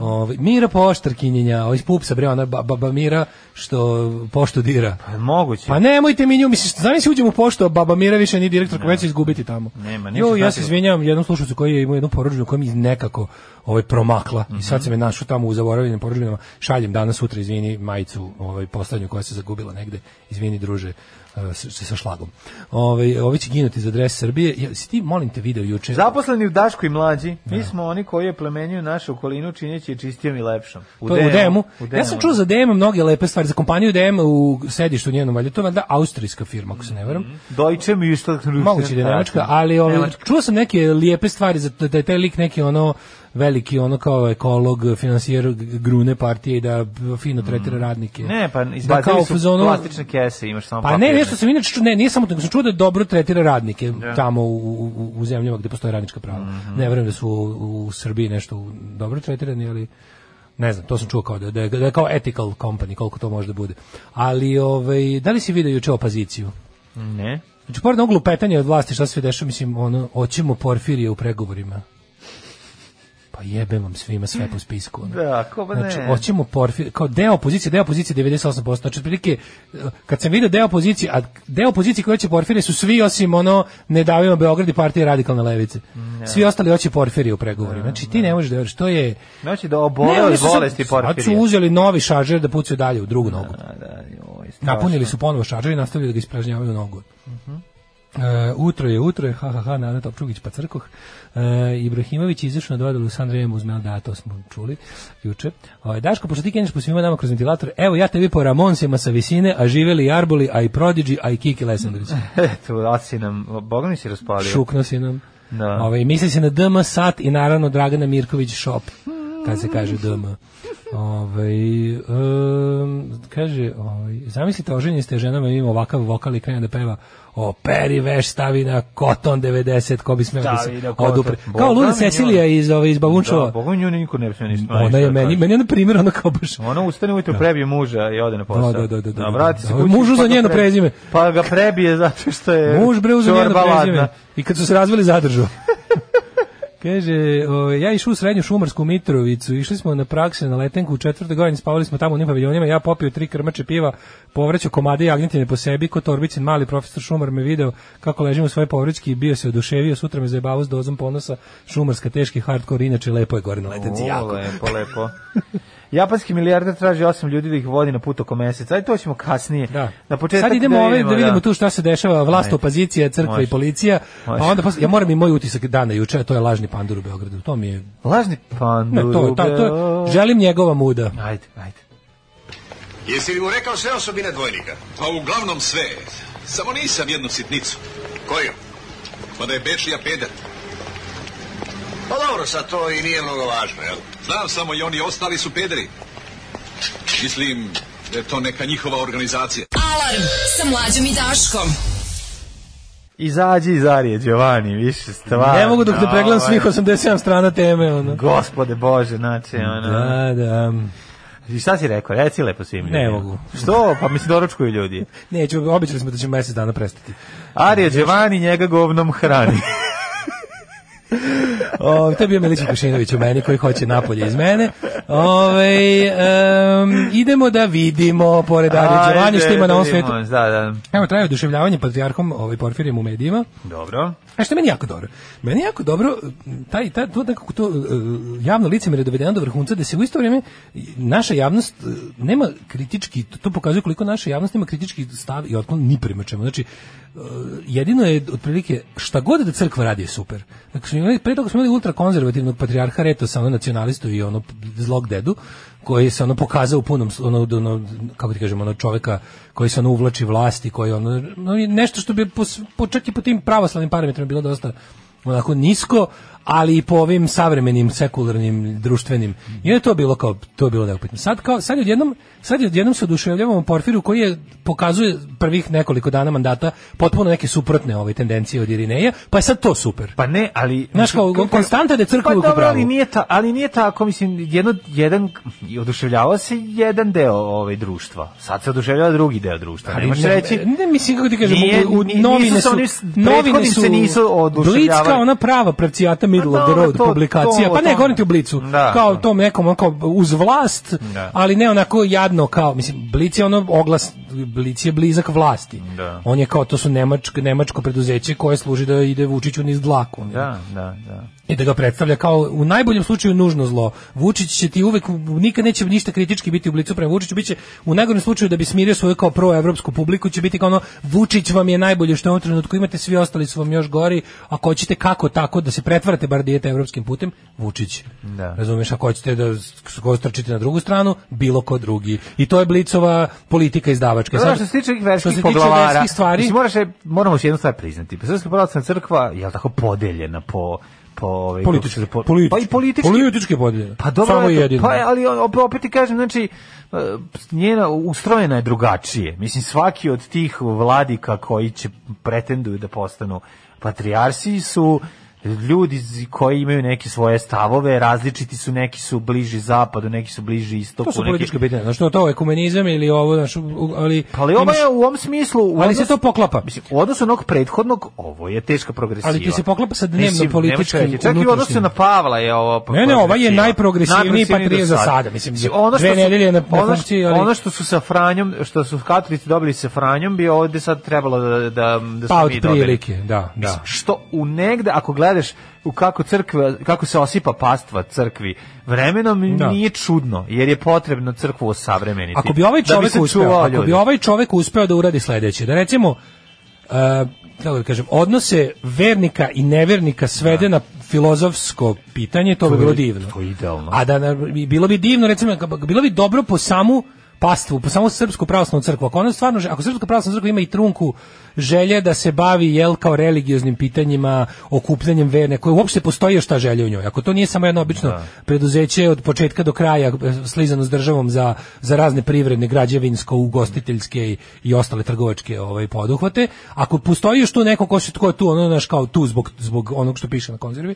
Speaker 7: Ove, Mira Poštarkinjenja, ovo iz pupsa, bre, ona ba, ba, ba Mira što poštu dira.
Speaker 8: Moguće.
Speaker 7: Pa nemojte mi nju, mislim, znam se uđem u poštu, a baba Mira više ni direktor, koja će izgubiti tamo.
Speaker 8: Nema, neće
Speaker 7: jo, ja se
Speaker 8: znati. da-
Speaker 7: izvinjavam jednom slušalcu koji je imao jednu poručbinu koja mi je nekako ovaj, promakla i
Speaker 8: Mhm.
Speaker 7: sad sam je našao tamo u zaboravljenim poručbinama, šaljem danas, sutra, izvini, majicu ovaj, poslednju koja se zagubila negde, izvini druže, eh, s- sa šlagom. Ovaj, ovi će ginuti za dres Srbije. Ja, si ti, molim te, video juče?
Speaker 8: Zaposleni u Daškoj mlađi,
Speaker 7: Da.
Speaker 8: mi smo oni koji je plemenjuju našu okolinu čineći je čistijom i lepšom. U, da.
Speaker 7: To je Pa, u
Speaker 8: DM-u.
Speaker 7: DM-u. Ja sam čuo za DM mnoge lepe stvari. Za kompaniju DM u sedištu njenom, valjda to je valjda austrijska firma, ako se ne
Speaker 8: Mhm.
Speaker 7: varam.
Speaker 8: Deutsche Müsli.
Speaker 7: Moguće da je nemačka, ali ovaj, čuo sam neke lijepe stvari, za, da je taj lik neki ono veliki ono kao ekolog, finansijer grune partije i da fino tretira radnike.
Speaker 8: Ne, pa
Speaker 7: da kao
Speaker 8: izbacili
Speaker 7: u
Speaker 8: su
Speaker 7: fazonu-
Speaker 8: plastične kese, imaš samo
Speaker 7: Pa ne,
Speaker 8: papirne.
Speaker 7: nešto sam inače čuo, ne, nisam to, sam čuo da dobro tretira radnike
Speaker 8: Da.
Speaker 7: tamo u, u, u zemljama gde postoje radnička prava.
Speaker 8: Mhm.
Speaker 7: Ne verujem da su u, u Srbiji nešto u- dobro tretirani, ali ne znam, to sam čuo kao da, da, je- da je kao ethical company, koliko to može da bude. Ali, ovaj, da li si vidio juče opoziciju?
Speaker 8: Ne.
Speaker 7: Znači, pored ovog lupetanja od vlasti, šta se sve dešava, mislim, ono, oćemo Porfirije u pregovorima. Pa jebem vam svima sve po spisku. Ono.
Speaker 8: Da, ko ba ne.
Speaker 7: Znači, hoćemo Porfir, kao deo opozicije, deo opozicije 98%. Znači, otprilike, eh, kad sam vidio deo opozicije, a deo opozicije koji hoće Porfirije su svi osim ono, ne davimo Beograd i partije radikalne levice.
Speaker 8: Mm, da.
Speaker 7: Svi ostali hoće Porfirije u pregovorima. Znači, ti ne možeš da veriš, to je...
Speaker 8: Znači da obole
Speaker 7: oni
Speaker 8: od
Speaker 7: su sad-
Speaker 8: bolesti
Speaker 7: Sad su
Speaker 8: porfirija.
Speaker 7: uzeli novi šaržer da pucaju dalje u drugu nogu.
Speaker 8: A, da, joj, strašno.
Speaker 7: Napunili su ponovo šaržer i nastavili da ga ispražnjavaju nogu. E, utro je, utro je, ha, ha, ha, Nada Topčugić pa crkoh. E, Ibrahimović je izašao na dodelu sa Andrejem Uzmel, da, to smo čuli juče. O, Daško, pošto ti kenješ po svima nama kroz ventilator, evo ja tebi po Ramonsima sa visine, a živeli i Arboli, a i Prodigy, a i Kiki Lesandović.
Speaker 8: Eto, a si nam, Boga mi si raspalio.
Speaker 7: Šukno si nam.
Speaker 8: Da.
Speaker 7: Ove, misli se na DM Sat i naravno Dragana Mirković Shop,
Speaker 8: Mm.
Speaker 7: kad se kaže DM. Ove, um, kaže, ovaj, zamislite, oženjeni ste ženama i ima ovakav vokal i krene da peva o, peri veš, stavi na koton 90, ko bi smeo da se
Speaker 8: Stavi na koton.
Speaker 7: odupre. Kao
Speaker 8: Boga
Speaker 7: Luna
Speaker 8: mi
Speaker 7: Cecilija
Speaker 8: njoj.
Speaker 7: iz, ove, iz
Speaker 8: Da,
Speaker 7: Bavunčova.
Speaker 8: Boga mi nju niko ne smije ništa.
Speaker 7: ona
Speaker 8: ništa
Speaker 7: je
Speaker 8: da
Speaker 7: meni,
Speaker 8: kaže.
Speaker 7: meni je na primjer ono kao baš
Speaker 8: Ona ustane ujutru, prebije muža i ode na posao.
Speaker 7: Da, da, da, da, da.
Speaker 8: A vrati se
Speaker 7: Da,
Speaker 8: kući.
Speaker 7: mužu
Speaker 8: pa
Speaker 7: za
Speaker 8: ga
Speaker 7: njeno
Speaker 8: pre-
Speaker 7: prezime.
Speaker 8: Pa ga prebije zato što je
Speaker 7: Muž bre uzeo njeno
Speaker 8: čorba
Speaker 7: prezime.
Speaker 8: ladna.
Speaker 7: I kad su se razveli zadržao. Kaže, o, ja išao u srednju šumarsku Mitrovicu, išli smo na prakse na letenku u četvrte godine, spavali smo tamo u onim paviljonima, ja popio tri krmače piva, povraćao komade jagnjetine po sebi, ko Torbicin mali profesor Šumar me video kako ležim u svoje povraćki i bio se oduševio, sutra me zajebavo s dozom ponosa, šumarska teški hardcore, inače lepo je gore na letenci,
Speaker 8: O,
Speaker 7: jako.
Speaker 8: Lepo, lepo. Japanski milijarder traži osam ljudi da ih vodi na put oko meseca. Ajde, to ćemo kasnije.
Speaker 7: Da.
Speaker 8: Na početak
Speaker 7: Sad idemo ove da vidimo
Speaker 8: da.
Speaker 7: tu šta se dešava, vlast, opozicija, crkva
Speaker 8: Može.
Speaker 7: i policija. Pa
Speaker 8: Može.
Speaker 7: onda posle, ja moram i moj utisak dana juče, a to je lažni pandur u Beogradu. To mi je
Speaker 8: Lažni
Speaker 7: Ne,
Speaker 8: pandur.
Speaker 7: to, je- ta- to, je- želim njegova muda.
Speaker 8: Ajde, ajde.
Speaker 9: Jesi li mu rekao sve osobine dvojnika?
Speaker 10: Pa uglavnom sve. Samo nisam jednu sitnicu.
Speaker 9: Koju?
Speaker 10: Pa da je Bečija peder.
Speaker 9: Pa dobro, sad to i nije mnogo važno, jel?
Speaker 10: Znam samo i oni ostali su pederi. Mislim da je to neka njihova organizacija.
Speaker 5: Alarm sa mlađom i Daškom.
Speaker 8: Izađi iz Arije, Giovanni, više stvarno.
Speaker 7: Ne mogu dok ne pregledam
Speaker 8: Pa, Ovaj,
Speaker 7: svih 87 strana teme. Ono.
Speaker 8: Da. Gospode Bože, znači, ono...
Speaker 7: Da, da.
Speaker 8: I šta si rekao? Reci lepo svim ljudima.
Speaker 7: Ne mogu.
Speaker 8: Što? Pa mi se doručkuju ljudi.
Speaker 7: Neću, obećali smo da ćemo mjesec dana prestati.
Speaker 8: Arija Đevani njega govnom hrani.
Speaker 7: O, to je bio Milić Vukašinović u meni koji hoće napolje iz mene. Ove, em, idemo da vidimo pored Arije Đovani Da, što ima na ovom
Speaker 8: Ajde,
Speaker 7: svetu.
Speaker 8: da vidimo, Da, da.
Speaker 7: Evo traje oduševljavanje patrijarhom ovaj Porfirijem u medijima.
Speaker 8: Dobro.
Speaker 7: A što je meni jako dobro? Meni je jako dobro m, taj, taj to nekako to e, javno lice je dovedeno do vrhunca da se u isto vrijeme naša javnost e, nema kritički, to, to pokazuje koliko naša javnost nema kritički stav i otklon ni prema čemu. Znači, e, jedino je otprilike šta god da crkva radi je super. Dakle, smo imali, pre toga smo imali ultrakonzervativnog patrijarha Retosa, ono nacionalistu i ono zlog dedu, koji se ono pokazao u punom sl- ono, ono kako ti kažemo ono čoveka koji se ono uvlači vlasti koji ono no, je nešto što bi po, s- po čak i po tim pravoslavnim parametrima bilo dosta onako nisko ali i po ovim savremenim sekularnim društvenim i onda je to bilo kao to je bilo neupitno sad kao sad odjednom sad odjednom se oduševljavamo Porfiru koji je pokazuje prvih nekoliko dana mandata potpuno neke suprotne ove tendencije od Irineja pa je sad to super
Speaker 8: Pa ne, ali...
Speaker 7: Znaš, kao,
Speaker 8: Kako-
Speaker 7: konstanta da je crkva
Speaker 8: pa,
Speaker 7: uvijek u
Speaker 8: dobro,
Speaker 7: pravu.
Speaker 8: ali nije, ta, ali nije tako, mislim, jedno, jedan, i oduševljavao se jedan deo ovaj, društva. Sad se oduševljava drugi deo društva.
Speaker 7: Ali
Speaker 8: ne možeš
Speaker 7: ne-
Speaker 8: reći...
Speaker 7: Ne, mislim kako ti kažem,
Speaker 8: Nije-
Speaker 7: u, u
Speaker 8: ni-
Speaker 7: novine
Speaker 8: nisu se
Speaker 7: su,
Speaker 8: oni s-
Speaker 7: novine
Speaker 8: prethodnim
Speaker 7: su,
Speaker 8: se nisu oduševljavali.
Speaker 7: Blicka, ona prava pravcijata middle of the
Speaker 8: dobro,
Speaker 7: road
Speaker 8: to-
Speaker 7: publikacija,
Speaker 8: to-
Speaker 7: pa ne,
Speaker 8: to-
Speaker 7: govorim ti o Blicu,
Speaker 8: Da,
Speaker 7: kao
Speaker 8: da.
Speaker 7: tom nekom, onako, uz vlast,
Speaker 8: Da.
Speaker 7: ali ne onako jadno kao, mislim, Blic je ono oglas, Blic je blizak vlasti.
Speaker 8: Da.
Speaker 7: On je kao, to su nemačko, nemačko preduzeće koje služi da ide Vučiću niz dlaku. ono.
Speaker 8: Da, da, da.
Speaker 7: I da ga predstavlja kao u najboljem slučaju nužno zlo. Vučić će ti uvek nikad neće ništa kritički biti u blicu prema Vučiću, biće u najgorem slučaju da bi smirio svoju kao proevropsku publiku će biti kao ono Vučić vam je najbolje što u ovom trenutku imate, svi ostali su vam još gori, ako hoćete kako tako da se pretvarate bar dijete evropskim putem, Vučić.
Speaker 8: Da.
Speaker 7: Razumeš, ako hoćete da skostrčite na drugu stranu, bilo ko drugi. I to je blicova politika izdavačka.
Speaker 8: Znaš,
Speaker 7: Sad,
Speaker 8: što se tiče ovih
Speaker 7: što se
Speaker 8: verskih
Speaker 7: tiče
Speaker 8: poglavara,
Speaker 7: verskih stvari,
Speaker 8: mislim, moraš, je- moramo još jednu stvar priznati. Pa Srpska pravoslavna crkva je li tako podeljena po... po ovaj,
Speaker 7: politički,
Speaker 8: po-
Speaker 7: politički,
Speaker 8: pa i politički.
Speaker 7: politički podeljena.
Speaker 8: Pa dobro,
Speaker 7: Samo
Speaker 8: eto,
Speaker 7: jedino.
Speaker 8: pa je, ali op- opet ti kažem, znači, e, njena ustrojena je drugačije. Mislim, svaki od tih vladika koji će pretenduju da postanu patrijarsi su ljudi z- koji imaju neke svoje stavove, različiti su, neki su bliži zapadu, neki su bliži istoku.
Speaker 7: To su
Speaker 8: neki-
Speaker 7: političke pitanja. Znači, to je to ekumenizam ili ovo, znaš, u- ali...
Speaker 8: Pa ali ovo
Speaker 7: imaš-
Speaker 8: je u ovom smislu... u
Speaker 7: Ali se
Speaker 8: odnosu-
Speaker 7: to poklapa.
Speaker 8: Pa Mislim, u odnosu na onog prethodnog, ovo je teška progresiva.
Speaker 7: Ali ti se poklapa sa dnevno
Speaker 8: Mislim,
Speaker 7: političkim,
Speaker 8: nemoj čekaj, Čak i u odnosu
Speaker 7: unutrašnjim.
Speaker 8: na Pavla je ovo...
Speaker 7: Ne, ne, ova je
Speaker 8: progresiva.
Speaker 7: najprogresivniji
Speaker 8: Najprogresivniji
Speaker 7: patrijarh za
Speaker 8: do
Speaker 7: sada, mislim,
Speaker 8: ono što
Speaker 7: dve
Speaker 8: su-
Speaker 7: nedelje je na- na
Speaker 8: ono što-
Speaker 7: funkciji, ali-
Speaker 8: Ono što su sa Franjom, što su katolici dobili sa Franjom, bi ovde sad trebalo da, da, da
Speaker 7: Pa
Speaker 8: smo
Speaker 7: od
Speaker 8: mi dobili.
Speaker 7: prilike, da, da.
Speaker 8: Mislim, što u negde, ako gledaš u kako crkva, kako se osipa pastva crkvi, vremenom
Speaker 7: Da.
Speaker 8: nije čudno, jer je potrebno crkvu osavremeniti.
Speaker 7: Ako bi ovaj
Speaker 8: Da
Speaker 7: čovjek
Speaker 8: se
Speaker 7: uspeo,
Speaker 8: čuvao
Speaker 7: ako bi
Speaker 8: ljudi.
Speaker 7: ovaj čovjek uspeo da uradi sledeće, da recimo uh, kako da kažem, odnose vernika i nevernika svede na filozofsko pitanje, to, bi bilo divno.
Speaker 8: Da. to je idealno.
Speaker 7: A da na- i bilo bi divno, recimo, ka- bilo bi dobro po samu pastvu, po samu srpsku pravoslavnu crkvu. Ako ona stvarno, že- ako srpska pravoslavna crkva ima i trunku želje da se bavi jel kao religioznim pitanjima, okupljanjem verne, koje uopšte postoji još ta želja u njoj. Ako to nije samo jedno obično
Speaker 8: Da.
Speaker 7: preduzeće od početka do kraja e, slizano s državom za, za razne privredne, građevinsko, ugostiteljske i, i ostale trgovačke ovaj poduhvate, ako postoji još tu neko ko se tko je tu, ono naš kao tu zbog zbog onog što piše na konzervi,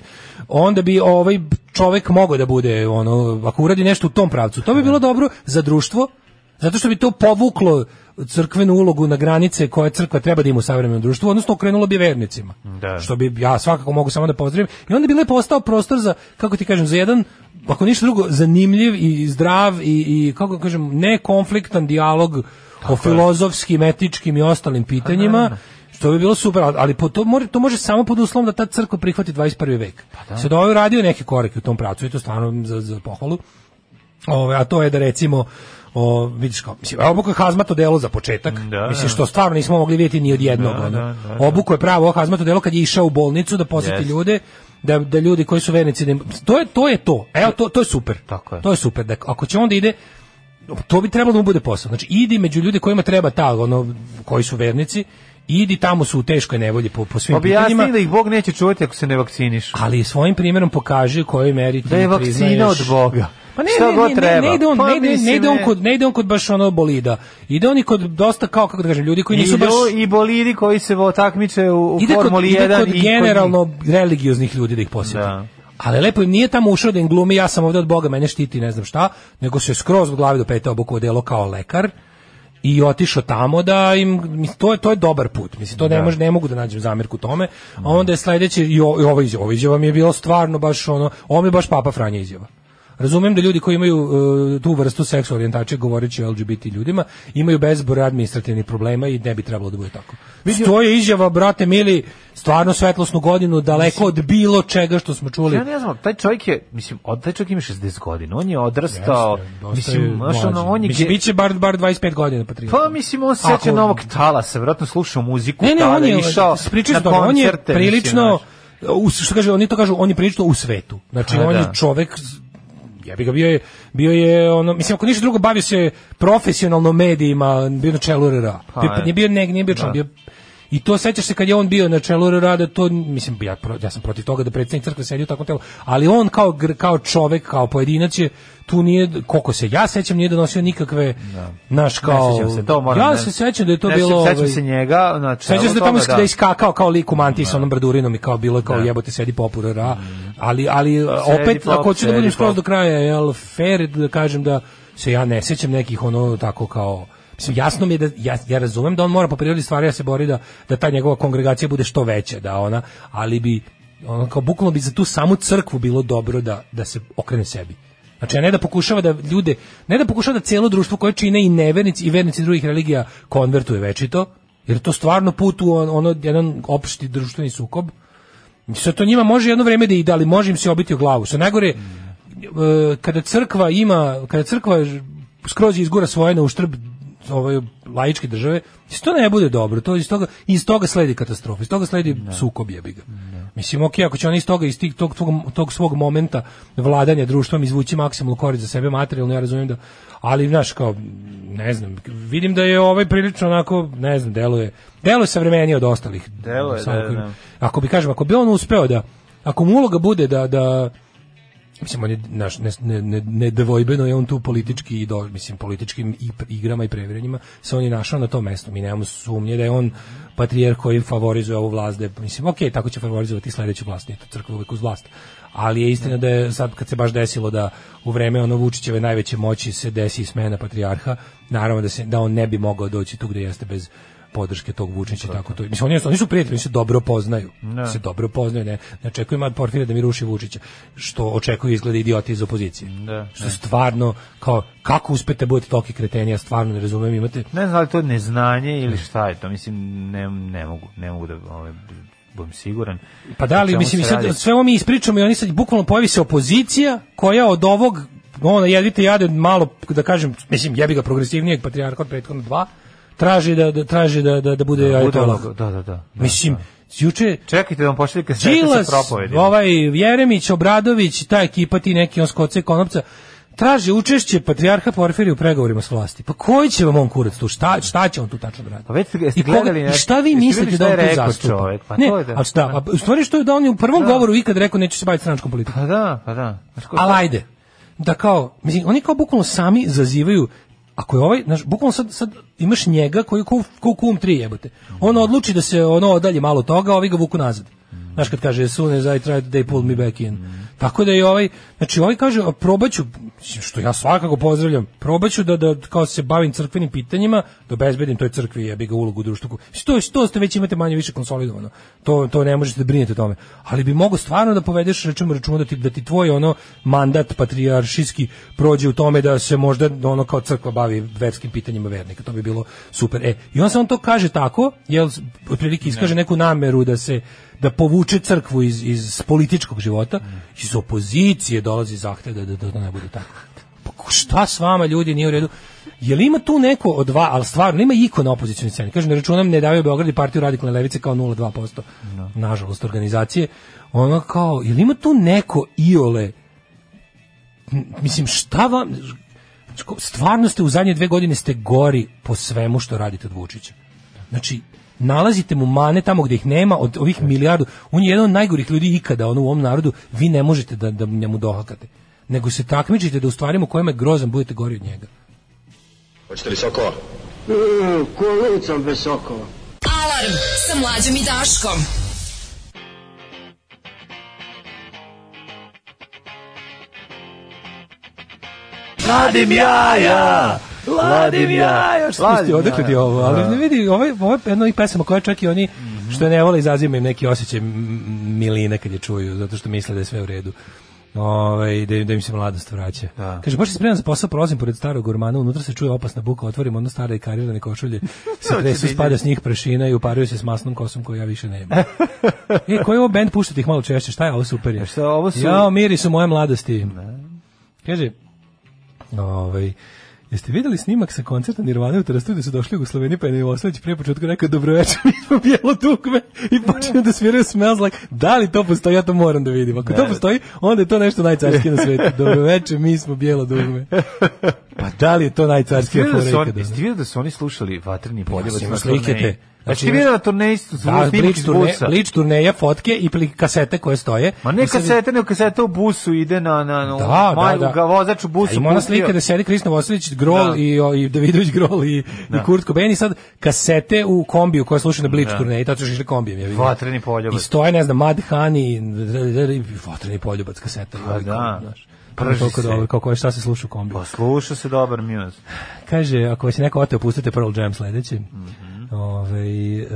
Speaker 7: onda bi ovaj čovjek mogao da bude ono ako uradi nešto u tom pravcu. To bi bilo dobro za društvo, zato što bi to povuklo crkvenu ulogu na granice koje crkva treba da ima u savremenom društvu, odnosno okrenulo bi vernicima.
Speaker 8: Da.
Speaker 7: Što bi ja svakako mogu samo da pozdravim. I onda bi lepo ostao prostor za, kako ti kažem, za jedan ako ništa drugo, zanimljiv i zdrav i, i kako kažem, nekonfliktan dijalog o filozofskim, etičkim i ostalim
Speaker 8: Pa
Speaker 7: pitanjima, što bi bilo super, ali- ali po to, more, to može samo pod uslovom da ta crkva prihvati 21. vek.
Speaker 8: da.
Speaker 7: Pa Sad ovaj radio neke korake u tom pravcu i to stvarno za, za pohvalu. Ove, a to je da recimo o, vidiš kao, mislim, evo obuka hazmato delo za početak,
Speaker 8: Da,
Speaker 7: mislim
Speaker 8: da.
Speaker 7: što stvarno nismo mogli vidjeti ni od jednog, ono. obuko je pravo hazmato delo kad je išao u bolnicu da posjeti
Speaker 8: Jest.
Speaker 7: ljude, da, da ljudi koji su vernici, da im- to je to, je to. evo to, to je super,
Speaker 8: Tako je.
Speaker 7: to je super, da ako će onda ide, to bi trebalo da mu bude posao, znači idi među ljude kojima treba ta, ono, koji su vernici, idi tamo su u teškoj nevolji po, po svim pitanjima,
Speaker 8: Objasni da ih Bog neće čuvati ako se ne vakciniš.
Speaker 7: ali svojim primjerom pokaže u kojoj meri ti
Speaker 8: Da je
Speaker 7: priznaješ-
Speaker 8: vakcina od Boga.
Speaker 7: Pa ne,
Speaker 8: Šta
Speaker 7: ne,
Speaker 8: god
Speaker 7: ne, ne,
Speaker 8: treba.
Speaker 7: ne ide on,
Speaker 8: Pa
Speaker 7: ne, ide, ne,
Speaker 8: mislim,
Speaker 7: ide on
Speaker 8: ne.
Speaker 7: kod, ne ide on kod baš ono bolida. Ide on i kod dosta kao, kako da kažem, ljudi koji
Speaker 8: I,
Speaker 7: nisu baš...
Speaker 8: lju- I bolidi koji se vo- takmiče u, u
Speaker 7: Ide kod,
Speaker 8: Formuli
Speaker 7: ide
Speaker 8: 1
Speaker 7: kod
Speaker 8: i
Speaker 7: generalno religioznih ljudi da ih posjeti.
Speaker 8: Da.
Speaker 7: ali lepo nije tamo ušao da im glumi, ja sam ovde od Boga, mene štiti, ne znam šta, nego se skroz od glave do peta obukao delo kao lekar i otišao tamo da im mislim, to je to je dobar put. Mislim to ne može ne mogu da nađem zamerku tome. A onda je sledeće i o- i ovo izjava, ovo izjava mi je bilo stvarno baš ono, ovo mi je baš Papa Franja izjava. Razumem da ljudi koji imaju e, tu vrstu seks orijentacije govoreći o LGBT ljudima imaju bezbroj administrativnih problema i ne bi trebalo da bude tako. To je izjava, brate mili, stvarno svetlosnu godinu, daleko od bilo čega što smo čuli.
Speaker 8: Ja ne znam, taj čovjek je, mislim, od, taj čovjek ima 60 godina, on je odrastao,
Speaker 7: Dosta je
Speaker 8: mislim, znaš, ono,
Speaker 7: mlađi.
Speaker 8: on je...
Speaker 7: Mislim,
Speaker 8: ge-
Speaker 7: biće bar, bar 25 godina, pa 30.
Speaker 8: Pa mislim on se seća
Speaker 7: Ako-
Speaker 8: novog talasa, verovatno slušao muziku,
Speaker 7: Ne, ne,
Speaker 8: tada
Speaker 7: on je
Speaker 8: išao
Speaker 7: pričao
Speaker 8: na
Speaker 7: da on je
Speaker 8: koncerte, mislim,
Speaker 7: prilično
Speaker 8: znaš.
Speaker 7: u, što kaže, oni to kažu, on je prilično u svetu. Znači
Speaker 8: Pa
Speaker 7: on je
Speaker 8: da.
Speaker 7: čovek z- ja bi ga bio je, bio je ono, mislim ako ništa drugo bavio se profesionalno medijima, bio na čelu RRA.
Speaker 8: Pa,
Speaker 7: Bio- nije bio neg, nije bio član,
Speaker 8: da.
Speaker 7: bio I to sećaš se kad je on bio na čelu RRA da to mislim ja, pro- ja sam protiv toga da predsednik crkve sedi u takvom telu, ali on kao gr- kao čovek, kao pojedinac je tu nije koliko se ja sećam nije donosio nikakve naš kao
Speaker 8: Da. Ne sjećam se, to moram,
Speaker 7: Ja
Speaker 8: ne-
Speaker 7: se sećam da je to
Speaker 8: ne
Speaker 7: bilo
Speaker 8: sjećam
Speaker 7: ovaj,
Speaker 8: se njega, znači
Speaker 7: Sećaš se da tamo da.
Speaker 8: da
Speaker 7: da iskakao kao lik u mantiji sa onom bradurinom i kao bilo je kao jebote sedi popura ra. Ali ali opet
Speaker 8: pop,
Speaker 7: ako hoću da
Speaker 8: sedi
Speaker 7: budem skroz
Speaker 8: pop.
Speaker 7: do kraja, jel fair da kažem da se ja ne sećam nekih ono tako kao Mislim, jasno mi je da, ja, ja razumem da on mora po prirodi stvari da se bori da, da ta njegova kongregacija bude što veća, da ona, ali bi, ono, kao bukvalno bi za tu samu crkvu bilo dobro da, da se okrene sebi. Znači, a ne da pokušava da ljude, ne da pokušava da cijelo društvo koje čine i nevernici i vernici drugih religija konvertuje večito, jer je to stvarno put u on- ono, jedan opšti društveni sukob, Sve to njima može jedno vrijeme da ide, ali može im se obiti o glavu. Što najgore, e, kada crkva ima, kada crkva ž- skroz izgura svoje na uštrb ovaj laičke države, iz to ne bude dobro. To iz toga iz toga sledi katastrofa, iz toga sledi sukob jebi ga. Mislim, ok, ako će oni iz toga iz tih, tog, tog, tog svog momenta vladanja društvom izvući maksimalnu korist za sebe materijalno, ja razumijem da, ali znaš kao ne znam, vidim da je ovaj prilično onako, ne znam, deluje deluje savremeniji od ostalih.
Speaker 8: Deluje,
Speaker 7: Samo
Speaker 8: da,
Speaker 7: koji-
Speaker 8: da.
Speaker 7: ako bi kažem, ako bi on uspeo da ako mu uloga bude da da mislim on je naš ne, ne, ne, nedvojbeno je on tu politički i do, mislim političkim i pr- igrama i previranjima se on je našao na tom mestu. Mi nemamo sumnje da je on patrijarh koji favorizuje ovu vlast, da je, mislim okej, tako će favorizovati i sledeću vlast, nije to crkva uvek uz vlast. Ali je istina da je sad kad se baš desilo da u vreme ono Vučićeve najveće moći se desi i smena patrijarha, naravno da se da on ne bi mogao doći tu gde jeste bez podrške tog Vučića tako to. Mislim oni su, oni su prijatelji, oni se dobro poznaju.
Speaker 8: Da.
Speaker 7: Se dobro poznaju, ne, ne očekujem od Porfirija da mi ruši Vučića, što očekuju izgleda idioti iz opozicije.
Speaker 8: Da,
Speaker 7: što stvarno kao kako uspete da budete toki kreteni, ja stvarno ne razumem, imate
Speaker 8: Ne znam da li je to neznanje ili šta je to, mislim, ne, ne mogu, ne mogu da ovaj, budem siguran.
Speaker 7: Pa da
Speaker 8: O
Speaker 7: li,
Speaker 8: čemu
Speaker 7: mislim, i
Speaker 8: se
Speaker 7: sad,
Speaker 8: radi?
Speaker 7: sve ovo mi ispričamo i oni sad bukvalno pojavi se opozicija koja od ovog, ono, jedite jade od malo, da kažem, mislim, jebi ga progresivnijeg patrijarka od prethodno dva, traži da, da traži da, da, da bude da,
Speaker 8: Bude ono- Da, da, da.
Speaker 7: Mislim, juče,
Speaker 8: Čekajte da vam pošaljem kasete
Speaker 7: Đilas,
Speaker 8: sa propovedima.
Speaker 7: ovaj Jeremić, Obradović, i ta ekipa, ti neki on skoce konopca, traže učešće patrijarha Porfirija u pregovorima s vlasti. Pa koji će vam on kurac tu? Šta, šta će on tu tačno da radi?
Speaker 8: Pa već ste- jeste
Speaker 7: I koga-
Speaker 8: gledali,
Speaker 7: i šta vi
Speaker 8: jeste
Speaker 7: mislite da
Speaker 8: vidjeli
Speaker 7: on
Speaker 8: šta je
Speaker 7: tu
Speaker 8: rekao
Speaker 7: zastupa?
Speaker 8: čovjek? Pa
Speaker 7: ne,
Speaker 8: to je da-
Speaker 7: ali šta, pa, u stvari što je da on je u prvom govoru ikad rekao neću se baviti stranačkom politikom.
Speaker 8: Pa da, pa da. Znaš ko-
Speaker 7: Ali ajde, da kao, mislim, oni kao bukvalno sami zazivaju Ako je ovaj, znaš, bukvalno sad, sad imaš njega koji ko, ko kum tri jebote. On odluči da se ono odalji malo od toga, a ovi ga vuku nazad. Znaš kad kaže, as soon as I tried, they pulled me back in. Tako da je ovaj, znači ovaj kaže, a probaću, mislim, što ja svakako pozdravljam, probaću da, da kao se bavim crkvenim pitanjima, da obezbedim toj crkvi jebi ga ulogu u društvu. Što, što ste već imate manje više konsolidovano. To, to ne možete da brinete o tome. Ali bi mogo stvarno da povedeš rečemo računa da ti, da ti tvoj ono mandat patrijaršijski prođe u tome da se možda ono kao crkva bavi verskim pitanjima vernika. To bi bilo super. E, i on se on to kaže tako, jel otprilike iskaže neku nameru da se da povuče crkvu iz, iz političkog života, iz opozicije dolazi zahtev da, da, da to ne bude tako pa ko- šta s vama ljudi nije u redu je li ima tu neko od dva ali stvarno nema iko na opozicionoj sceni kažem ne računam ne davaju Beograd i partiju radikalne levice kao 0,2% nažalost organizacije ono kao je li ima tu neko iole M- mislim šta vam stvarno ste u zadnje dve godine ste gori po svemu što radite od Vučića znači nalazite mu mane tamo gde ih nema od ovih milijardu on je jedan od najgorih ljudi ikada ono u ovom narodu vi ne možete da, da njemu dohakate nego se takmičite da u stvarima u kojima je grozan budete gori od njega
Speaker 9: Hoćete li sokova?
Speaker 5: Alarm sa mlađom i Daškom.
Speaker 7: Ladim jaja! Ladim
Speaker 8: Ladim
Speaker 7: jaja! Što
Speaker 8: jaja.
Speaker 7: ste
Speaker 8: Ladim
Speaker 7: odakle ti
Speaker 8: jaja.
Speaker 7: ovo? Ali ne vidi, ovo je, ovo je jedna od onih pesama koja čak i oni što je ne vole izaziva im neki osjećaj m- m- miline kad je čuju, zato što misle da je sve u redu. Ove, da, im- da im se mladost vraća.
Speaker 8: Da.
Speaker 7: Kaže, baš se spremam za posao, prolazim pored starog gurmana, unutra se čuje opasna buka, otvorim ono stare i karirane košulje, se
Speaker 8: Hoće
Speaker 7: tresu,
Speaker 8: da ide.
Speaker 7: spada s njih prašina i uparuju se s masnom kosom koju ja više nemam. e, koji je ovo band, puštate ih malo češće, šta je ovo super je?
Speaker 8: Šta, ovo su-
Speaker 7: Jao, miri su moje mladosti. Kaže, ovaj, Jeste videli snimak sa koncerta Nirvana u Trstu gde su došli Jugosloveni pa je Milošević prije početka rekao dobroveče, mi smo bijelo dugme i počinju da sviraju Smells Like. Da li to postoji? Ja to moram da vidim. Ako to postoji, onda je to nešto najcarskije na svetu. Dobroveče, mi smo bijelo dugme. Pa da li je to najcarskija
Speaker 8: Vidio da su
Speaker 7: fora
Speaker 8: oni,
Speaker 7: ikada?
Speaker 8: jeste vidio da su oni slušali vatreni poljevac
Speaker 7: sam
Speaker 8: na
Speaker 7: slike te.
Speaker 8: turneji?
Speaker 7: Znači,
Speaker 8: Znači, ti vidio na turneji su
Speaker 7: Da,
Speaker 8: snimke
Speaker 7: lič,
Speaker 8: iz
Speaker 7: turne,
Speaker 8: busa?
Speaker 7: lič turneja, fotke i pli- kasete koje stoje.
Speaker 8: Ma ne
Speaker 7: I sad-
Speaker 8: kasete, nego kasete u busu ide na, na, na
Speaker 7: Da,
Speaker 8: maj-
Speaker 7: da, da.
Speaker 8: ga vozač u busu.
Speaker 7: A ima ona
Speaker 8: pustio.
Speaker 7: slika da sedi Krisno Vosilić, Grol
Speaker 8: Da.
Speaker 7: i, o, i Davidović Grol i, i Kurt Cobain i sad kasete u kombiju koja sluša na Blitz
Speaker 8: Da.
Speaker 7: turneji, tad su još išli kombijem. Ja vidim.
Speaker 8: Vatreni
Speaker 7: I
Speaker 8: poljevac.
Speaker 7: stoje, ne znam, Mad Hani, i vatreni poljubac kaseta.
Speaker 8: Pa da.
Speaker 7: Prži
Speaker 8: Prži
Speaker 7: toliko
Speaker 8: se.
Speaker 7: dobro, kako je šta se sluša u kombiju.
Speaker 8: Pa sluša se dobar mjuz.
Speaker 7: Kaže, ako vas je neko oteo, pustite Pearl Jam sledeći. Ovaj, e,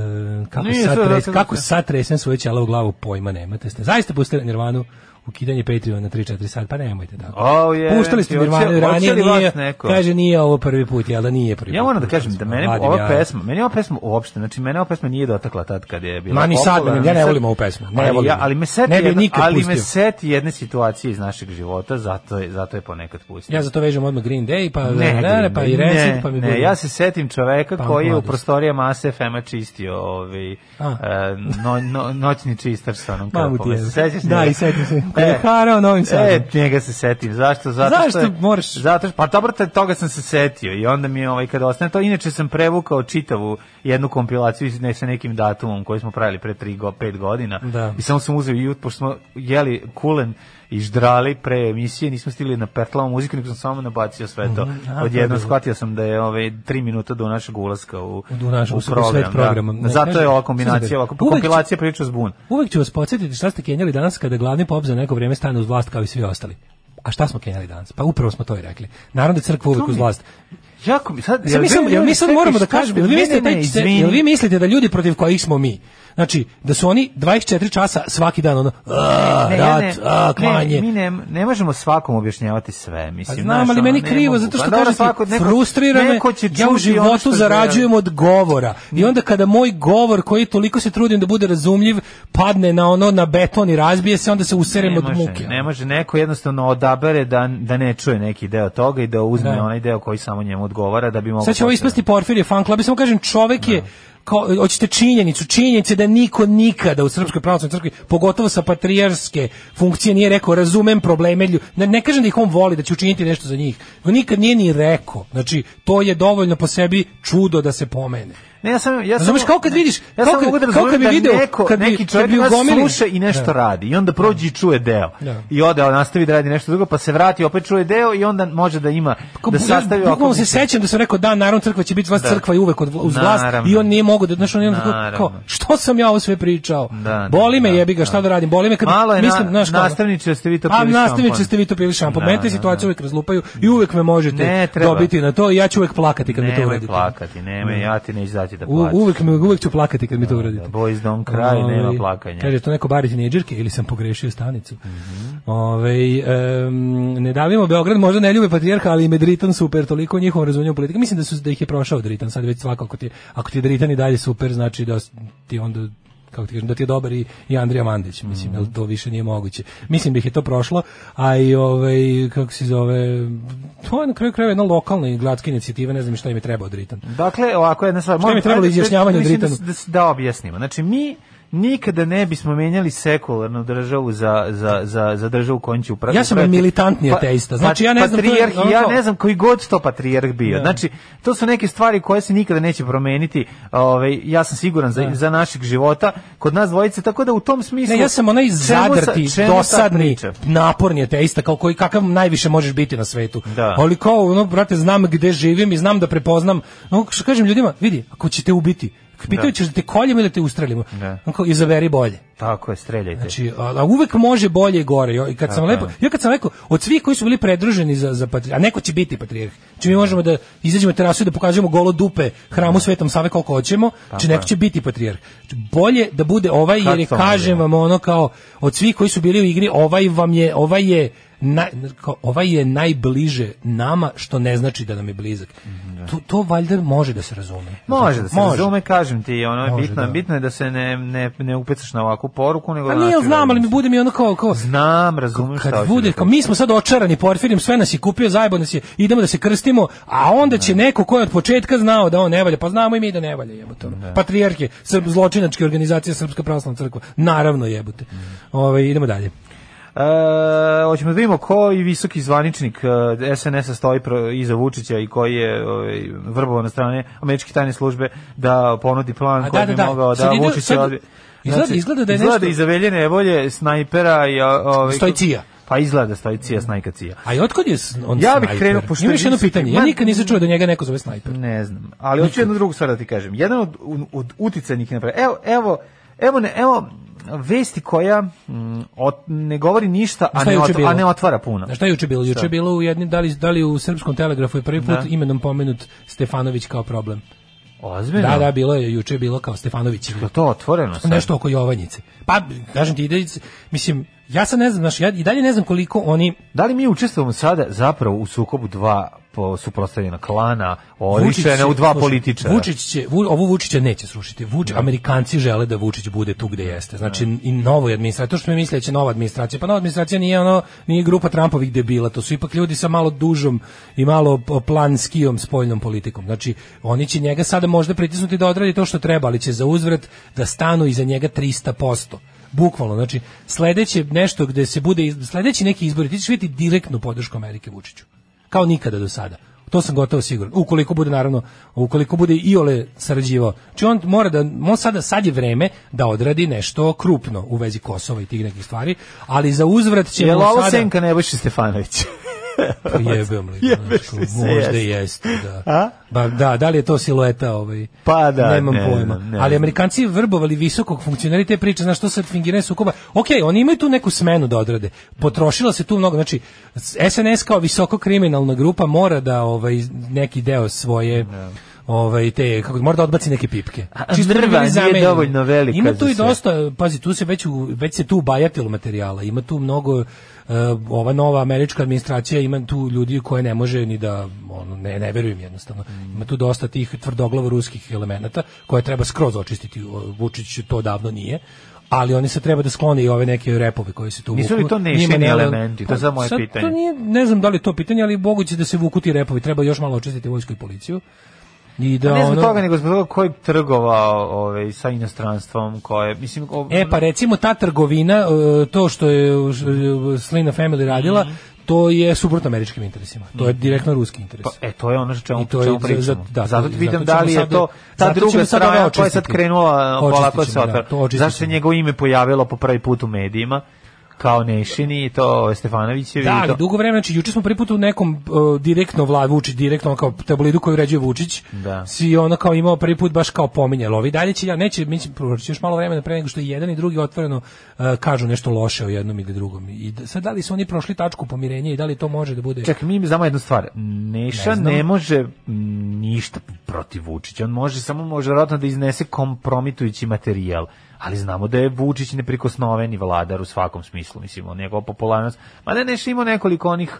Speaker 7: kako,
Speaker 8: Mhm. Nije da
Speaker 7: sad
Speaker 8: sve
Speaker 7: tres,
Speaker 8: zato-
Speaker 7: kako sad tresem svoje ćelo u glavu, pojma nemate. Ste zaista pustili Nirvanu ukidanje Patreon na 3-4 sat, pa nemojte tako.
Speaker 8: O, je,
Speaker 7: Puštali ste
Speaker 8: ti, hoće-
Speaker 7: Nirvanu ranije,
Speaker 8: hoće li vas
Speaker 7: nije,
Speaker 8: neko?
Speaker 7: kaže nije ovo prvi put, jel da nije prvi
Speaker 8: Ja
Speaker 7: put.
Speaker 8: moram da kažem da mene
Speaker 7: Mladim
Speaker 8: ova
Speaker 7: ja.
Speaker 8: pesma, meni ova pesma uopšte, znači mene ova pesma nije dotakla tad kad je bila
Speaker 7: Ma ni sad
Speaker 8: popularna,
Speaker 7: mene, ja ne volim ovu pesmu, ne
Speaker 8: ali,
Speaker 7: volim
Speaker 8: ja,
Speaker 7: je.
Speaker 8: ali me seti,
Speaker 7: Ne bi je
Speaker 8: jedna,
Speaker 7: nikad
Speaker 8: ali me
Speaker 7: pustio.
Speaker 8: seti jedne situacije iz našeg života, zato je, zato je ponekad pustim.
Speaker 7: Ja za to vežem odmah Green Day, pa, ne,
Speaker 8: Green
Speaker 7: pa
Speaker 8: Day,
Speaker 7: i Rancid,
Speaker 8: da, ne,
Speaker 7: pa mi
Speaker 8: ne,
Speaker 7: bude-
Speaker 8: ja se setim čoveka
Speaker 7: Punk
Speaker 8: koji je u
Speaker 7: mladost.
Speaker 8: prostorijama ASE FM-a čistio ovaj,
Speaker 7: A.
Speaker 8: e, no, no, noćni čistač sa onom
Speaker 7: Mamu ti
Speaker 8: kapom.
Speaker 7: je.
Speaker 8: Se sećaš
Speaker 7: Da,
Speaker 8: njega?
Speaker 7: i setim se. Kad je harao Novim Sadom.
Speaker 8: E, njega se setim. Zašto? Zato
Speaker 7: Zašto
Speaker 8: što je,
Speaker 7: moraš?
Speaker 8: Zato što, pa dobro, te- toga sam se setio i onda mi je ovaj, kada ostane to, inače sam prevukao čitavu jednu kompilaciju iz- ne, sa nekim datumom koji smo pravili pre 3 go, 5 godina
Speaker 7: Da.
Speaker 8: i samo sam uzeo i ut, pošto smo jeli kulen i ždrali pre emisije, nismo stigli na pertlavu muziku, nego sam samo nabacio sve to.
Speaker 7: a, Mhm. to je
Speaker 8: Odjedno
Speaker 7: bilo.
Speaker 8: shvatio sam da je ovaj 3 minuta do našeg ulaska u,
Speaker 7: Do našeg- u svet
Speaker 8: da.
Speaker 7: programa. Ne,
Speaker 8: Zato
Speaker 7: kaže-
Speaker 8: je ova kombinacija, ovako, pa
Speaker 7: Uvek će-
Speaker 8: kompilacija priča s bun.
Speaker 7: Uvek ću vas podsjetiti šta ste kenjali danas kada glavni pop za neko vrijeme stane uz vlast kao i svi ostali. A šta smo kenjali danas? Pa upravo smo to i rekli. Narodna crkva uvek
Speaker 8: To
Speaker 7: uz
Speaker 8: mi-
Speaker 7: vlast.
Speaker 8: Jako mi sad...
Speaker 7: Sad mi, sam, jel mi sad
Speaker 8: čekaj,
Speaker 7: moramo da
Speaker 8: šta
Speaker 7: kažemo,
Speaker 8: ste-
Speaker 7: jel vi,
Speaker 8: ne, ne,
Speaker 7: mislite,
Speaker 8: ne,
Speaker 7: taj,
Speaker 8: izvini.
Speaker 7: jel vi mislite da ljudi protiv kojih smo mi, znači, da su oni 24 časa svaki dan ono, a,
Speaker 8: Ne, ja
Speaker 7: rat,
Speaker 8: ne,
Speaker 7: da a, klanje.
Speaker 8: Ne, mi ne, ne možemo svakom objašnjavati sve,
Speaker 7: Pa
Speaker 8: mislim.
Speaker 7: znam,
Speaker 8: znaš,
Speaker 7: ali
Speaker 8: ono,
Speaker 7: meni
Speaker 8: ne
Speaker 7: krivo,
Speaker 8: mogu.
Speaker 7: zato
Speaker 8: Pa
Speaker 7: što
Speaker 8: dobro,
Speaker 7: kažete,
Speaker 8: svako- neko-
Speaker 7: frustrira me,
Speaker 8: neko će
Speaker 7: ja u
Speaker 8: čuti ono
Speaker 7: životu
Speaker 8: što
Speaker 7: zarađujem od govora. I onda kada moj govor, koji toliko se trudim da bude razumljiv, padne na ono, na beton i razbije se, onda se userem
Speaker 8: Ne
Speaker 7: od
Speaker 8: može,
Speaker 7: muke.
Speaker 8: ne može, neko jednostavno odabere da, da ne čuje neki deo toga i da uzme
Speaker 7: Da.
Speaker 8: onaj deo koji samo njemu odgovara da bi mogao...
Speaker 7: Sad će ovo
Speaker 8: posebno.
Speaker 7: ispasti Porfirije fan klub, ja samo kažem čovek je kao, hoćete činjenicu, činjenice da niko nikada u Srpskoj pravoslavnoj crkvi, pogotovo sa patrijarske funkcije, nije rekao razumem probleme ljudi. Ne, ne kažem da ih on voli, da će učiniti nešto za njih. On nikad nije ni rekao. Znači, to je dovoljno po sebi čudo da se pomene.
Speaker 8: Ne, ja sam, ja sam,
Speaker 7: Razumeš, kao kad vidiš,
Speaker 8: ja
Speaker 7: kao
Speaker 8: samo
Speaker 7: kad-
Speaker 8: mogu da
Speaker 7: kao kad
Speaker 8: razumem
Speaker 7: bi
Speaker 8: da
Speaker 7: video,
Speaker 8: neko,
Speaker 7: kad bi-
Speaker 8: neki
Speaker 7: kad
Speaker 8: čovjek
Speaker 7: bi
Speaker 8: nas
Speaker 7: ugomili-
Speaker 8: sluša i nešto
Speaker 7: Da.
Speaker 8: radi i onda prođe i čuje deo.
Speaker 7: Da.
Speaker 8: I ode, on nastavi da radi nešto drugo, pa se vrati, opet čuje deo i onda može da ima,
Speaker 7: Pa Kao,
Speaker 8: da
Speaker 7: bu-
Speaker 8: sastavi
Speaker 7: bukvalno
Speaker 8: ovako-
Speaker 7: se sećam da sam rekao da naravno crkva će biti vas
Speaker 8: Da.
Speaker 7: crkva i uvek od, vla- uz vlast
Speaker 8: Naravno.
Speaker 7: i on nije mogao da znaš on je onda kao,
Speaker 8: Naravno.
Speaker 7: kao, što sam ja ovo sve pričao
Speaker 8: Da, da,
Speaker 7: boli me
Speaker 8: da,
Speaker 7: jebi ga
Speaker 8: da.
Speaker 7: šta da radim boli me kad
Speaker 8: Malo je
Speaker 7: mislim
Speaker 8: na-
Speaker 7: znaš kao-
Speaker 8: nastavniče, jeste vi to
Speaker 7: a
Speaker 8: pili
Speaker 7: nastavniče
Speaker 8: šampon?
Speaker 7: ste vi to pili šampon
Speaker 8: Da,
Speaker 7: mene te
Speaker 8: da,
Speaker 7: situacije
Speaker 8: da.
Speaker 7: uvek razlupaju i uvek me
Speaker 8: Ne
Speaker 7: možete
Speaker 8: treba.
Speaker 7: dobiti na to i ja ću uvek plakati kad mi da to
Speaker 8: Nemoj
Speaker 7: uradite
Speaker 8: plakati, nemoj, ja ti ne izaći da
Speaker 7: U,
Speaker 8: plaćaš.
Speaker 7: uvek, me, uvek ću plakati kad mi to uradite.
Speaker 8: da, boys don't cry,
Speaker 7: Ovaj,
Speaker 8: nema plakanja.
Speaker 7: Kaže, to neko bari tinejdžerke ili sam pogrešio stanicu. Ovaj, em, ne davimo Beograd, možda ne ljube patrijarha, ali im je Dritan super, toliko o njihovom razumiju politike. Mislim da, su, da ih je prošao Dritan, sad već svako, ako ti, ako ti je Dritan i dalje super, znači da s- ti onda kako ti kažem, da ti je dobar i, i Andrija Mandić, mislim, jel to više nije moguće. Mislim da ih je to prošlo, a i ovaj, kako se zove, to je na kraju krajeva jedna lokalna i gradska inicijativa, ne znam šta im je treba od Dritan.
Speaker 8: Dakle, ovako jedna stvar.
Speaker 7: Šta
Speaker 8: moram-
Speaker 7: mi je trebalo
Speaker 8: ajde,
Speaker 7: izjašnjavanje o
Speaker 8: mislim da-
Speaker 7: Dritanu?
Speaker 8: Da, s- da objasnimo. Znači, mi nikada ne bismo menjali sekularnu državu za, za, za, za državu kojom će upravljati. Pa,
Speaker 7: Ja sam militantni ateista. Znači, ja ne znam, to Da. je
Speaker 8: Patrijarh,
Speaker 7: ono
Speaker 8: ja
Speaker 7: kao-
Speaker 8: ne znam koji god to patrijarh bio. Znači, to su neke stvari koje se nikada neće promeniti. Ovaj, ja sam siguran za, za našeg života kod nas dvojice, tako da u tom smislu...
Speaker 7: Da. Ne, ja sam onaj
Speaker 8: čemu sa-
Speaker 7: zadrti,
Speaker 8: čemu sad
Speaker 7: dosadni,
Speaker 8: priča?
Speaker 7: naporni ateista, kao koji, kakav najviše možeš biti na svetu.
Speaker 8: Da.
Speaker 7: Ali kao, ono, brate, znam gde živim i znam da prepoznam, no, što kažem ljudima, vidi, ako ćete ubiti, pitaju ćeš da te koljemo ili da te ustrelimo.
Speaker 8: Da.
Speaker 7: Onako, izaberi bolje.
Speaker 8: Tako je, streljajte.
Speaker 7: Znači, a, a uvek može bolje i gore. Jo, I kad sam
Speaker 8: Tako je.
Speaker 7: lepo, ja kad sam rekao, od svih koji su bili predruženi za, za patrijarh, a neko će biti patrijarh, znači mi možemo da izađemo na terasu i da pokažemo golo dupe hramu Svetom Save koliko hoćemo, znači neko će biti patrijarh. Znači, bolje da bude ovaj,
Speaker 8: Kad
Speaker 7: jer je,
Speaker 8: to
Speaker 7: kažem
Speaker 8: možemo?
Speaker 7: vam ono kao, od svih koji su bili u igri, ovaj vam je, ovaj je naj, kao, ovaj je najbliže nama, što ne znači da nam je blizak. To, to valjda može da se razume.
Speaker 8: Mhm, Može da se
Speaker 7: Može.
Speaker 8: razume, kažem ti, ono je
Speaker 7: Može,
Speaker 8: bitno,
Speaker 7: da.
Speaker 8: bitno je da se ne, ne, ne upecaš na ovakvu poruku, nego...
Speaker 7: Pa
Speaker 8: da
Speaker 7: nije,
Speaker 8: naši
Speaker 7: znam, ali mi
Speaker 8: ljudi-
Speaker 7: bude mi ono kao, kao
Speaker 8: Znam, razumem šta
Speaker 7: kad
Speaker 8: hoćeš
Speaker 7: bude,
Speaker 8: da
Speaker 7: kao mi smo sad očarani porfirijom, sve nas je kupio, zajebo nas je, idemo da se krstimo, a onda će neko ko je od početka znao da on ne valja, pa znamo i mi da ne valja, jebote. ono. Patrijarh je, srb, zločinačke organizacije Srpska pravoslavna crkva, naravno jebote. Ovaj, idemo dalje.
Speaker 8: E, hoćemo da vidimo koji visoki zvaničnik e, SNS-a stoji pro, iza Vučića i koji je ovaj, vrbovan od strane američke tajne službe da ponudi plan
Speaker 7: A
Speaker 8: koji
Speaker 7: da,
Speaker 8: bi
Speaker 7: da, da.
Speaker 8: mogao da
Speaker 7: Sad ide-
Speaker 8: Vučić
Speaker 7: sad-
Speaker 8: odbije.
Speaker 7: izgleda- izgleda da je
Speaker 8: izgleda
Speaker 7: nešto-
Speaker 8: iza veljene volje snajpera i... o- Ovaj,
Speaker 7: Stoji cija.
Speaker 8: Pa izgleda stoji cija, snajka cija.
Speaker 7: A i otkud je s- on
Speaker 8: Ja bih
Speaker 7: snajper?
Speaker 8: krenuo, pošto
Speaker 7: Imam još jedno
Speaker 8: nisam-
Speaker 7: pitanje, ja
Speaker 8: Ma-
Speaker 7: nikad nisam čuo da njega neko zove snajper.
Speaker 8: Ne znam, ali hoću jednu drugu stvar da ti kažem. Jedan od, od uticajnih napravi. Evo, evo, evo, ne, evo vesti koja mm, ot- ne govori ništa, a
Speaker 7: Šta je
Speaker 8: ne,
Speaker 7: juče
Speaker 8: ot-
Speaker 7: bilo?
Speaker 8: a ne otvara puno.
Speaker 7: Znaš šta je juče bilo? Juče
Speaker 8: Šta?
Speaker 7: je bilo u jednim, da li, da li u Srpskom telegrafu je prvi put
Speaker 8: Da.
Speaker 7: imenom pomenut Stefanović kao problem.
Speaker 8: Ozbiljno?
Speaker 7: Da, da, bilo je, juče je bilo kao Stefanović.
Speaker 8: Je to otvoreno sad?
Speaker 7: nešto oko Jovanjice. Pa, kažem ti, ide, mislim, ja sad ne znam, znaš, ja i dalje ne znam koliko oni...
Speaker 8: Da li mi učestvujemo sada zapravo u sukobu dva po, suprostavljena klana,
Speaker 7: Vučić će-
Speaker 8: oličena u dva
Speaker 7: slušaj,
Speaker 8: političara?
Speaker 7: Vučić će, Vu- ovo Vučića neće srušiti. Vuč, Amerikanci žele da Vučić bude tu gde jeste. Znači,
Speaker 8: Da.
Speaker 7: i novoj administraciji, to što mi misle da će nova administracija, pa nova administracija nije ono, nije grupa Trumpovih debila, to su ipak ljudi sa malo dužom i malo p- planskijom spoljnom politikom. Znači, oni će njega sada možda pritisnuti da odradi to što treba, ali će za uzvrat da stanu iza njega 300%. Bukvalno, znači, sledeće nešto gde se bude, iz- sledeći neki izbori, ti ćeš vidjeti direktnu podršku Amerike Vučiću kao nikada do sada. To sam gotovo siguran. Ukoliko bude naravno, ukoliko bude Iole sarađivao. Znači on mora da on sada sad je vreme da odradi nešto krupno u vezi Kosova i tih nekih stvari, ali za uzvrat će
Speaker 8: Je
Speaker 7: mu
Speaker 8: li ovo
Speaker 7: sada
Speaker 8: senka Nebojša Stefanović?
Speaker 7: jebem li,
Speaker 8: Jebeš li se,
Speaker 7: možda
Speaker 8: jeste.
Speaker 7: i jeste, da.
Speaker 8: A?
Speaker 7: Ba, da, da li je to silueta ovaj?
Speaker 8: Pa da,
Speaker 7: nemam
Speaker 8: ne
Speaker 7: pojma.
Speaker 8: znam, ne
Speaker 7: Ali
Speaker 8: znam.
Speaker 7: Amerikanci vrobovali visokog funkcionera i te priče, znaš što sad fingiranje sukoba. Okej, oni imaju tu neku smenu da odrade. Potrošila se tu mnogo, znači SNS kao visoko kriminalna grupa mora da ovaj neki deo svoje ovaj te kako mora da odbaci neke pipke.
Speaker 8: Da. a
Speaker 7: da
Speaker 8: mrva
Speaker 7: bi bili
Speaker 8: nije
Speaker 7: zamenjeni.
Speaker 8: dovoljno velika
Speaker 7: Ima
Speaker 8: za
Speaker 7: tu i
Speaker 8: sve.
Speaker 7: dosta, pazi, tu se već u, već se tu ubajatilo materijala. Ima tu mnogo e, ova nova američka administracija ima tu ljudi koje ne može ni da ono ne ne verujem jednostavno.
Speaker 8: Mm.
Speaker 7: Ima tu dosta tih tvrdoglavo ruskih elemenata koje treba skroz očistiti. O, Vučić to davno nije ali oni se treba da sklone i ove neke repove koji se tu
Speaker 8: Nisu li
Speaker 7: vuku.
Speaker 8: to nešini
Speaker 7: Njima ne-
Speaker 8: elementi? To je sad moje
Speaker 7: sad
Speaker 8: pitanje.
Speaker 7: To nije, ne znam da li je to pitanje, ali moguće da se vuku ti repovi. Treba još malo očistiti vojsku i policiju. I da
Speaker 8: Pa ne zbog
Speaker 7: ono-
Speaker 8: toga, nego zbog toga koji trgovao ovaj, sa inostranstvom, koje, mislim... o-
Speaker 7: E pa recimo ta trgovina, e, to što je e, Slina Family radila,
Speaker 8: Mhm.
Speaker 7: to je suprotno američkim interesima. To je direktno ruski interes.
Speaker 8: Pa, e, to je ono što čemu,
Speaker 7: I to je
Speaker 8: čemu
Speaker 7: za-
Speaker 8: pričamo.
Speaker 7: da,
Speaker 8: zato ti
Speaker 7: zato
Speaker 8: pitam
Speaker 7: ćemo
Speaker 8: da li je
Speaker 7: sad-
Speaker 8: to ta
Speaker 7: zato
Speaker 8: druga
Speaker 7: ćemo sad ovo
Speaker 8: strana koja je sad
Speaker 7: očistiti.
Speaker 8: krenula e,
Speaker 7: Očistit
Speaker 8: polako se
Speaker 7: ćemo, da,
Speaker 8: otvara.
Speaker 7: to očistit
Speaker 8: Zašto se
Speaker 7: ćemo.
Speaker 8: njegovo ime pojavilo po prvi put u medijima? kao Nešini i to Stefanovićevi
Speaker 7: Da,
Speaker 8: i to.
Speaker 7: ali dugo vremena, znači juče smo prvi put u nekom e, direktno vlad Vučić, direktno ono kao tabloidu koji uređuje Vučić,
Speaker 8: Da.
Speaker 7: si ono kao imao prvi put baš kao pominjalo. Ovi dalje će, ja neće, mi će proći još malo vremena pre nego što i jedan i drugi otvoreno e, kažu nešto loše o jednom ili drugom. I da- sad da li su oni prošli tačku pomirenja i da li to može da bude...
Speaker 8: Čekaj, mi znamo jednu stvar. Neša
Speaker 7: Ne
Speaker 8: ne,
Speaker 7: znam.
Speaker 8: može mm, ništa protiv Vučića. On može samo može vjerojatno da iznese kompromitujući materijal. Ali znamo da je Vučić neprikosnoveni vladar u svakom smislu. Mislim, on njegova popularnost. Mada je Neša imao nekoliko onih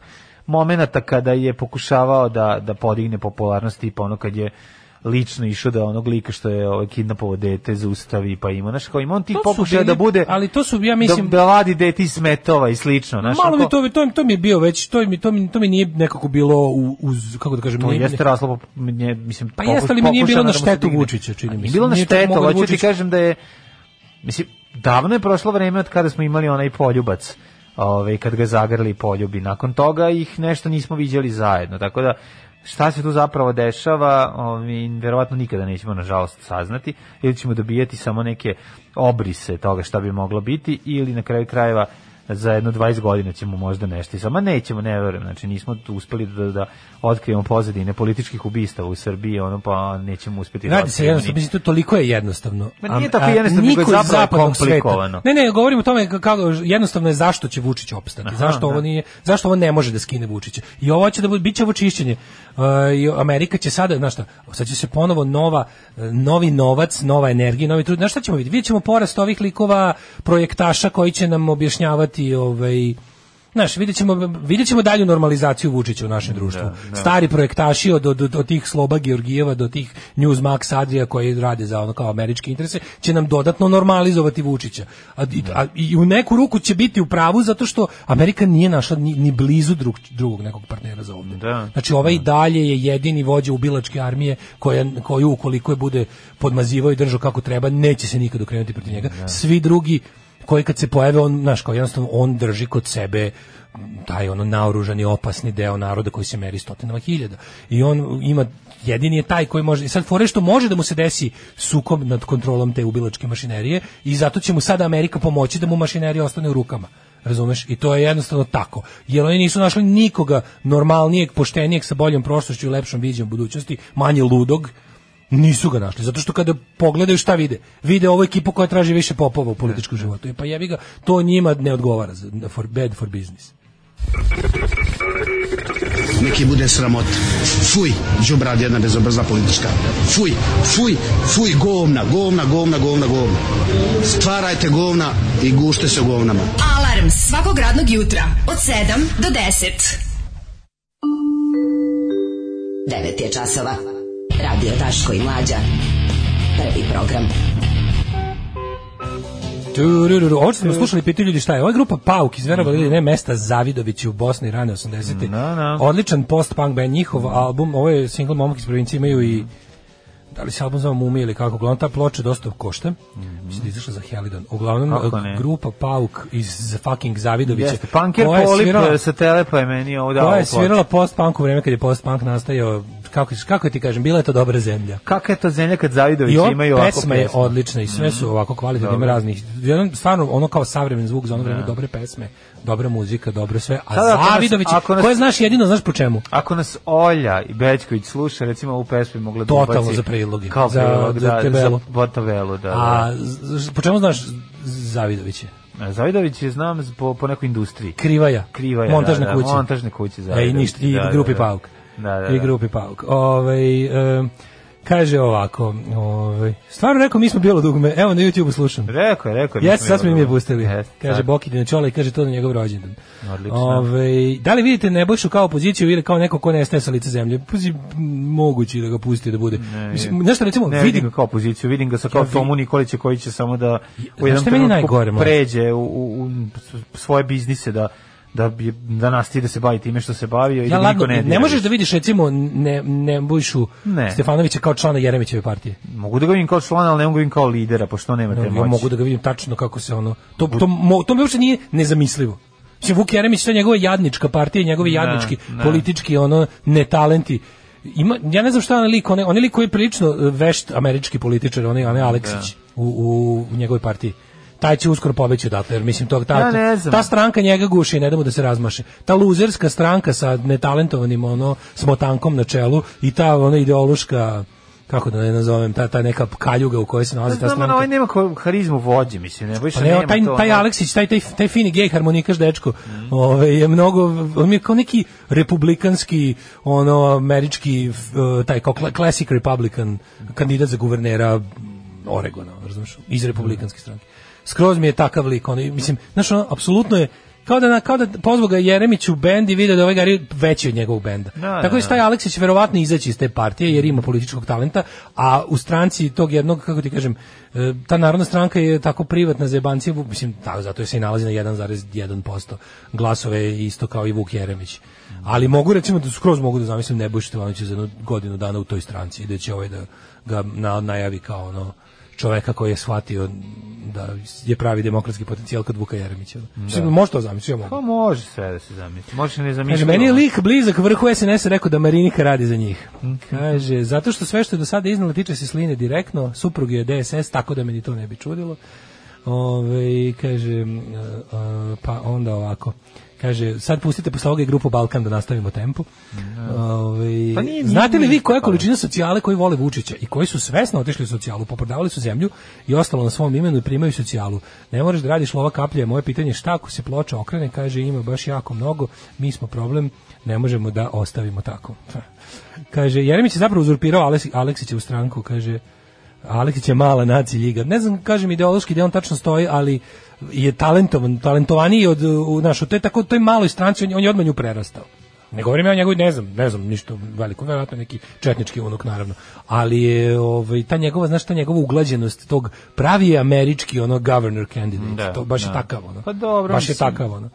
Speaker 8: momenata kada je pokušavao da, da podigne popularnost, tipa ono kad je lično išao da onog lika što je ovaj kidnapovo dete zaustavi pa ima znaš kao ima on tih
Speaker 7: To su
Speaker 8: pokušaja
Speaker 7: bili-
Speaker 8: da bude
Speaker 7: ali to su, ja mislim-
Speaker 8: da, da vadi deti iz smetova i slično znaš
Speaker 7: Malo
Speaker 8: ono
Speaker 7: mi to, to, to mi je bio već, to mi, to mi, to mi nije nekako bilo u- uz, kako da kažem,
Speaker 8: To
Speaker 7: nije-
Speaker 8: jeste raslo, nje, mislim,
Speaker 7: Pa jeste, ali mi nije
Speaker 8: pokušano
Speaker 7: bilo na
Speaker 8: da mu se
Speaker 7: štetu
Speaker 8: digne.
Speaker 7: Vučića, čini
Speaker 8: A
Speaker 7: mi
Speaker 8: nije
Speaker 7: se.
Speaker 8: bilo na
Speaker 7: Nije to
Speaker 8: štetu,
Speaker 7: moglo
Speaker 8: hoću ti
Speaker 7: Vučić-
Speaker 8: kažem da je, mislim, davno je prošlo vreme od kada smo imali onaj poljubac, ovaj, kad ga zagrli poljubi. Nakon toga ih nešto nismo viđali zajedno, tako da šta se tu zapravo dešava, ovaj, verovatno nikada nećemo, nažalost, saznati, ili ćemo dobijati samo neke obrise toga šta bi moglo biti, ili na kraju krajeva za jedno 20 godina ćemo možda nešto. I Samo nećemo, ne verujem. Znači nismo tu uspeli da, da otkrijemo pozadine političkih ubistava u Srbiji, ono pa nećemo uspeti. da
Speaker 7: Radi se
Speaker 8: otkrijemo
Speaker 7: jednostavno,
Speaker 8: ni-
Speaker 7: mislim, to toliko je jednostavno.
Speaker 8: Ma nije
Speaker 7: A-
Speaker 8: tako
Speaker 7: a
Speaker 8: jednostavno, nego je
Speaker 7: niko iz
Speaker 8: zapravo
Speaker 7: zapadnog sveta-
Speaker 8: komplikovano.
Speaker 7: Ne, ne, govorim o tome k- kako jednostavno je zašto će Vučić opstati.
Speaker 8: Aha,
Speaker 7: zašto ovo
Speaker 8: da.
Speaker 7: nije, zašto ovo ne može da skine Vučića. I ovo će da bude biće ovo čišćenje. Uh, i Amerika će sada, znaš šta, sad će se ponovo nova e, novi novac, nova energija, novi trud. Znaš šta ćemo vidjeti? Vidjet ćemo porast ovih likova projektaša koji će nam objašnjavati ovaj Znaš, vidjet ćemo, vidjet ćemo dalju normalizaciju Vučića u našem društvu. Stari projektaši od, od, od tih Sloba Georgijeva do tih Newsmax Adria koji rade za ono kao američke interese, će nam dodatno normalizovati Vučića. A, i, a, I u neku ruku će biti u pravu zato što Amerika nije našla ni, ni blizu drug, drugog nekog partnera za ovdje.
Speaker 8: Da.
Speaker 7: Znači, ovaj i dalje je jedini vođa ubilačke armije koja, koju ukoliko je bude podmazivao i držao kako treba, neće se nikad okrenuti protiv njega. Svi drugi koji kad se pojave, on, znaš, kao jednostavno on drži kod sebe taj ono naoružani opasni deo naroda koji se meri stotinama hiljada i on ima jedini je taj koji može i sad fore što može da mu se desi sukob nad kontrolom te ubilačke mašinerije i zato će mu sada Amerika pomoći da mu mašinerija ostane u rukama Razumeš? I to je jednostavno tako. Jer oni nisu našli nikoga normalnijeg, poštenijeg, sa boljom prošlošću i lepšom viđenjem budućnosti, manje ludog, nisu ga našli. Zato što kada pogledaju šta vide, vide ovu ekipu koja traži više popova u političkom životu. I pa jebi ga, to njima ne odgovara. za- For, bad for business.
Speaker 4: Neki bude sramot. Fuj, džubrad jedna bezobrazna politička. Fuj, fuj, fuj, govna, govna, govna, govna, govna. Stvarajte govna i gušte se u govnama.
Speaker 5: Alarm svakog radnog jutra od 7 do 10. 9 je časova. Radio Daško i Mlađa. Prvi program.
Speaker 7: Turururu. Ovo što smo slušali, pitaju ljudi šta je. Ova grupa Pauk iz Verova ili ne mesta Zavidovići u Bosni rane 80.
Speaker 8: Mhm. Da, da.
Speaker 7: Odličan post-punk band, njihov album, ovo je single Momak iz provincije, imaju i da li se album zove Mumije ili kako, uglavnom ta ploča dosta košta, mislim da je izašla za Helidon. Uglavnom,
Speaker 8: Mhm. Kako ne?
Speaker 7: grupa Pauk iz fucking Zavidovića.
Speaker 8: Jeste, punker
Speaker 7: koja je
Speaker 8: polip
Speaker 7: svirala-
Speaker 8: e, sa telepa je meni ovo dao.
Speaker 7: koja je
Speaker 8: u ploču.
Speaker 7: svirala post-punk u vreme kad je post-punk nastajao, kako, kako ti kažem, bila je to dobra zemlja.
Speaker 8: Kaka je to zemlja kad Zavidović
Speaker 7: I ova
Speaker 8: imaju ovako
Speaker 7: pesma je
Speaker 8: pesmu? Mhm.
Speaker 7: odlična i sve su ovako kvalitetne, ima
Speaker 8: Dobro.
Speaker 7: raznih. Jedan stvarno ono kao savremen zvuk za ono vreme, dobre pesme, dobra muzika, dobro sve. A
Speaker 8: Sada Da, ako nas-
Speaker 7: Zavidović,
Speaker 8: ako nas-
Speaker 7: koje znaš jedino, znaš po čemu?
Speaker 8: Ako nas Olja i Bećković sluša, recimo ovu pesmu je mogla da
Speaker 7: Totalno
Speaker 8: ubaci
Speaker 7: za priloge,
Speaker 8: Kao
Speaker 7: za-
Speaker 8: prilog,
Speaker 7: za
Speaker 8: da,
Speaker 7: tabelu.
Speaker 8: za tabelu, da.
Speaker 7: A z- z- po čemu znaš Zavidović? je?
Speaker 8: da. Zavidović je znam z- po, po nekoj industriji.
Speaker 7: Krivaja.
Speaker 8: Kriva je,
Speaker 7: Montažne
Speaker 8: da, da,
Speaker 7: kuće.
Speaker 8: montažne kuće
Speaker 7: E,
Speaker 8: Zavidović,
Speaker 7: i, ništa, i
Speaker 8: da, da,
Speaker 7: grupi
Speaker 8: da.
Speaker 7: Pauk.
Speaker 8: Da, da,
Speaker 7: I
Speaker 8: da.
Speaker 7: grupi Pauk. Ovaj, e, kaže ovako, ovaj, stvarno rekao, mi smo bilo dugme, evo na YouTube slušam.
Speaker 8: Rekao je, rekao
Speaker 7: Jeste, sad smo im je pustili.
Speaker 8: Kaže
Speaker 7: kaže Bokidina Čola i kaže to na njegov rođendan.
Speaker 8: Odlično.
Speaker 7: Ovaj, da li vidite Nebojšu kao opoziciju ili kao neko ko nestaje sa lica zemlje? Puzi, moguće da ga pusti da bude. Mislim, nešto recimo,
Speaker 8: Ne
Speaker 7: vidi,
Speaker 8: vidim ga kao opoziciju, vidim ga sa kao
Speaker 7: Ja vi-
Speaker 8: Tomu Nikolića koji će samo da u
Speaker 7: Znaš
Speaker 8: jednom
Speaker 7: šta je meni
Speaker 8: trenutku
Speaker 7: najgore, mlađe?
Speaker 8: pređe u, u, u svoje biznise da da bi- da nastavi da se bavi time što se bavio i
Speaker 7: Ja
Speaker 8: da ga
Speaker 7: ladno,
Speaker 8: niko ne
Speaker 7: ne,
Speaker 8: dira
Speaker 7: možeš
Speaker 8: više.
Speaker 7: da vidiš recimo ne, Nebojšu
Speaker 8: Ne.
Speaker 7: Stefanovića kao člana Jeremićeve partije.
Speaker 8: Mogu da ga vidim kao člana, ali ne mogu da vidim kao lidera, pošto nema te
Speaker 7: Ja
Speaker 8: moći.
Speaker 7: mogu da ga vidim tačno kako se ono to to mo, to mi uopšte nije nezamislivo. Mislim Vuk Jeremić to je njegova jadnička partija, i njegovi
Speaker 8: Da,
Speaker 7: jadnički
Speaker 8: ne.
Speaker 7: politički ono netalenti. Ima ja ne znam šta je onaj lik, onaj, onaj lik koji je prilično eh, vešt američki političar, onaj onaj Aleksić
Speaker 8: Da.
Speaker 7: u, u, u njegovoj partiji. Taj će uskoro pobeći odatle, jer mislim to ta,
Speaker 8: Ja ne znam.
Speaker 7: ta stranka njega guši i ne da mu da se razmaše. Ta luzerska stranka sa netalentovanim ono smotankom na čelu i ta ona ideološka kako da ne nazovem, ta, ta neka kaljuga u kojoj se nalazi ta
Speaker 8: Znam,
Speaker 7: stranka.
Speaker 8: ono, ovaj nema ko- harizmu vođe, mislim, ne bojiš
Speaker 7: Pa
Speaker 8: se
Speaker 7: ne,
Speaker 8: nema
Speaker 7: taj,
Speaker 8: to,
Speaker 7: taj
Speaker 8: ono.
Speaker 7: Aleksić, taj, taj, taj fini gej harmonikaš dečko, ovaj, je mnogo, on je kao neki republikanski, ono, američki, f- eh, taj kao kla- classic republican kandidat za guvernera Oregona, razumiješ, iz republikanske stranke. Skroz mi je takav lik, ono, i mislim, znaš, ono, apsolutno je, kao da, na- kao da pozvao ga Jeremić u bend i vidio da je ovaj Gari veći od njegovog benda.
Speaker 8: da,
Speaker 7: Tako da će
Speaker 8: da.
Speaker 7: taj Aleksić verovatno izaći iz te partije jer ima političkog talenta, a u stranci tog jednog, kako ti kažem, e, ta narodna stranka je tako privatna za jebancije, Vuk- mislim, tako, zato se i nalazi na 1,1% glasove isto kao i Vuk Jeremić. Ali mogu recimo da skroz mogu da zamislim Nebojšu Stevanovića za jednu godinu dana u toj stranci i da će ovaj da ga na, najavi kao ono čoveka koji je shvatio da je pravi demokratski potencijal kod Vuka Jeremića. Mislim, Može to zamisliti, ja mogu.
Speaker 8: Pa može sve da se zamisli. Možeš i ne
Speaker 7: Kaže,
Speaker 8: zamisliti.
Speaker 7: meni je lik blizak vrhu SNS rekao da Marinika radi za njih. Kaže, zato što sve što je do sada iznala tiče se sline direktno, suprug je DSS, tako da meni to ne bi čudilo. Ove, kaže, a, pa onda ovako. Kaže, sad pustite posle ovoga i grupu Balkan da nastavimo tempo. Ove,
Speaker 8: Pa nije-
Speaker 7: znate li
Speaker 8: nije
Speaker 7: vi koja je
Speaker 8: ispalo.
Speaker 7: količina socijale koji vole Vučića i koji su svesno otišli u socijalu, poprodavali su zemlju i ostalo na svom imenu i primaju socijalu. Ne moraš da radiš lova kaplja, je moje pitanje šta ako se ploča okrene, kaže ima baš jako mnogo, mi smo problem, ne možemo da ostavimo tako. Kaže, Jeremić je zapravo uzurpirao Aleks- Aleksićevu stranku, kaže, Aleksić je mala naci ljiga. Ne znam, kažem ideološki gde on tačno stoji, ali je talentovan, talentovaniji od, u, znaš, u toj, tako, u toj maloj stranci, on, je- on je odmah nju prerastao. Ne govorim ja o njegovoj, ne znam, ne znam ništa veliko, verovatno neki četnički unuk naravno, ali je ovaj, ta njegova, znaš, ta njegova uglađenost tog pravi je američki ono governor candidate,
Speaker 8: Da,
Speaker 7: to baš je
Speaker 8: da.
Speaker 7: takav ono.
Speaker 8: Pa dobro,
Speaker 7: baš je
Speaker 8: mislim.
Speaker 7: takav ono.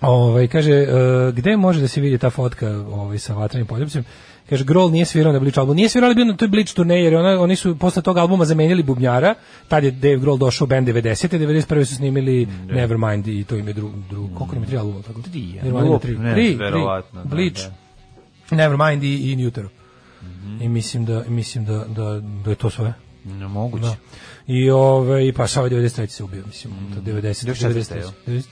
Speaker 7: Ovaj kaže e, gde može da se vidi ta fotka ovaj sa vatrenim poljubcem? Kaže Grol nije svirao na Bleach albumu. Nije svirao, ali bio na toj Bleach turneji jer ona, oni su posle tog albuma zamenili bubnjara. Tad je Dave Grohl došao u band 90. 91. su snimili Nevermind i to im je drugo dru, koliko im je tri albuma tako?
Speaker 8: Da. Tri, ja.
Speaker 7: Nevermind ima tri.
Speaker 8: Ne,
Speaker 7: Tri,
Speaker 8: verovatno,
Speaker 7: tri.
Speaker 8: da,
Speaker 7: Bleach, Nevermind i, i In Utero.
Speaker 8: Mhm.
Speaker 7: I mislim da mislim da da da je to sve.
Speaker 8: Ne moguće.
Speaker 7: Da. I ovaj pa sa 93 se ubio mislim. Mm.
Speaker 8: Mhm.
Speaker 7: 90
Speaker 8: 94.,
Speaker 7: 93.
Speaker 8: jel?
Speaker 7: 90.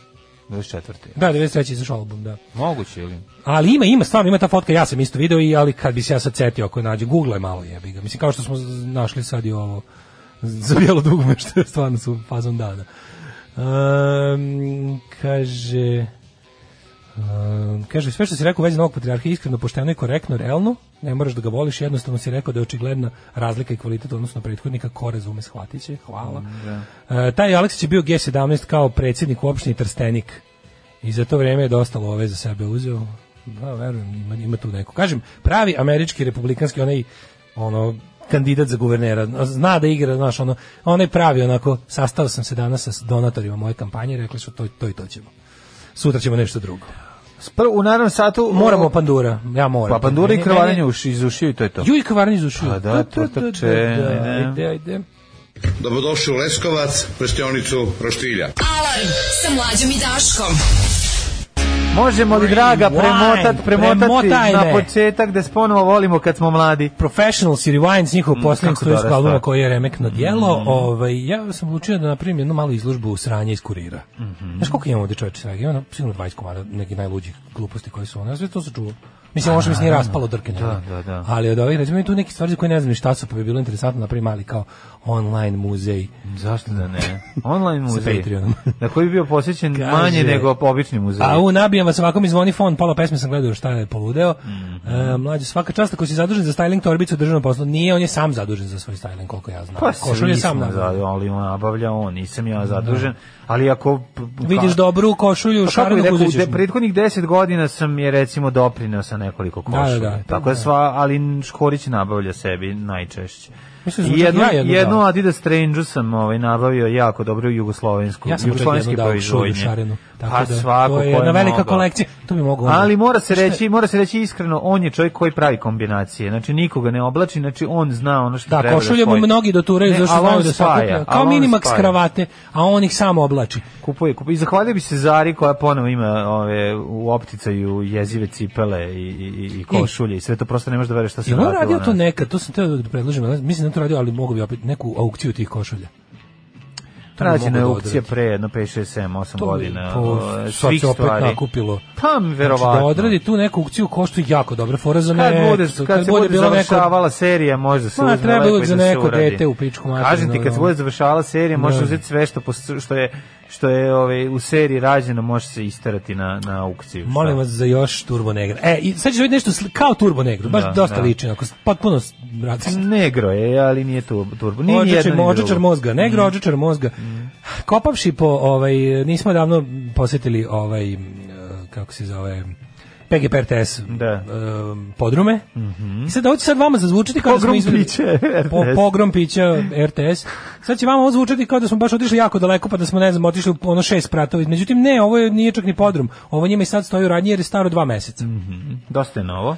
Speaker 8: 24.
Speaker 7: Da, 93 izašao album, da.
Speaker 8: Moguće ili?
Speaker 7: Ali ima, ima, stvarno ima ta fotka, ja sam isto video, i, ali kad bi se ja sad setio ako je nađe, googlaj malo jebi ga. Mislim, kao što smo z- našli sad i ovo za bijelo dugme, što je stvarno su fazom dana. Ehm, Um, kaže... Um, kaže, sve što si rekao u vezi novog patrijarha je iskreno, pošteno i korektno, realno, ne moraš da ga voliš, jednostavno si rekao da je očigledna razlika i kvalitet odnosno prethodnika, ko razume, shvatit će, hvala. E, taj Aleksić je bio G17 kao predsjednik u opštini Trstenik i za to vreme je dosta love za sebe uzeo. Da, verujem, ima, ima tu neko. Kažem, pravi američki republikanski, onaj ono, kandidat za guvernera, zna da igra, znaš, ono, onaj pravi, onako, sastao sam se danas sa donatorima moje kampanje, rekli su to, to i to ćemo. Sutra ćemo nešto drugo.
Speaker 8: Prvo, u naravnom satu
Speaker 7: Moramo pandura, ja moram.
Speaker 8: Pa pandura i
Speaker 7: Meni-
Speaker 8: krvarenje
Speaker 7: meni-
Speaker 8: uš iz ušiju i to je to.
Speaker 7: Juj krvarenje iz ušiju.
Speaker 8: Pa da, protrče, ne.
Speaker 7: da, Ajde, ajde.
Speaker 9: Dobrodošli u Leskovac, prštionicu Roštilja.
Speaker 5: Alarm sa mlađom i Daškom.
Speaker 8: Možemo li draga
Speaker 7: Rewind,
Speaker 8: premotat, premotati
Speaker 7: premotaj me.
Speaker 8: na početak da sponovo volimo kad smo mladi?
Speaker 7: Professional si Rewind, njihov mm, posljednji
Speaker 8: kako da, dobra
Speaker 7: studijski album
Speaker 8: stvar.
Speaker 7: koji je remek na
Speaker 8: Mm.
Speaker 7: djelo. Ovaj, ja sam odlučio da napravim jednu malu izložbu sranja iz kurira.
Speaker 8: Mhm.
Speaker 7: Znaš koliko imamo ovdje čovječe svega? Imamo sigurno 20 komada nekih najluđih gluposti koje su ono. Ja sve to se čuo. Mislim, ovo što mi se nije raspalo drke.
Speaker 8: Da, da, da.
Speaker 7: Ali od ovih, recimo, ima tu neki stvari za koje ne znam ni šta su, pa bi bilo interesantno napraviti mali kao online muzej.
Speaker 8: Zašto da ne? Online
Speaker 7: Sa
Speaker 8: muzej.
Speaker 7: Patreonom.
Speaker 8: Na koji bi bio posjećen
Speaker 7: Kaže-
Speaker 8: manje nego obični muzej.
Speaker 7: A u nabijam vas ovako mi zvoni fon, pola pesme sam gledao šta je poludeo.
Speaker 8: Mhm.
Speaker 7: E, mlađe, svaka čast ako si zadužen za styling torbicu u državnom poslu, nije, on je sam zadužen za svoj styling, koliko ja znam.
Speaker 8: Pa
Speaker 7: Košulju
Speaker 8: svi
Speaker 7: je
Speaker 8: sam
Speaker 7: sam
Speaker 8: smo
Speaker 7: nabavio. Da.
Speaker 8: za, ali on nabavlja on, nisam ja zadužen, ali ako...
Speaker 7: Vidiš dobru košulju,
Speaker 8: Pa kako
Speaker 7: šarenu
Speaker 8: bi rekao,
Speaker 7: kuzu ćeš
Speaker 8: de,
Speaker 7: mu.
Speaker 8: prethodnih 10 godina sam je recimo doprineo sa nekoliko
Speaker 7: da,
Speaker 8: košulja.
Speaker 7: da.
Speaker 8: Tako da sva, ali Škorić nabavlja sebi najčešće.
Speaker 7: Mislim da sam
Speaker 8: I jednu,
Speaker 7: čak ja jednu
Speaker 8: jednu,
Speaker 7: dao.
Speaker 8: Adidas Strange sam ovaj, nabavio jako dobro u jugoslovensku.
Speaker 7: Ja sam mu čak
Speaker 8: jugoslovenski
Speaker 7: jednu dao šulju
Speaker 8: proizvodnje.
Speaker 7: šarenu. Tako
Speaker 8: Pa
Speaker 7: da,
Speaker 8: svako
Speaker 7: to
Speaker 8: ko
Speaker 7: je jedna velika
Speaker 8: mogao.
Speaker 7: kolekcija. To bi mogao on.
Speaker 8: Ali mora se
Speaker 7: Šta je-
Speaker 8: reći, mora se reći iskreno, on je čovjek koji pravi kombinacije. Znači nikoga ne oblači, znači on zna ono što
Speaker 7: Da,
Speaker 8: treba.
Speaker 7: košulje mu
Speaker 8: spoji.
Speaker 7: mnogi doturaju
Speaker 8: Ne,
Speaker 7: zašto
Speaker 8: ali on
Speaker 7: znaju da se
Speaker 8: spaja,
Speaker 7: okuplja.
Speaker 8: ali
Speaker 7: Kao
Speaker 8: on
Speaker 7: minimax
Speaker 8: spaja.
Speaker 7: kravate, a on ih samo oblači.
Speaker 8: Kupuje, kupuje. I zahvalio bi se Zari koja ponovo ima ove, u opticaju jezive cipele i, i, i košulje i sve to prosto ne možeš da veruješ šta se
Speaker 7: Je on
Speaker 8: radilo.
Speaker 7: radio
Speaker 8: na-
Speaker 7: to nekad, to sam teo da predložim, ali mislim da je to radio, ali mogu bi opet neku aukciju tih košulja. To bi
Speaker 8: Rađena je
Speaker 7: mogu da
Speaker 8: aukcija
Speaker 7: odradim.
Speaker 8: pre jedno 5, 6, 7, 8
Speaker 7: To bi
Speaker 8: godina.
Speaker 7: po-
Speaker 8: o,
Speaker 7: sad
Speaker 8: svih
Speaker 7: se opet
Speaker 8: stvari.
Speaker 7: nakupilo.
Speaker 8: Pa,
Speaker 7: Znači, da
Speaker 8: verovatno.
Speaker 7: odradi tu neku aukciju koštu jako dobra fora za
Speaker 8: Kad,
Speaker 7: ne.
Speaker 8: bude, kad, se bude,
Speaker 7: bilo neko-
Speaker 8: završavala serija, može da se
Speaker 7: Ma,
Speaker 8: uzme
Speaker 7: treba
Speaker 8: lepo i
Speaker 7: uvek za
Speaker 8: da se
Speaker 7: neko
Speaker 8: uradi.
Speaker 7: dete u pičku materinu,
Speaker 8: Kažem ti, kad
Speaker 7: da.
Speaker 8: se bude završavala serija, možeš
Speaker 7: Da.
Speaker 8: uzeti sve što, pos- što je, što je ove, u seriji rađeno, može se isterati na, na aukciju. Šta?
Speaker 7: Molim vas za još Turbo Negra. E, i sad ćeš vidjeti nešto sli- kao Turbo Negru, baš
Speaker 8: Da,
Speaker 7: dosta
Speaker 8: da.
Speaker 7: liči, onako, potpuno s- brate,
Speaker 8: Negro je, ali nije tu turbo. Nije ni
Speaker 7: Odžačar,
Speaker 8: jedno, ni
Speaker 7: odžačar
Speaker 8: drugo. Mm.
Speaker 7: mozga, negro odžačar mozga. Kopavši po, ovaj, nismo davno posjetili ovaj, eh, kako se zove, PGP RTS
Speaker 8: Da. Mhm.
Speaker 7: eh, podrume. I sad ovo će sad vama zazvučiti kao da smo
Speaker 8: Pogrom
Speaker 7: izveli-
Speaker 8: piće RTS.
Speaker 7: Po, pogrom pića RTS. Sad će vama ovo zvučiti kao da smo baš otišli jako daleko pa da smo ne znam otišli u ono šest pratova. Međutim ne, ovo je, nije čak ni podrum. Ovo njima i sad stoji u radnji jer je staro dva meseca.
Speaker 8: Dosta je novo.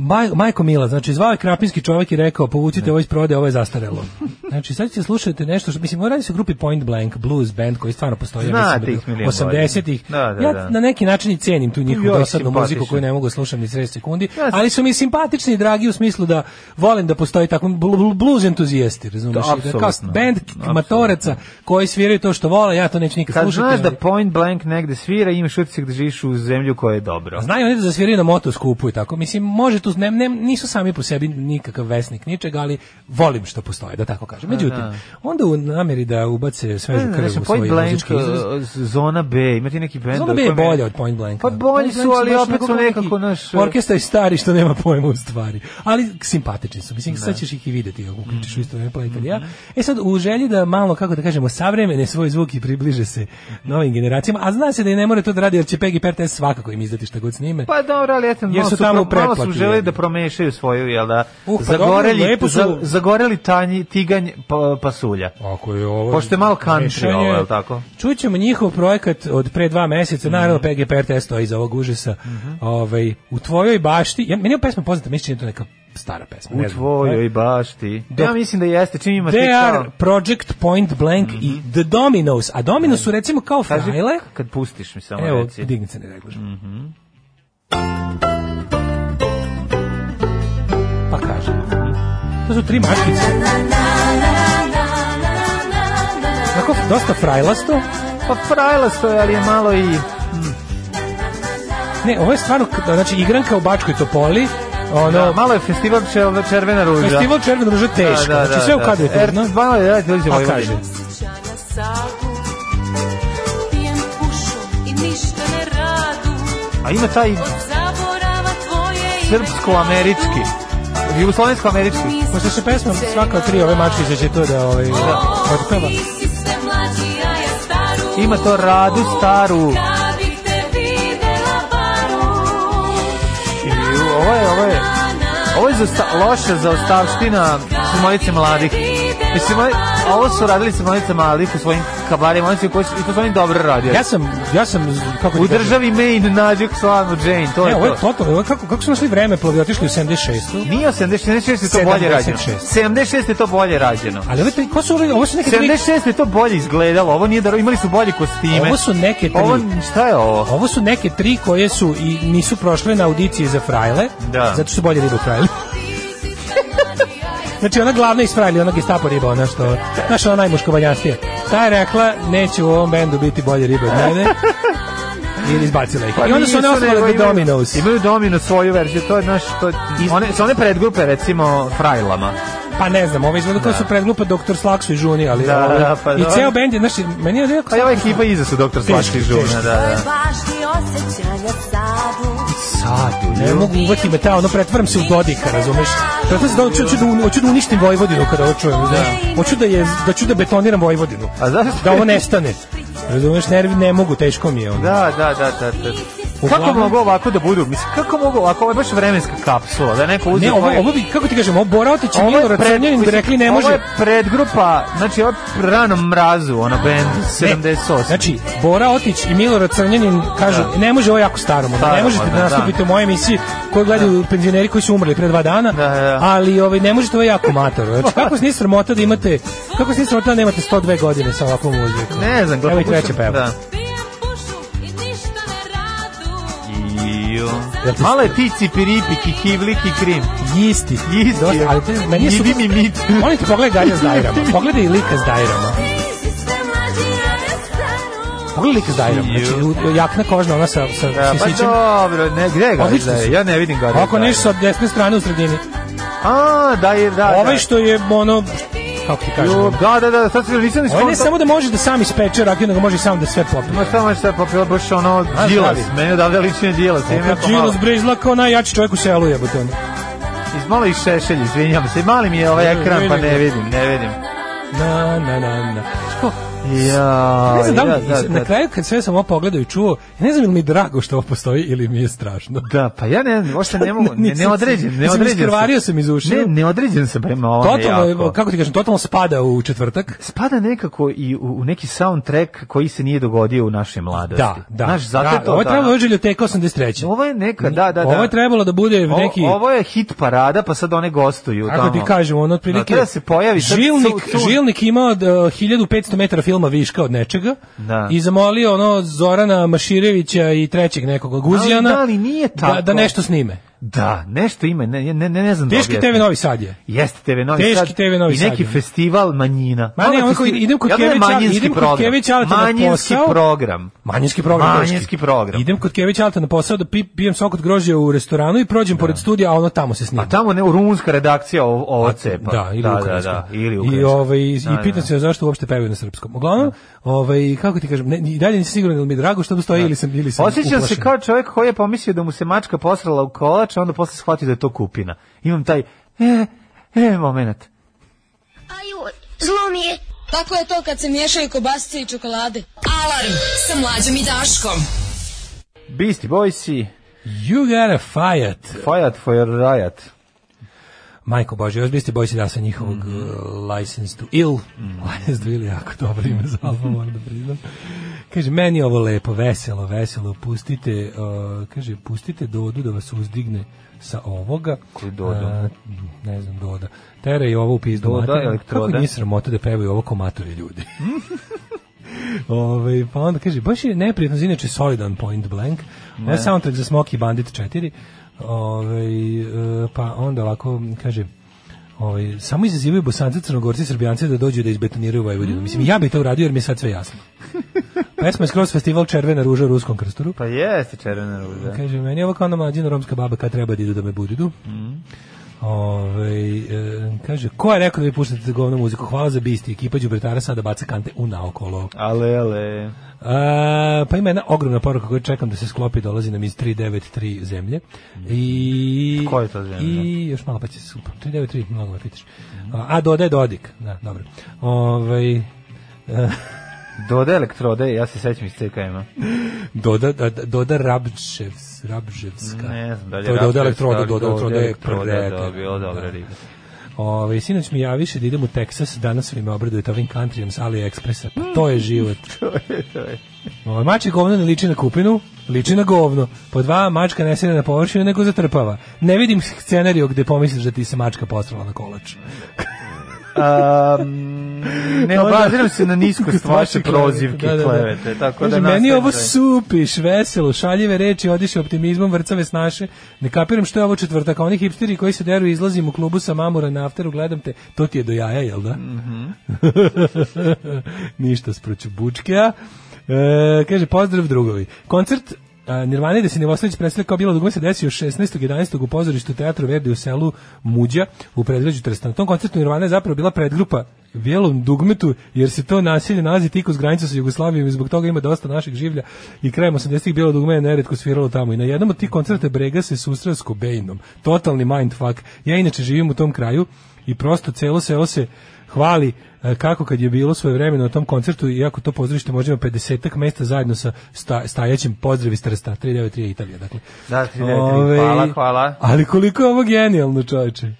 Speaker 7: Maj, majko Mila, znači zvao je krapinski čovjek i rekao povucite ovo iz prode, ovo je zastarelo. Znači sad će slušati nešto što mislim radi se o grupi Point Blank Blues Band koji stvarno postoji ja
Speaker 8: Znate
Speaker 7: mislim,
Speaker 8: ih milion
Speaker 7: 80-ih.
Speaker 8: godina. Da, da,
Speaker 7: ja
Speaker 8: da.
Speaker 7: na neki način i cenim tu njihovu
Speaker 8: Joj,
Speaker 7: dosadnu muziku
Speaker 8: simpatični.
Speaker 7: koju ne mogu slušati ni 30 sekundi, ali su mi simpatični i dragi u smislu da volim da postoji tako bl- bl- blues entuzijasti, razumiješ?
Speaker 8: Da,
Speaker 7: Da, kao
Speaker 8: apsolutno.
Speaker 7: band
Speaker 8: Apsolutno.
Speaker 7: matoraca koji sviraju to što vole, ja to neću nikad
Speaker 8: Kad
Speaker 7: slušati.
Speaker 8: znaš da
Speaker 7: ali-
Speaker 8: Point Blank negde svira, imaš utisak da živiš u zemlju koja je dobra.
Speaker 7: A Znaju oni da zasviraju na moto skupu i tako. Mislim, može tu, ne, ne, nisu sami po sebi nikakav vesnik ničega, ali volim što postoje, da tako kažem. Međutim, onda u nameri da ubace svežu
Speaker 8: Ne,
Speaker 7: krv
Speaker 8: znači,
Speaker 7: u svoj
Speaker 8: Point Blank,
Speaker 7: muzički izraz,
Speaker 8: uh, Zona B, ima ti neki bend.
Speaker 7: Zona B je bolja od Point Blanka.
Speaker 8: Pa bolji
Speaker 7: Point
Speaker 8: su,
Speaker 7: Blank
Speaker 8: ali
Speaker 7: baš
Speaker 8: opet
Speaker 7: onako
Speaker 8: su
Speaker 7: neki
Speaker 8: nekako naš... uh,
Speaker 7: Orkestar je stari što nema pojma u stvari. Ali simpatični su.
Speaker 8: Da.
Speaker 7: Mislim, sad ćeš ih i videti ako uključiš u
Speaker 8: Mhm.
Speaker 7: isto vreme play kad ja. E sad, u želji da malo, kako da kažemo, savremene svoj zvuk i približe se novim generacijama, a zna se da i ne more to da radi, jer će Peggy Pertes svakako im izdati šta god snime.
Speaker 8: Pa dobro, ali eto,
Speaker 7: Jer
Speaker 8: malo
Speaker 7: su
Speaker 8: su,
Speaker 7: tamo
Speaker 8: tamo
Speaker 7: u
Speaker 8: malo su
Speaker 7: pretplati,
Speaker 8: želeli
Speaker 7: jebi.
Speaker 8: da promešaju svoju, jel da,
Speaker 7: Uh, pa
Speaker 8: zagoreli,
Speaker 7: dobro, lepo su-
Speaker 8: za- zagoreli tanji, tiganj pa, pasulja.
Speaker 7: Ako je ovo...
Speaker 8: Pošto je malo country
Speaker 7: mešanje,
Speaker 8: ovo, je li tako? Mhm.
Speaker 7: Čućemo njihov projekat od pre dva meseca, naravno PGPR testo iz ovog užasa. ovaj, u tvojoj bašti, ja, meni je ova pesma poznata, mislim da je to neka stara pesma.
Speaker 8: U
Speaker 7: ne znam.
Speaker 8: tvojoj bašti.
Speaker 7: Dok-
Speaker 8: Ja mislim da jeste, čim ima
Speaker 7: They
Speaker 8: slika-
Speaker 7: are Project Point Blank i The Dominos, a Dominos su recimo kao
Speaker 8: Mhm. Kaži,
Speaker 7: frajle.
Speaker 8: kad pustiš mi samo
Speaker 7: Evo,
Speaker 8: reci. Mhm.
Speaker 7: digni se ne reglažem. Pa kaže. To su tri maškice. Tako, dosta frajlasto.
Speaker 8: Pa frajla stoje, ali je malo i...
Speaker 7: Ne, ovo je stvarno, k- znači, igranka u Bačkoj Topoli, ono, da.
Speaker 8: Da, malo je festival čel- Červena ruža. Da,
Speaker 7: festival Červeno druže teško, znači sve u kadru je tužno.
Speaker 8: Er, malo je, dajte, dođe
Speaker 7: A
Speaker 8: Vojvodina.
Speaker 7: kaže,
Speaker 11: Sjećanja sagu, pijem pušu i ništa ne radu,
Speaker 8: A ima taj
Speaker 11: od zaborava tvoje ime
Speaker 8: srpsko-američki. Jugoslovensko-američki.
Speaker 7: pošto se pesma svaka od tri ove mačkice će to da, ovaj, otpeva.
Speaker 11: Ti si sve mlađi, a ja staru.
Speaker 8: da? Ima to radu staru.
Speaker 11: Kad bih te videla baru.
Speaker 8: I ovo je, ovo je, E, ovo je zaosta, loša zaostavština Simonice mladih. Mislim, ovo- ovo su radili Simonice mladih u svojim kabarima, oni su, koji su- i to su oni dobro radili.
Speaker 7: Ja sam, ja sam, z- kako ti
Speaker 8: u
Speaker 7: kažem,
Speaker 8: državi Maine nađu slanu Jane, to
Speaker 7: Ne,
Speaker 8: je
Speaker 7: ovo je
Speaker 8: to.
Speaker 7: totalno, ovo je kako, kako su našli vreme plovi, otišli u 76.
Speaker 8: Nije 80, 76 je to bolje rađeno.
Speaker 7: 76.
Speaker 8: 76 je to bolje rađeno.
Speaker 7: Ali ove, tri- ko su ove, ovo su neke tri,
Speaker 8: 76 je to bolje izgledalo, ovo nije da imali su bolje kostime.
Speaker 7: ovo su neke tri,
Speaker 8: Ovo, šta je ovo?
Speaker 7: ovo su neke tri koje su i nisu prošle na audiciji za frajle,
Speaker 8: Da.
Speaker 7: zato što su bolje ribe u frajle. Znači ona glavna iz Frajli, ona gestapo riba, ona što, znaš ona najmuškovanjastija. Ta je rekla, neće u ovom bendu biti bolje ribe od mene. I izbacila ih. I onda su one
Speaker 8: Pa nisu, nego
Speaker 7: ostale The
Speaker 8: imaju-
Speaker 7: Dominos.
Speaker 8: Imaju Domino svoju verziju, to je naš... To, one, su one predgrupe, recimo, Frajlama.
Speaker 7: Pa ne znam, ovo izgleda kao su predgrupa Dr. Slaksu i Žuni, ali...
Speaker 8: Da,
Speaker 7: ovaj,
Speaker 8: da, pa
Speaker 7: I
Speaker 8: da.
Speaker 7: ceo bend je, znači, meni je rekao...
Speaker 8: Pa je ova ekipa iza su doktor Slaški
Speaker 7: Teško,
Speaker 8: Žuna,
Speaker 7: teško.
Speaker 8: da, da.
Speaker 11: Važni osjećanja sadu.
Speaker 8: Sadu,
Speaker 7: Ne mogu uvati me ta, ono, pretvaram se u Dodika, razumeš? Pretvaram se da hoću, hoću da, un- hoću da uništim Vojvodinu kada ovo čujem, znaš? Hoću da, je, da ću da betoniram Vojvodinu.
Speaker 8: A zašto?
Speaker 7: Da ovo nestane. Razumeš, nervi ne mogu, teško mi je ono.
Speaker 8: Da, da, da, da, da. Kako
Speaker 7: Uglavnom-
Speaker 8: mogu ovako da budu? Mislim, kako mogu ovako? Ovo je baš vremenska kapsula, da neko uzme...
Speaker 7: Ne, ovo,
Speaker 8: koji-
Speaker 7: ovo bi, kako ti kažem, ovo Boraotić i Milorad
Speaker 8: pred-
Speaker 7: Crnjanin da bi
Speaker 8: mislim,
Speaker 7: rekli ne
Speaker 8: Ovo
Speaker 7: može.
Speaker 8: je predgrupa, znači ovo je rano mrazu, ono band 78.
Speaker 7: Znači, Bora Otić i Milorad Crnjanin kažu, ne može ovo jako starom, ono, ne
Speaker 8: Starom,
Speaker 7: možete da
Speaker 8: da,
Speaker 7: nastupite
Speaker 8: da.
Speaker 7: u mojoj emisiji koju gledaju penzioneri koji su umrli pre dva dana,
Speaker 8: Da, da.
Speaker 7: ali ovaj, ne možete ovo je jako mator. Znači, kako se nije sramota da imate, kako se nije sramota da nemate 102 godine sa ovakvom muzikom?
Speaker 8: ne znam,
Speaker 7: Evo i
Speaker 8: pokušam-
Speaker 7: treće peva.
Speaker 8: Da.
Speaker 11: Pijem pušu i ništa ne radu.
Speaker 8: Iju.
Speaker 7: Jel ti-
Speaker 8: Malo je ti cipiripi, kikivlik i krim.
Speaker 7: Isti.
Speaker 8: Isti.
Speaker 7: Dosta, ali to je- meni je
Speaker 8: Idi
Speaker 7: super-
Speaker 8: mi mit.
Speaker 7: Molim te, pogledaj dalje s Dajrama. Pogledaj lika s Dajrama.
Speaker 11: Ti si sve mlađi, a ja staru.
Speaker 7: Pogledaj lika s Dajrama. Znači, u- jakna kožna, ona sa, sa
Speaker 8: Da, pa
Speaker 7: sisićem.
Speaker 8: dobro, ne, gde ga
Speaker 7: Odlično
Speaker 8: izdaje?
Speaker 7: su.
Speaker 8: Ja ne vidim ga. da
Speaker 7: Ako
Speaker 8: izdaje.
Speaker 7: nešto sa desne strane u sredini.
Speaker 8: A, da, je, da.
Speaker 7: Ovaj
Speaker 8: da.
Speaker 7: što je ono kako ti kažem.
Speaker 8: Jo, Da, da, da, sad se nisam ni
Speaker 7: Ovaj ne
Speaker 8: skonto-
Speaker 7: samo da može da sam ispeče rakiju, nego može i sam da sve popije.
Speaker 8: Ma samo što je popila baš ono
Speaker 7: A,
Speaker 8: džilas,
Speaker 7: zdravi.
Speaker 8: meni odavde liči na džilas. ima jako malo.
Speaker 7: Džilos bre izgleda kao najjači čovjek u selu jebote. ono.
Speaker 8: Iz malo i šešelj, izvinjam se. Mali mi je ovaj
Speaker 7: Ne,
Speaker 8: ekran,
Speaker 7: ne,
Speaker 8: pa
Speaker 7: ne,
Speaker 8: ne
Speaker 7: ne.
Speaker 8: vidim, ne vidim.
Speaker 7: Na na na na. Što?
Speaker 8: Ja,
Speaker 7: ne znam, da, li-
Speaker 8: ja, da,
Speaker 7: na
Speaker 8: da.
Speaker 7: kraju kad sve sam ovo pogledao i čuo, ja ne znam ili mi je drago što ovo postoji ili mi je strašno.
Speaker 8: Da, pa ja ne znam, uopšte ne mogu, ne,
Speaker 7: Nisam
Speaker 8: ne
Speaker 7: se-
Speaker 8: određen, ne
Speaker 7: mislim,
Speaker 8: određen.
Speaker 7: iskrvario sam iz ušiju.
Speaker 8: Ne, ne određen sam prema ovome
Speaker 7: Totalno, je,
Speaker 8: jako.
Speaker 7: kako ti kažem, totalno spada u četvrtak.
Speaker 8: Spada nekako i u, u neki soundtrack koji se nije dogodio u našoj mladosti.
Speaker 7: Da, da.
Speaker 8: Znaš, zato
Speaker 7: da,
Speaker 8: je to,
Speaker 7: ovo je
Speaker 8: da,
Speaker 7: trebalo
Speaker 8: da.
Speaker 7: da. Željoteka 83.
Speaker 8: Ovo je neka, da, da, da.
Speaker 7: Ovo je trebalo da bude
Speaker 8: Ovo-
Speaker 7: neki...
Speaker 8: Ovo je hit parada, pa sad one gostuju
Speaker 7: Kako
Speaker 8: tamo.
Speaker 7: ti kažem, ono otprilike...
Speaker 8: Da, treba se pojavi sad
Speaker 7: žilnik,
Speaker 8: cu- cu-
Speaker 7: žilnik imao da, 1500 metara filma viška od nečega
Speaker 8: Da.
Speaker 7: i zamolio ono Zorana Maširevića i trećeg nekog Guzijana
Speaker 8: Ali da li nije
Speaker 7: da,
Speaker 8: tako?
Speaker 7: da nešto snime.
Speaker 8: Da, nešto ima, ne, ne, ne, ne znam da
Speaker 7: Teški
Speaker 8: objasnim.
Speaker 7: TV Novi Sad je.
Speaker 8: Jeste TV Novi
Speaker 7: Teški
Speaker 8: Sad.
Speaker 7: TV Novi
Speaker 8: I neki
Speaker 7: Sad, ono.
Speaker 8: festival manjina.
Speaker 7: Ma ne,
Speaker 8: Ono
Speaker 7: ono koji-
Speaker 8: festi-
Speaker 7: idem kod
Speaker 8: Ja gledam
Speaker 7: Kevića,
Speaker 8: manjinski
Speaker 7: idem kod
Speaker 8: program.
Speaker 7: Kevića, ali to na
Speaker 8: Manjinski
Speaker 7: posao.
Speaker 8: program.
Speaker 7: Manjinski program.
Speaker 8: Manjinski
Speaker 7: Daški.
Speaker 8: program.
Speaker 7: Idem kod Kevića Alta na posao da pi- pijem sok od grožđa u restoranu i prođem pored studija, a ono tamo se snima.
Speaker 8: Da. A Pa tamo ne, rumunska redakcija ovo, ovo cepa.
Speaker 7: Da, ili
Speaker 8: da, da,
Speaker 7: ukrajinska.
Speaker 8: da, ili
Speaker 7: I,
Speaker 8: ukrajinska.
Speaker 7: ovaj, i
Speaker 8: Da, da,
Speaker 7: pitam
Speaker 8: da.
Speaker 7: se zašto uopšte pevaju na srpskom. Uglavnom, ovaj, kako ti kažem, ne, i dalje nisam siguran ili mi je drago što postoji ili sam, ili sam
Speaker 8: Da. Osjećam se
Speaker 7: uplašen.
Speaker 8: kao čovjek koji je pomislio da mu se mačka posrala u kolač, a onda posle shvatio da je to kupina. Imam taj, e, e, moment.
Speaker 12: Ajoj, zlo mi je.
Speaker 5: Tako je to kad se miješaju kobasice i čokolade. Alarm sa mlađom i Daškom.
Speaker 8: Beastie Boysi,
Speaker 7: You got a fight.
Speaker 8: Fajat for Riot.
Speaker 7: Majko Bože, još biste bojci da sa njihovog uh, License to Ill. License to Ill je jako dobro ime za album, moram da priznam. Kaže, meni je ovo lepo, veselo, veselo, pustite, uh, kaže, pustite Dodu da vas uzdigne sa ovoga.
Speaker 8: Koji Dodu?
Speaker 7: A, ne znam, Doda. Tera i ovo u pizdu.
Speaker 8: Doda,
Speaker 7: materinu.
Speaker 8: elektroda.
Speaker 7: Kako nije sramota da pevaju ovo komatori ljudi. Ove, pa onda kaže, baš je neprijatno, inače solidan point blank. Ovo je soundtrack za Smokey Bandit 4. Ove, e, pa onda ovako, kaže, ove, samo izazivaju bosanci, crnogorci, i srbijanci da dođu da izbetoniraju Vojvodinu. Mislim, ja bi to uradio jer mi je sad sve jasno. Pesma je skroz festival Červena ruža u ruskom krsturu.
Speaker 8: Pa jeste červena ruža.
Speaker 7: Kaže, meni je ovo kao ona mlađina romska baba kad treba da idu da me budidu.
Speaker 8: Mhm.
Speaker 7: Ovaj, e, kaže, ko je rekao da vi puštate govnu muziku? Hvala za bisti, ekipa Đubretara sada baca kante u naokolo.
Speaker 8: Ale, ale.
Speaker 7: A, pa ima jedna ogromna poruka koju čekam da se sklopi, dolazi nam iz 393 zemlje. I,
Speaker 8: Koja je to zemlja?
Speaker 7: I još malo pa će se super. 393, mnogo me pitaš. A, a dodaje Dodik. Da, dobro. Ovaj,
Speaker 8: Doda elektrode, ja se sećam iz CKM-a.
Speaker 7: Doda, da, da- Doda Rabševs, Rabševska.
Speaker 8: Ne znam da li
Speaker 7: to je Doda
Speaker 8: Raptor,
Speaker 7: Elektroda,
Speaker 8: da li
Speaker 7: Doda Elektroda da. je
Speaker 8: Elektroda
Speaker 7: preteran.
Speaker 8: dobio dobre ribe.
Speaker 7: Ove, sinoć mi javiše da idem u Teksas, danas vi me obradujete ovim countryjem sa AliExpressa, pa to
Speaker 8: Mm.
Speaker 7: je život. Ove, mače govno ne liči na kupinu, liči na govno. Po dva, mačka ne sjede na površinu, nego zatrpava. Ne vidim scenariju gde pomisliš da ti se mačka postrala na kolač.
Speaker 8: Um, ne
Speaker 7: Onda-
Speaker 8: obaziram se na niskost vaše
Speaker 7: Vaše klevete,
Speaker 8: prozivke i klevete, tako da
Speaker 7: Kaže, meni je
Speaker 8: nastavim
Speaker 7: ovo
Speaker 8: dalje.
Speaker 7: supiš, veselo, šaljive reči, odiše optimizmom, vrcave s naše. Ne kapiram što je ovo četvrtak, a oni hipsteri koji se deru izlazim u klubu sa mamura na afteru, gledam te, to ti je do jaja, jel
Speaker 8: Mm.
Speaker 7: da? Ništa sproću bučkea. E, kaže, pozdrav drugovi. Koncert a, Nirvane da se Nevostović predstavlja kao bilo dugme se desio 16.11. u pozorištu Teatru Verdi u selu Muđa u predgrađu Trsta. Na tom koncertu Nirvana je zapravo bila predgrupa Bijelom dugmetu, jer se to nasilje nalazi tik uz granicu sa Jugoslavijom i zbog toga ima dosta naših življa i krajem 80-ih Bijelo dugme je neretko sviralo tamo i na jednom od tih koncerta Brega se susreo s Kobejnom. Totalni mindfuck. Ja inače živim u tom kraju i prosto celo selo se hvali e, kako kad je bilo svoje vremena na tom koncertu, iako to pozorište možda ima 50-ak mesta zajedno sa sta, stajaćim pozdrav iz Trsta, 393 Italija, dakle.
Speaker 8: Da, 393, hvala, hvala.
Speaker 7: Ali koliko je ovo genijalno, čoveče.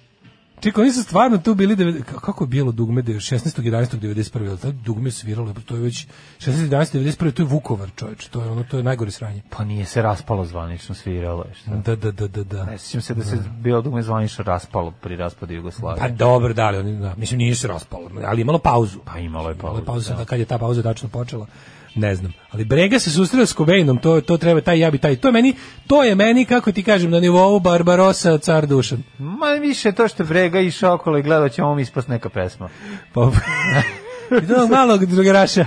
Speaker 7: Čekaj, oni su stvarno tu bili, devet- ka- kako je bilo dugme, de- 16. 11. 91. jel Tad dugme sviralo, to je već 16. 11. 91. to je Vukovar, čoveče, to je ono, to je najgore sranje.
Speaker 8: Pa nije se raspalo zvanično, sviralo je. Šta?
Speaker 7: Da, da, da, da, da.
Speaker 8: Ne sjećam se da se bilo dugme zvanično raspalo pri raspadu Jugoslavije.
Speaker 7: Pa dobro, da li oni, da, mislim nije se raspalo, ali imalo pauzu.
Speaker 8: Pa imalo je pauzu,
Speaker 7: Imalo pauzu,
Speaker 8: da.
Speaker 7: da. kad je ta pauza tačno počela. Ne znam, ali Brega se susreo s Kobejnom, to to treba taj ja bi taj. To je meni, to je meni kako ti kažem na nivou Barbarosa car Dušan.
Speaker 8: Ma više to što je Brega išao okolo i gledao će ovom ispast neka pesma.
Speaker 7: Pa idemo malog drugaraša.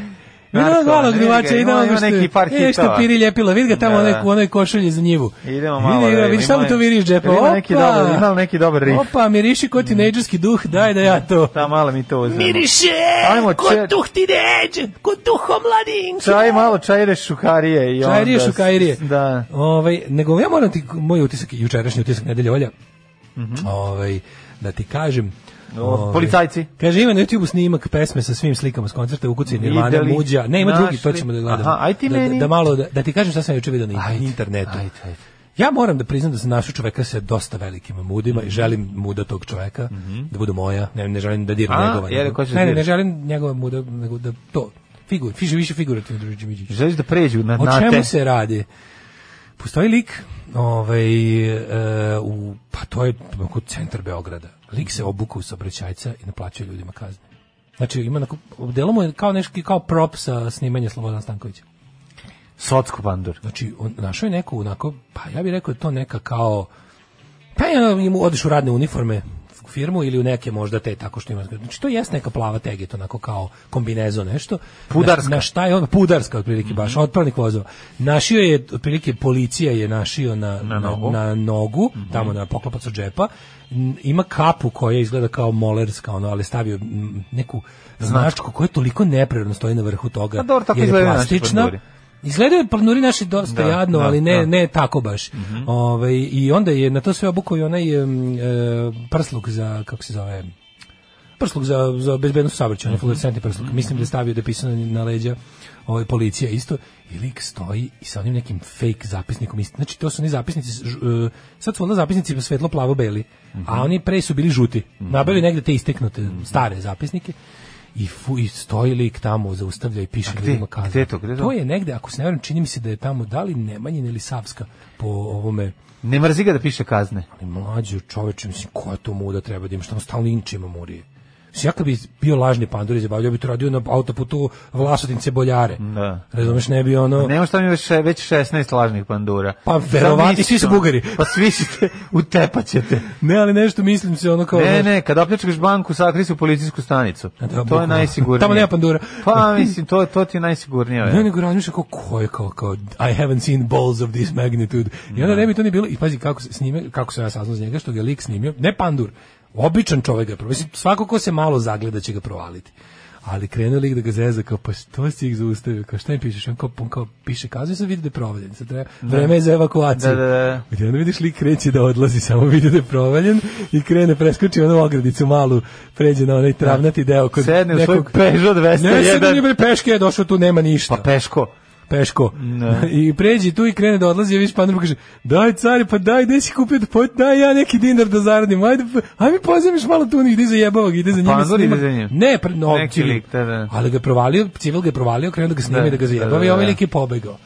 Speaker 7: Idemo
Speaker 8: Narko,
Speaker 7: malog
Speaker 8: ne, vidi ga,
Speaker 7: duvača, idemo
Speaker 8: ima- ima
Speaker 7: što-
Speaker 8: neki par
Speaker 7: E, što
Speaker 8: hitova.
Speaker 7: piri ljepilo, vidi ga tamo
Speaker 8: Da,
Speaker 7: onaj,
Speaker 8: da.
Speaker 7: u onoj košulji za njivu.
Speaker 8: Idemo malo.
Speaker 7: Vidi ga,
Speaker 8: da vidimo,
Speaker 7: vidi samo
Speaker 8: ima-
Speaker 7: to viriš džepa.
Speaker 8: Ima neki
Speaker 7: Opa!
Speaker 8: dobar, ima li neki dobar riff.
Speaker 7: Opa, miriši ko tinejdžerski duh, daj da ja to.
Speaker 8: Da, malo mi to uzmemo.
Speaker 7: Miriše,
Speaker 8: Ajmo,
Speaker 7: ko
Speaker 8: čer-
Speaker 7: duh ti neđe, ko duho mladinče.
Speaker 8: Čaj malo, čajre šukarije. I
Speaker 7: Čajrije,
Speaker 8: onda s-
Speaker 7: šukarije.
Speaker 8: Da.
Speaker 7: Ovaj, nego ja
Speaker 8: Mhm.
Speaker 7: moram ti, moj utisak, jučerašnji utisak nedelje, Olja, ovaj, da ti kažem,
Speaker 8: O, policajci.
Speaker 7: Kaže, ima na YouTube snimak pesme sa svim slikama s koncerta, ukuci Nirvana,
Speaker 8: Videli,
Speaker 7: Muđa. Ne, ima
Speaker 8: našli.
Speaker 7: drugi, to ćemo da gledamo.
Speaker 8: Aha, aj ti
Speaker 7: da, da-
Speaker 8: meni.
Speaker 7: Da, malo, da, da ti kažem šta sam juče vidio na internetu.
Speaker 8: ajde, ajde.
Speaker 7: Ja moram da priznam da sam našao čoveka sa dosta velikim mudima
Speaker 8: Mhm.
Speaker 7: i želim muda tog čoveka da bude moja. Ne, ne želim da diram
Speaker 8: A,
Speaker 7: njegova.
Speaker 8: jel, ko ćeš
Speaker 7: ne, ne,
Speaker 8: diraš?
Speaker 7: ne želim njegova muda, nego da to, figur, fiže više figurativno, druži Đimiđić.
Speaker 8: Želiš da pređu na,
Speaker 7: O
Speaker 8: na te?
Speaker 7: čemu se radi? Postoji lik ovaj, e, u, pa to je onako centar Beograda. Lik se obuka u saobraćajca i naplaćuje ljudima kazne. Znači, ima onako, delo mu je kao nešto, kao prop sa snimanja Slobodan Stankovića.
Speaker 8: Socko pandur.
Speaker 7: Znači, on, našao je neku onako, pa ja bih rekao da je to neka kao, pa ja, mu odeš u radne uniforme u firmu ili u neke možda te tako što ima. Znači, to jest neka plava teget, onako kao kombinezo nešto.
Speaker 8: Pudarska.
Speaker 7: Na, na šta je on? Pudarska, otprilike baš, otpravnik vozova. Našio je, otprilike, policija je našio na, na,
Speaker 8: nogu.
Speaker 7: na nogu, tamo na poklopac od džepa. N- Ima kapu koja izgleda kao molerska, ono, ali stavio mm, neku značku koja toliko neprirodno stoji na vrhu toga.
Speaker 8: Pa dobro, tako
Speaker 7: jer je
Speaker 8: izgledaju naši
Speaker 7: plastična.
Speaker 8: panduri.
Speaker 7: Izgledaju planuri naši dosta
Speaker 8: Da,
Speaker 7: jadno,
Speaker 8: da,
Speaker 7: ali ne,
Speaker 8: da.
Speaker 7: ne tako baš. Ovaj, I onda je na to sve obukao i onaj em, e, prsluk za, kako se zove, prsluk za, za bezbednost saobraćaja, onaj fluorescentni prsluk. Mislim da je stavio da je pisano na leđa ovaj, policija isto. I lik stoji i sa onim nekim fake zapisnikom. isto. Znači, to su oni zapisnici, s- žu- e, sad su onda zapisnici svetlo plavo beli, a oni pre su bili žuti. Nabavili
Speaker 8: Mhm.
Speaker 7: negde te isteknute stare zapisnike. I, fu, i stoji lik tamo, zaustavlja i piše
Speaker 8: A gde?
Speaker 7: ljudima kazne.
Speaker 8: Gde je to? Gde je to?
Speaker 7: je negde, ako se ne varam, čini mi se da je tamo, da li Nemanjina ili Savska po ovome
Speaker 8: Ne mrzi ga da piše kazne.
Speaker 7: ali mlađi čoveče, mislim, koja to muda treba da ima, šta on stalno inčima murije. Mislim, ja kad bi bio lažni pandur i zabavljao, ja bi to radio na autoputu Vlasotince Boljare.
Speaker 8: Da.
Speaker 7: Razumeš, ne bi ono...
Speaker 8: Nema šta mi već, še- već 16 lažnih pandura.
Speaker 7: Pa, verovatno,
Speaker 8: Zamisli
Speaker 7: svi su
Speaker 8: ono.
Speaker 7: Bugari.
Speaker 8: Pa svi ćete, utepaćete.
Speaker 7: Ne, ali nešto mislim se ono kao...
Speaker 8: Ne, ne, kad opljačkaš banku, sakri se u policijsku stanicu.
Speaker 7: Da,
Speaker 8: to je
Speaker 7: bukvalno.
Speaker 8: najsigurnije.
Speaker 7: Tamo nema pandura.
Speaker 8: Pa, mislim, to, to ti je najsigurnije.
Speaker 7: Ne, nego razmišljam kao, ko je kao, kao, I haven't seen balls of this magnitude. I
Speaker 8: Da.
Speaker 7: onda ne bi to ni bilo, i pazi kako se snime, kako sam ja saznao za njega, što ga je lik snimio, ne pandur, običan čovek ga je provali. Mislim, svako ko se malo zagleda će ga provaliti. Ali krenuo lik da ga zeza, kao, pa što si ih zaustavio, kao, šta im pišeš? On kao, on kao piše kaznu i sad vidi da je provaljen, sad treba, vreme je za evakuaciju.
Speaker 8: Da, da, da.
Speaker 7: I onda vidiš lik kreće da odlazi, samo vidi da je provaljen i krene, preskoči onu ogradicu malu, pređe na onaj travnati deo kod
Speaker 8: Sedne u svoj
Speaker 7: nekog...
Speaker 8: Peugeot
Speaker 7: Ne, sad
Speaker 8: 201.
Speaker 7: nije peške je došao, tu nema ništa
Speaker 8: Pa peško.
Speaker 7: peško.
Speaker 8: Ne.
Speaker 7: I pređi tu i krene da odlazi, a viš pandru kaže, daj cari, pa daj, gde si kupio, pa daj ja neki dinar da zaradim, ajde, pa- aj mi pozemiš malo tu, ide za jebava ga, ide za njim. i
Speaker 8: Pandur ide
Speaker 7: snima.
Speaker 8: za njim?
Speaker 7: Ne, pre, no,
Speaker 8: Neki
Speaker 7: civil.
Speaker 8: lik, da, da.
Speaker 7: Ali ga je provalio, civil ga je provalio, krenuo da ga snima
Speaker 8: Da,
Speaker 7: i da ga zajebava
Speaker 8: da, da,
Speaker 7: i ovaj
Speaker 8: da.
Speaker 7: lik je pobegao.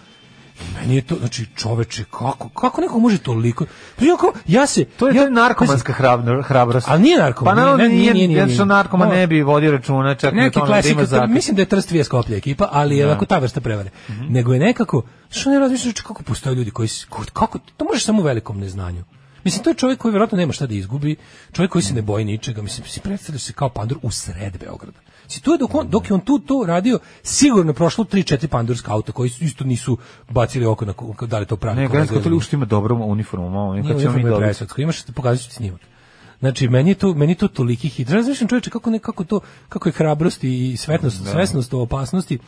Speaker 7: Meni je to, znači, čoveče, kako, kako neko može toliko? Pa ja, kao, ja se...
Speaker 8: To je, to
Speaker 7: ja,
Speaker 8: je narkomanska hrabro- hrabrost.
Speaker 7: Ali nije narkoman,
Speaker 8: Pa
Speaker 7: nije,
Speaker 8: naravno
Speaker 7: ne,
Speaker 8: nije,
Speaker 7: nije, nije, nije,
Speaker 8: jer što
Speaker 7: nije.
Speaker 8: narkoman
Speaker 7: Ovo-
Speaker 8: ne bi vodio računa čak ni o
Speaker 7: neki
Speaker 8: tome da ima Da.
Speaker 7: klasika, to-
Speaker 8: zakon.
Speaker 7: mislim da je Trst Vijes koplja ekipa, ali je onako ta vrsta prevare.
Speaker 8: Mhm.
Speaker 7: Nego je nekako, što ne razmišljaš znači, kako postoje ljudi koji, s- ko- kako, to možeš samo u velikom neznanju. Mislim, to je čovjek koji vjerojatno nema šta da izgubi, čovjek koji se ne boji ničega, mislim, si predstavljaš se kao pandur u sred Beograda. Si tu je dok, on, dok je on tu to radio, sigurno je prošlo 3-4 pandurska auta koji su- isto nisu bacili oko na ko- da li to pravi.
Speaker 8: Ne,
Speaker 7: kolega
Speaker 8: Gransko to
Speaker 7: ili
Speaker 8: li ušto ima dobru uniformu, malo,
Speaker 7: nije
Speaker 8: nekad ćemo mi
Speaker 7: uniforma je
Speaker 8: dobiti.
Speaker 7: presvetska. Imaš, pokazat ću ti snimak. Znači, meni je to, meni je to toliki hit. Razmišljam čovječe kako, nekako to, kako je hrabrost i svetnost,
Speaker 8: Da.
Speaker 7: svesnost o opasnosti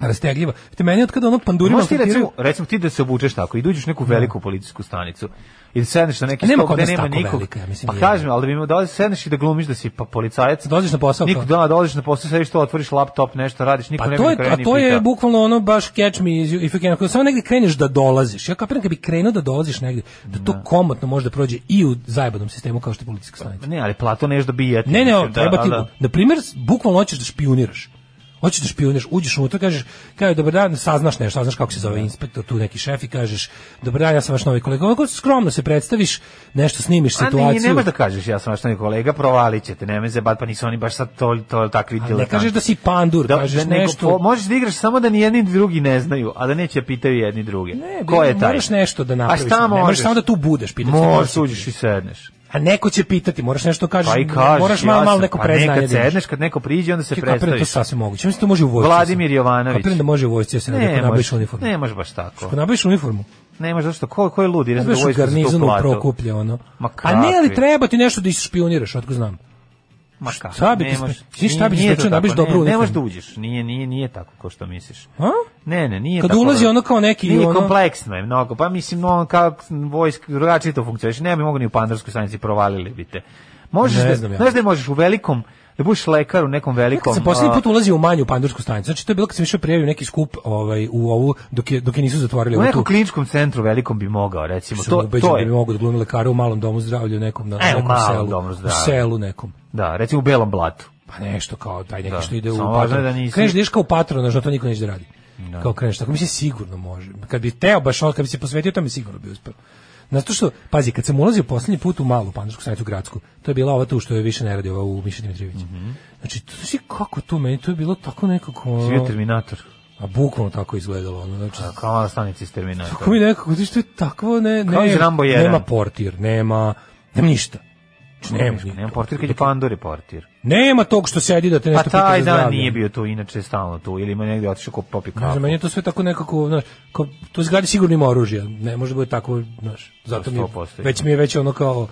Speaker 7: rastegljiva. Te meni od kada ono pandurima...
Speaker 8: Možeš ti
Speaker 7: filtriraju-
Speaker 8: recimo, recimo ti da se obučeš tako i da uđeš u neku veliku policijsku stanicu i da sedneš na neki
Speaker 7: A nema
Speaker 8: stol
Speaker 7: kod
Speaker 8: gde
Speaker 7: nas
Speaker 8: nema
Speaker 7: tako
Speaker 8: nikog.
Speaker 7: velika, ja mislim,
Speaker 8: pa
Speaker 7: nije.
Speaker 8: kaži mi, ali da bi imao da sedneš i da glumiš da si pa policajac.
Speaker 7: Dođeš na posao,
Speaker 8: Niko,
Speaker 7: kao.
Speaker 8: da, dolaziš na posao, sediš tu, otvoriš laptop, nešto radiš, niko
Speaker 7: Pa
Speaker 8: ne bi
Speaker 7: to je,
Speaker 8: nikada
Speaker 7: a
Speaker 8: ni
Speaker 7: to je
Speaker 8: pitao.
Speaker 7: bukvalno ono baš catch me if you- if you can. Ako Samo negde kreneš da dolaziš. Ja kapiram kad bi krenuo da dolaziš negde, da to komotno može da prođe i u zajebanom sistemu kao što je policijska stanica.
Speaker 8: Ne, ali plato neš da bijete.
Speaker 7: Ne, ne,
Speaker 8: mislim, da,
Speaker 7: treba ti,
Speaker 8: da, da.
Speaker 7: na primjer, bukvalno hoćeš da špioniraš. Hoćeš da špioniraš, uđeš unutra, kažeš, kaže, dobar dan, saznaš nešto, saznaš kako se
Speaker 8: Da.
Speaker 7: zove inspektor, tu neki šef i kažeš, dobar dan, ja sam vaš novi kolega. Onako skromno se predstaviš, nešto snimiš
Speaker 8: A ne,
Speaker 7: situaciju.
Speaker 8: ne možeš da kažeš, ja sam vaš novi kolega, provalit ćete, nemoj se, pa nisu oni baš sad to, to takvi
Speaker 7: ne
Speaker 8: diletanti.
Speaker 7: kažeš da si pandur, kažeš
Speaker 8: nego
Speaker 7: nešto.
Speaker 8: po- možeš da igraš samo da ni jedni drugi ne znaju, a da neće da pitaju jedni druge.
Speaker 7: Ne,
Speaker 8: Ko je taj?
Speaker 7: Moraš nešto da napraviš.
Speaker 8: A šta
Speaker 7: ne možeš
Speaker 8: možeš?
Speaker 7: samo da tu budeš, pitaš.
Speaker 8: Možeš, uđeš i sedneš.
Speaker 7: A neko će pitati, moraš nešto da kažeš,
Speaker 8: Pa i kažeš,
Speaker 7: moraš
Speaker 8: ja
Speaker 7: malo, malo
Speaker 8: sam-
Speaker 7: neko
Speaker 8: pa
Speaker 7: preznanje.
Speaker 8: Nekad
Speaker 7: da imaš.
Speaker 8: sedneš, kad neko priđe, onda se
Speaker 7: Kapiram da je to
Speaker 8: predstaviš.
Speaker 7: sasvim moguće. Mislim da može u vojsci.
Speaker 8: Vladimir Jovanović.
Speaker 7: Kapiram da može u vojsci, ja se ne,
Speaker 8: Ne,
Speaker 7: nabaviš
Speaker 8: možeš,
Speaker 7: uniformu.
Speaker 8: ne možeš baš tako.
Speaker 7: Ako nabaviš uniformu.
Speaker 8: Ne možeš, zašto? Ko, ko je lud? Ideš da
Speaker 7: Znaš u
Speaker 8: vojsku za tu
Speaker 7: garnizonu
Speaker 8: platu.
Speaker 7: prokuplje ono.
Speaker 8: Ma
Speaker 7: A ne, ali
Speaker 8: kakvi.
Speaker 7: treba ti nešto da isšpioniraš, otko znam.
Speaker 8: Ma kako?
Speaker 7: Šta bi ti
Speaker 8: nemaš-
Speaker 7: sme- ti šta bi ti
Speaker 8: nije
Speaker 7: sprečio
Speaker 8: to
Speaker 7: da nabiš
Speaker 8: tako,
Speaker 7: dobro u
Speaker 8: ne, ne
Speaker 7: nekom?
Speaker 8: možeš da uđeš. Nije, nije, nije tako kao što misliš.
Speaker 7: A?
Speaker 8: Ne, ne, nije
Speaker 7: Kad
Speaker 8: tako.
Speaker 7: ulazi ono kao neki,
Speaker 8: Nije,
Speaker 7: ono-
Speaker 8: kompleksno je mnogo. Pa mislim, ono kao vojsk, drugačije to funkcioniš. Ne bi mogo ni u pandarskoj stanici, provalili bi te. Možeš
Speaker 7: Ne
Speaker 8: da,
Speaker 7: znam ja.
Speaker 8: Znaš da možeš u velikom, da budeš lekar u nekom velikom...
Speaker 7: Kad sam poslednji
Speaker 8: a,
Speaker 7: put ulazio u manju pandursku stanicu, znači to je bilo kad sam išao prijavio neki skup ovaj, u ovu, dok je, dok je nisu zatvorili
Speaker 8: U
Speaker 7: ovu
Speaker 8: nekom
Speaker 7: tu.
Speaker 8: kliničkom centru velikom bi mogao, recimo.
Speaker 7: Sam
Speaker 8: To,
Speaker 7: ubeđen
Speaker 8: to
Speaker 7: da
Speaker 8: je.
Speaker 7: bi mogu da glumim lekara u malom domu zdravlja, u nekom, na,
Speaker 8: E, u
Speaker 7: nekom
Speaker 8: malom
Speaker 7: selu.
Speaker 8: domu zdravlja.
Speaker 7: U selu nekom.
Speaker 8: Da, recimo u belom blatu.
Speaker 7: Pa nešto kao taj neki
Speaker 8: Da,
Speaker 7: što ide u
Speaker 8: samo važno je
Speaker 7: patron.
Speaker 8: da nisi-
Speaker 7: Kreneš da ideš kao patronaž, no to niko neće da radi.
Speaker 8: Da.
Speaker 7: Kao kreneš, tako mi se sigurno može. Kad bi teo baš on, kad bi se posvetio tome sigurno bi uspeo. Zato što, pazi, kad sam ulazio poslednji put u malu pandušku stanicu gradsku, to je bila ova tu što je više ne radi, ova u Miša Dimitrijević.
Speaker 8: Mhm.
Speaker 7: Znači, to si kako to meni, to je bilo tako nekako... ono-
Speaker 8: Svi je Terminator.
Speaker 7: A bukvalno tako izgledalo. Ono, znači,
Speaker 8: A, Kao mala stanica iz Terminatora.
Speaker 7: Kako mi nekako, znaš, to je takvo, ne,
Speaker 8: Kao iz
Speaker 7: ne,
Speaker 8: Rambo 1.
Speaker 7: nema portir, nema, nema ništa. Znači, nema,
Speaker 8: Nema,
Speaker 7: nema,
Speaker 8: portir kad je Pandor je portir.
Speaker 7: nema tog što sedi da te
Speaker 8: Pa
Speaker 7: nešto pita
Speaker 8: taj
Speaker 7: za
Speaker 8: dan
Speaker 7: zdravlje.
Speaker 8: nije bio tu, inače je stalno tu, ili ima negdje otišao ko popi
Speaker 7: Ne
Speaker 8: kafu.
Speaker 7: znam, meni je to sve tako nekako, znaš, kao, to zgradi sigurno ima oružja, ne može da bude tako, znaš, zato mi, je-
Speaker 8: 100%
Speaker 7: već mi je već ono kao,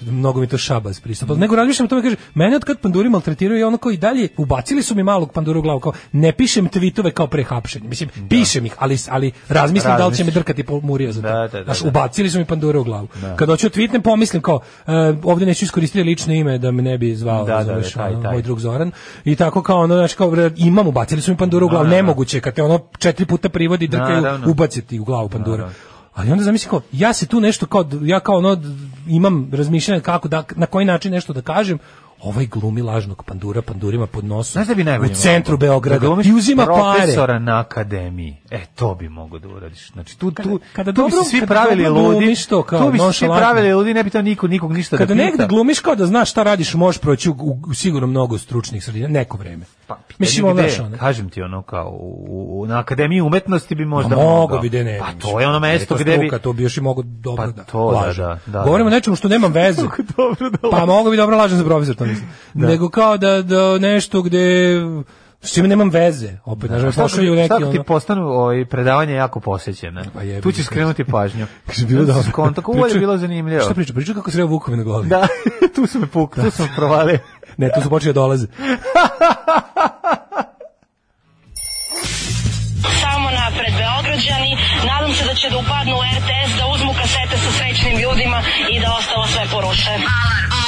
Speaker 7: mnogo mi to šabas pristupa. Nego razmišljam o tome, kaže, mene od kad panduri maltretiraju, ja ono kao i dalje, ubacili su mi malog pandura u glavu, kao, ne pišem tvitove kao pre hapšenja. Mislim, pišem ih, ali, ali razmislim da li će me
Speaker 8: Da. Razmisliš.
Speaker 7: drkati po murija za to.
Speaker 8: Da, da, da,
Speaker 7: Znaš,
Speaker 8: da.
Speaker 7: ubacili su mi pandure u glavu. Kad hoću tvitnem, pomislim kao, e, ovdje neću iskoristiti lično ime da me ne bi zvao,
Speaker 8: Da, da, da,
Speaker 7: razumeš,
Speaker 8: taj,
Speaker 7: ono,
Speaker 8: taj.
Speaker 7: moj drug Zoran. I tako kao, ono, znaš, kao, bre, imam, ubacili su mi panduru u glavu,
Speaker 8: Da, da.
Speaker 7: nemoguće, je kad te ono četiri puta privodi i drkaju,
Speaker 8: Naravno.
Speaker 7: ubaciti u glavu
Speaker 8: Da,
Speaker 7: pandura. Ali onda zamislim kao, ja se tu nešto kao, ja kao ono, d- imam razmišljanje kako da, na koji način nešto da kažem, ovaj glumi lažnog pandura pandurima pod nosom.
Speaker 8: Znaš da bi najbolje
Speaker 7: U centru
Speaker 8: mogao? Da
Speaker 7: Beograda.
Speaker 8: glumiš
Speaker 7: I uzima pare.
Speaker 8: Profesora da na akademiji. E, to bi mogo da uradiš. Znači, tu, tu,
Speaker 7: kada
Speaker 8: tu bi se
Speaker 7: dobro-
Speaker 8: svi
Speaker 7: kada
Speaker 8: pravili
Speaker 7: dobro
Speaker 8: ludi.
Speaker 7: glumiš to kao
Speaker 8: tu bi se svi
Speaker 7: nonšalantno.
Speaker 8: pravili ludi, ne bi to niko, nikog ništa
Speaker 7: Kada
Speaker 8: da pita.
Speaker 7: negde glumiš kao da znaš šta radiš, možeš proći u, u- u sigurno mnogo stručnih sredina, neko vreme.
Speaker 8: Pa, pitanje
Speaker 7: Mislim,
Speaker 8: gde,
Speaker 7: ono, znaš, ono.
Speaker 8: Kažem ti ono kao, u, u, na akademiji umetnosti bi možda
Speaker 7: Ma mogo
Speaker 8: mogao.
Speaker 7: bi da ne.
Speaker 8: Pa to je ono mesto
Speaker 7: to
Speaker 8: gde bi...
Speaker 7: struka, to bi još i mogo dobro
Speaker 8: Pa
Speaker 7: da.
Speaker 8: to da,
Speaker 7: lažem.
Speaker 8: da, da,
Speaker 7: Govorimo o
Speaker 8: da.
Speaker 7: nečemu što nemam veze.
Speaker 8: dobro da
Speaker 7: pa mogu bi dobro lažem za profesor, to mislim. Nego kao da, da nešto gde s čime nemam veze. Opet,
Speaker 8: Da. A
Speaker 7: nažalost,
Speaker 8: šta ako ti-
Speaker 7: pošalju neki
Speaker 8: šta ako ti
Speaker 7: ono...
Speaker 8: postanu ovaj, predavanje jako posjećene?
Speaker 7: Pa jebi
Speaker 8: tu ćeš
Speaker 7: ga.
Speaker 8: skrenuti pažnju.
Speaker 7: Kaže, bilo dobro.
Speaker 8: Skonto, kako ovo je
Speaker 7: Da, Priča-
Speaker 8: bilo zanimljivo.
Speaker 7: Šta Da. priča? Priča kako sreo vukove na glavi.
Speaker 8: Da, tu su me puk, tu su me provalio.
Speaker 7: Ne, tu su počeli da dolaze.
Speaker 3: Samo napred Beograđani, nadam se da će da upadnu u RTS, da uzmu kasete sa srećnim ljudima i da ostalo sve poruše.
Speaker 5: Alarm.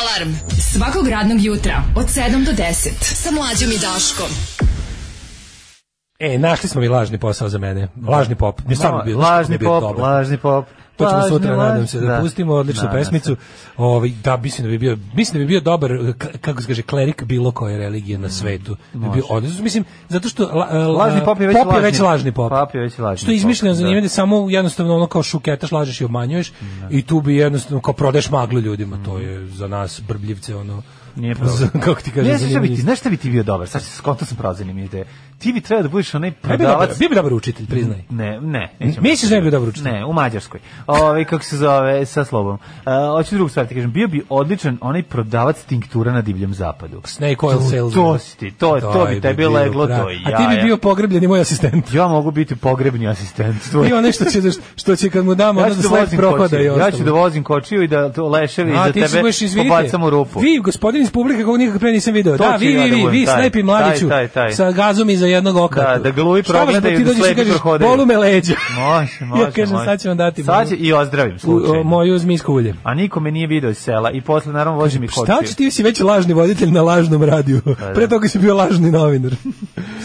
Speaker 5: Alarm. Svakog radnog jutra od 7 do 10. Sa mlađom i Daškom.
Speaker 7: E, našli smo mi lažni posao za mene. Lažni pop. Ne, stvarno bi- znaš kako
Speaker 8: lažni
Speaker 7: bi bio
Speaker 8: pop,
Speaker 7: dobar?
Speaker 8: lažni pop.
Speaker 7: To ćemo
Speaker 8: lažni,
Speaker 7: sutra,
Speaker 8: lažni-
Speaker 7: nadam se, da, pustimo odličnu
Speaker 8: Nadam se.
Speaker 7: pesmicu. Ovaj, da, mislim da bi bio, mislim da bi bio dobar, k- kako se kaže, klerik bilo koje religije na svetu. Da bi bio odličan. Mislim, zato što la- eh, la-
Speaker 8: Lažni pop je već
Speaker 7: lažni.
Speaker 8: lažni.
Speaker 7: pop.
Speaker 8: Pop je već lažni
Speaker 7: Što je izmišljeno
Speaker 8: pop,
Speaker 7: za
Speaker 8: da.
Speaker 7: njime, da samo jednostavno ono kao šuketaš, lažeš i obmanjuješ i tu bi jednostavno kao prodeš maglu ljudima. To je za nas brbljivce ono...
Speaker 8: Nije problem.
Speaker 7: za- kako ti kažem,
Speaker 8: Ne, znaš šta bi
Speaker 7: zanimljivo.
Speaker 8: ti, znaš šta bi ti bio dobar? Sad se skonto sam prozinim ideje. Ti bi trebao da budeš onaj
Speaker 7: Bio bi dobar-
Speaker 8: prodavac.
Speaker 7: bio bi dobar učitelj, priznaj.
Speaker 8: Ne, ne.
Speaker 7: Misliš da ne bi bio dobar učitelj?
Speaker 8: Ne, u Mađarskoj. Ove, kako se zove, sa slobom. Uh, hoću drugu stvar ti kažem, bio bi odličan onaj prodavac tinktura na divljem zapadu.
Speaker 7: Snake oil sales.
Speaker 8: To si ti, to, to, bi tebi leglo, to i
Speaker 7: A ti bi
Speaker 8: jaja.
Speaker 7: bio pogrebljeni moj asistent.
Speaker 8: Ja mogu biti pogrebni asistent tvoj.
Speaker 7: I ono što će, da što će kad mu damo,
Speaker 8: Ja
Speaker 7: ono
Speaker 8: ću
Speaker 7: da
Speaker 8: da
Speaker 7: sled
Speaker 8: vozim
Speaker 7: prohoda i
Speaker 8: kočiju,
Speaker 7: ostalo.
Speaker 8: ja ću da vozim kočiju i da to leševi
Speaker 7: A,
Speaker 8: iza
Speaker 7: ti
Speaker 8: tebe
Speaker 7: ćeš, izvinite,
Speaker 8: pobacam u rupu.
Speaker 7: Vi, gospodin iz publike, koga nikak pre nisam video.
Speaker 8: To
Speaker 7: da,
Speaker 8: ću
Speaker 7: vi, vi,
Speaker 8: ja da
Speaker 7: vi,
Speaker 8: budem,
Speaker 7: vi,
Speaker 8: taj,
Speaker 7: snajpi mladiću
Speaker 8: taj, taj, taj.
Speaker 7: sa gazom iza jednog oka.
Speaker 8: Da, da gluvi
Speaker 7: Šta hoćeš
Speaker 8: progledaju
Speaker 7: ti
Speaker 8: da
Speaker 7: dođeš i
Speaker 8: slepi
Speaker 7: kažeš,
Speaker 8: prohodaju.
Speaker 7: bolu me leđa.
Speaker 8: Može, može,
Speaker 7: ja kažem,
Speaker 8: može.
Speaker 7: sad ću vam dati
Speaker 8: Sad
Speaker 7: moju-
Speaker 8: će i ozdravim
Speaker 7: u- o,
Speaker 8: slučajno.
Speaker 7: moju zmijsku ulje.
Speaker 8: A nikome nije video iz sela i posle naravno vozim i kočiju.
Speaker 7: Šta će ti si već lažni voditelj na lažnom radiju?
Speaker 8: da.
Speaker 7: Pre toga si bio lažni novinar.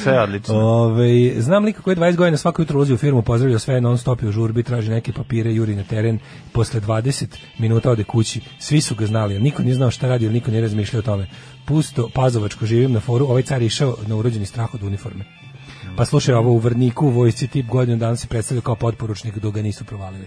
Speaker 8: Sve odlično.
Speaker 7: Ove, Ovaj, znam lika koji 20 godina svako jutro ulazi u firmu, pozdravlja sve, non stop je u žurbi, traži neke papire, juri na teren, posle 20 minuta ode kući, svi su ga znali, ali niko nije znao šta radi, ali niko nije razmišljao o tome. Pusto, pazovačko, živim na foru, ovaj car je išao na urođeni strah od uniforme. Pa slušaj, ovo u Vrniku, u vojsci tip godinu dana se predstavlja kao potporučnik, dok ga nisu provalili.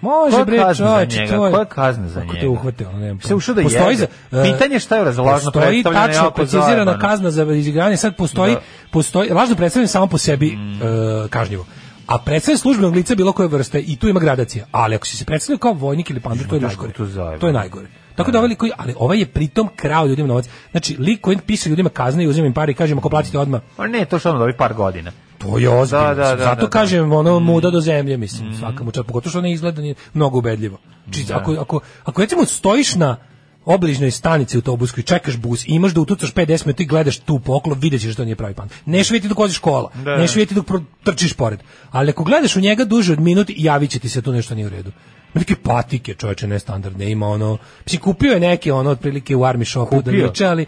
Speaker 8: Koja
Speaker 7: Može
Speaker 8: je
Speaker 7: bre,
Speaker 8: kazna za
Speaker 7: čoveče,
Speaker 8: njega?
Speaker 7: to je
Speaker 8: Koja je kazna za
Speaker 7: Ako
Speaker 8: njega?
Speaker 7: te uhvate, ono nema.
Speaker 8: Se ušao da
Speaker 7: Postoji
Speaker 8: jede.
Speaker 7: za- e,
Speaker 8: Pitanje je šta je ovo za lažno
Speaker 7: postoji
Speaker 8: predstavljanje,
Speaker 7: tačno
Speaker 8: jako
Speaker 7: precizirana
Speaker 8: zajebano.
Speaker 7: kazna za izigranje, sad postoji,
Speaker 8: Da.
Speaker 7: postoji lažno predstavljanje samo po sebi e, kažnjivo. A predstavljanje službenog lica bilo koje vrste i tu ima gradacija. Ali ako si se predstavljao kao vojnik ili pandur, to je
Speaker 8: Da,
Speaker 7: najgore.
Speaker 8: to je zajebano.
Speaker 7: To je najgore. Tako da ovaj lik koji, ali ovaj je pritom krao ljudima novac. Znači, lik koji pisa ljudima kazne i uzima im pare i kaže im ako platite odmah,
Speaker 8: Ma Pa ne, to što ono dobi par godina.
Speaker 7: to je ozbiljno.
Speaker 8: Da, da, da,
Speaker 7: mislim. Zato
Speaker 8: da, Mm. da.
Speaker 7: kažem, ono, muda do zemlje, mislim,
Speaker 8: Da.
Speaker 7: svaka mu čast, pogotovo što ne izgleda ni mnogo ubedljivo. Či, ako, ako, ako recimo stojiš na obližnoj stanici autobuskoj, čekaš bus, imaš da utucaš 50 minuta i gledaš tu poklop, videćeš da nije pravi pan. Neš vidjeti dok hođeš kola,
Speaker 8: Da.
Speaker 7: da. neš vidjeti dok pro- trčiš pored. Ali ako gledaš u njega duže od minut, javit će ti se tu nešto nije u redu. Ima neke patike, čoveče, nestandardne, ima ono... Mislim, kupio je neke, ono, otprilike u Army shopu da
Speaker 8: Kupio?
Speaker 7: juče, ali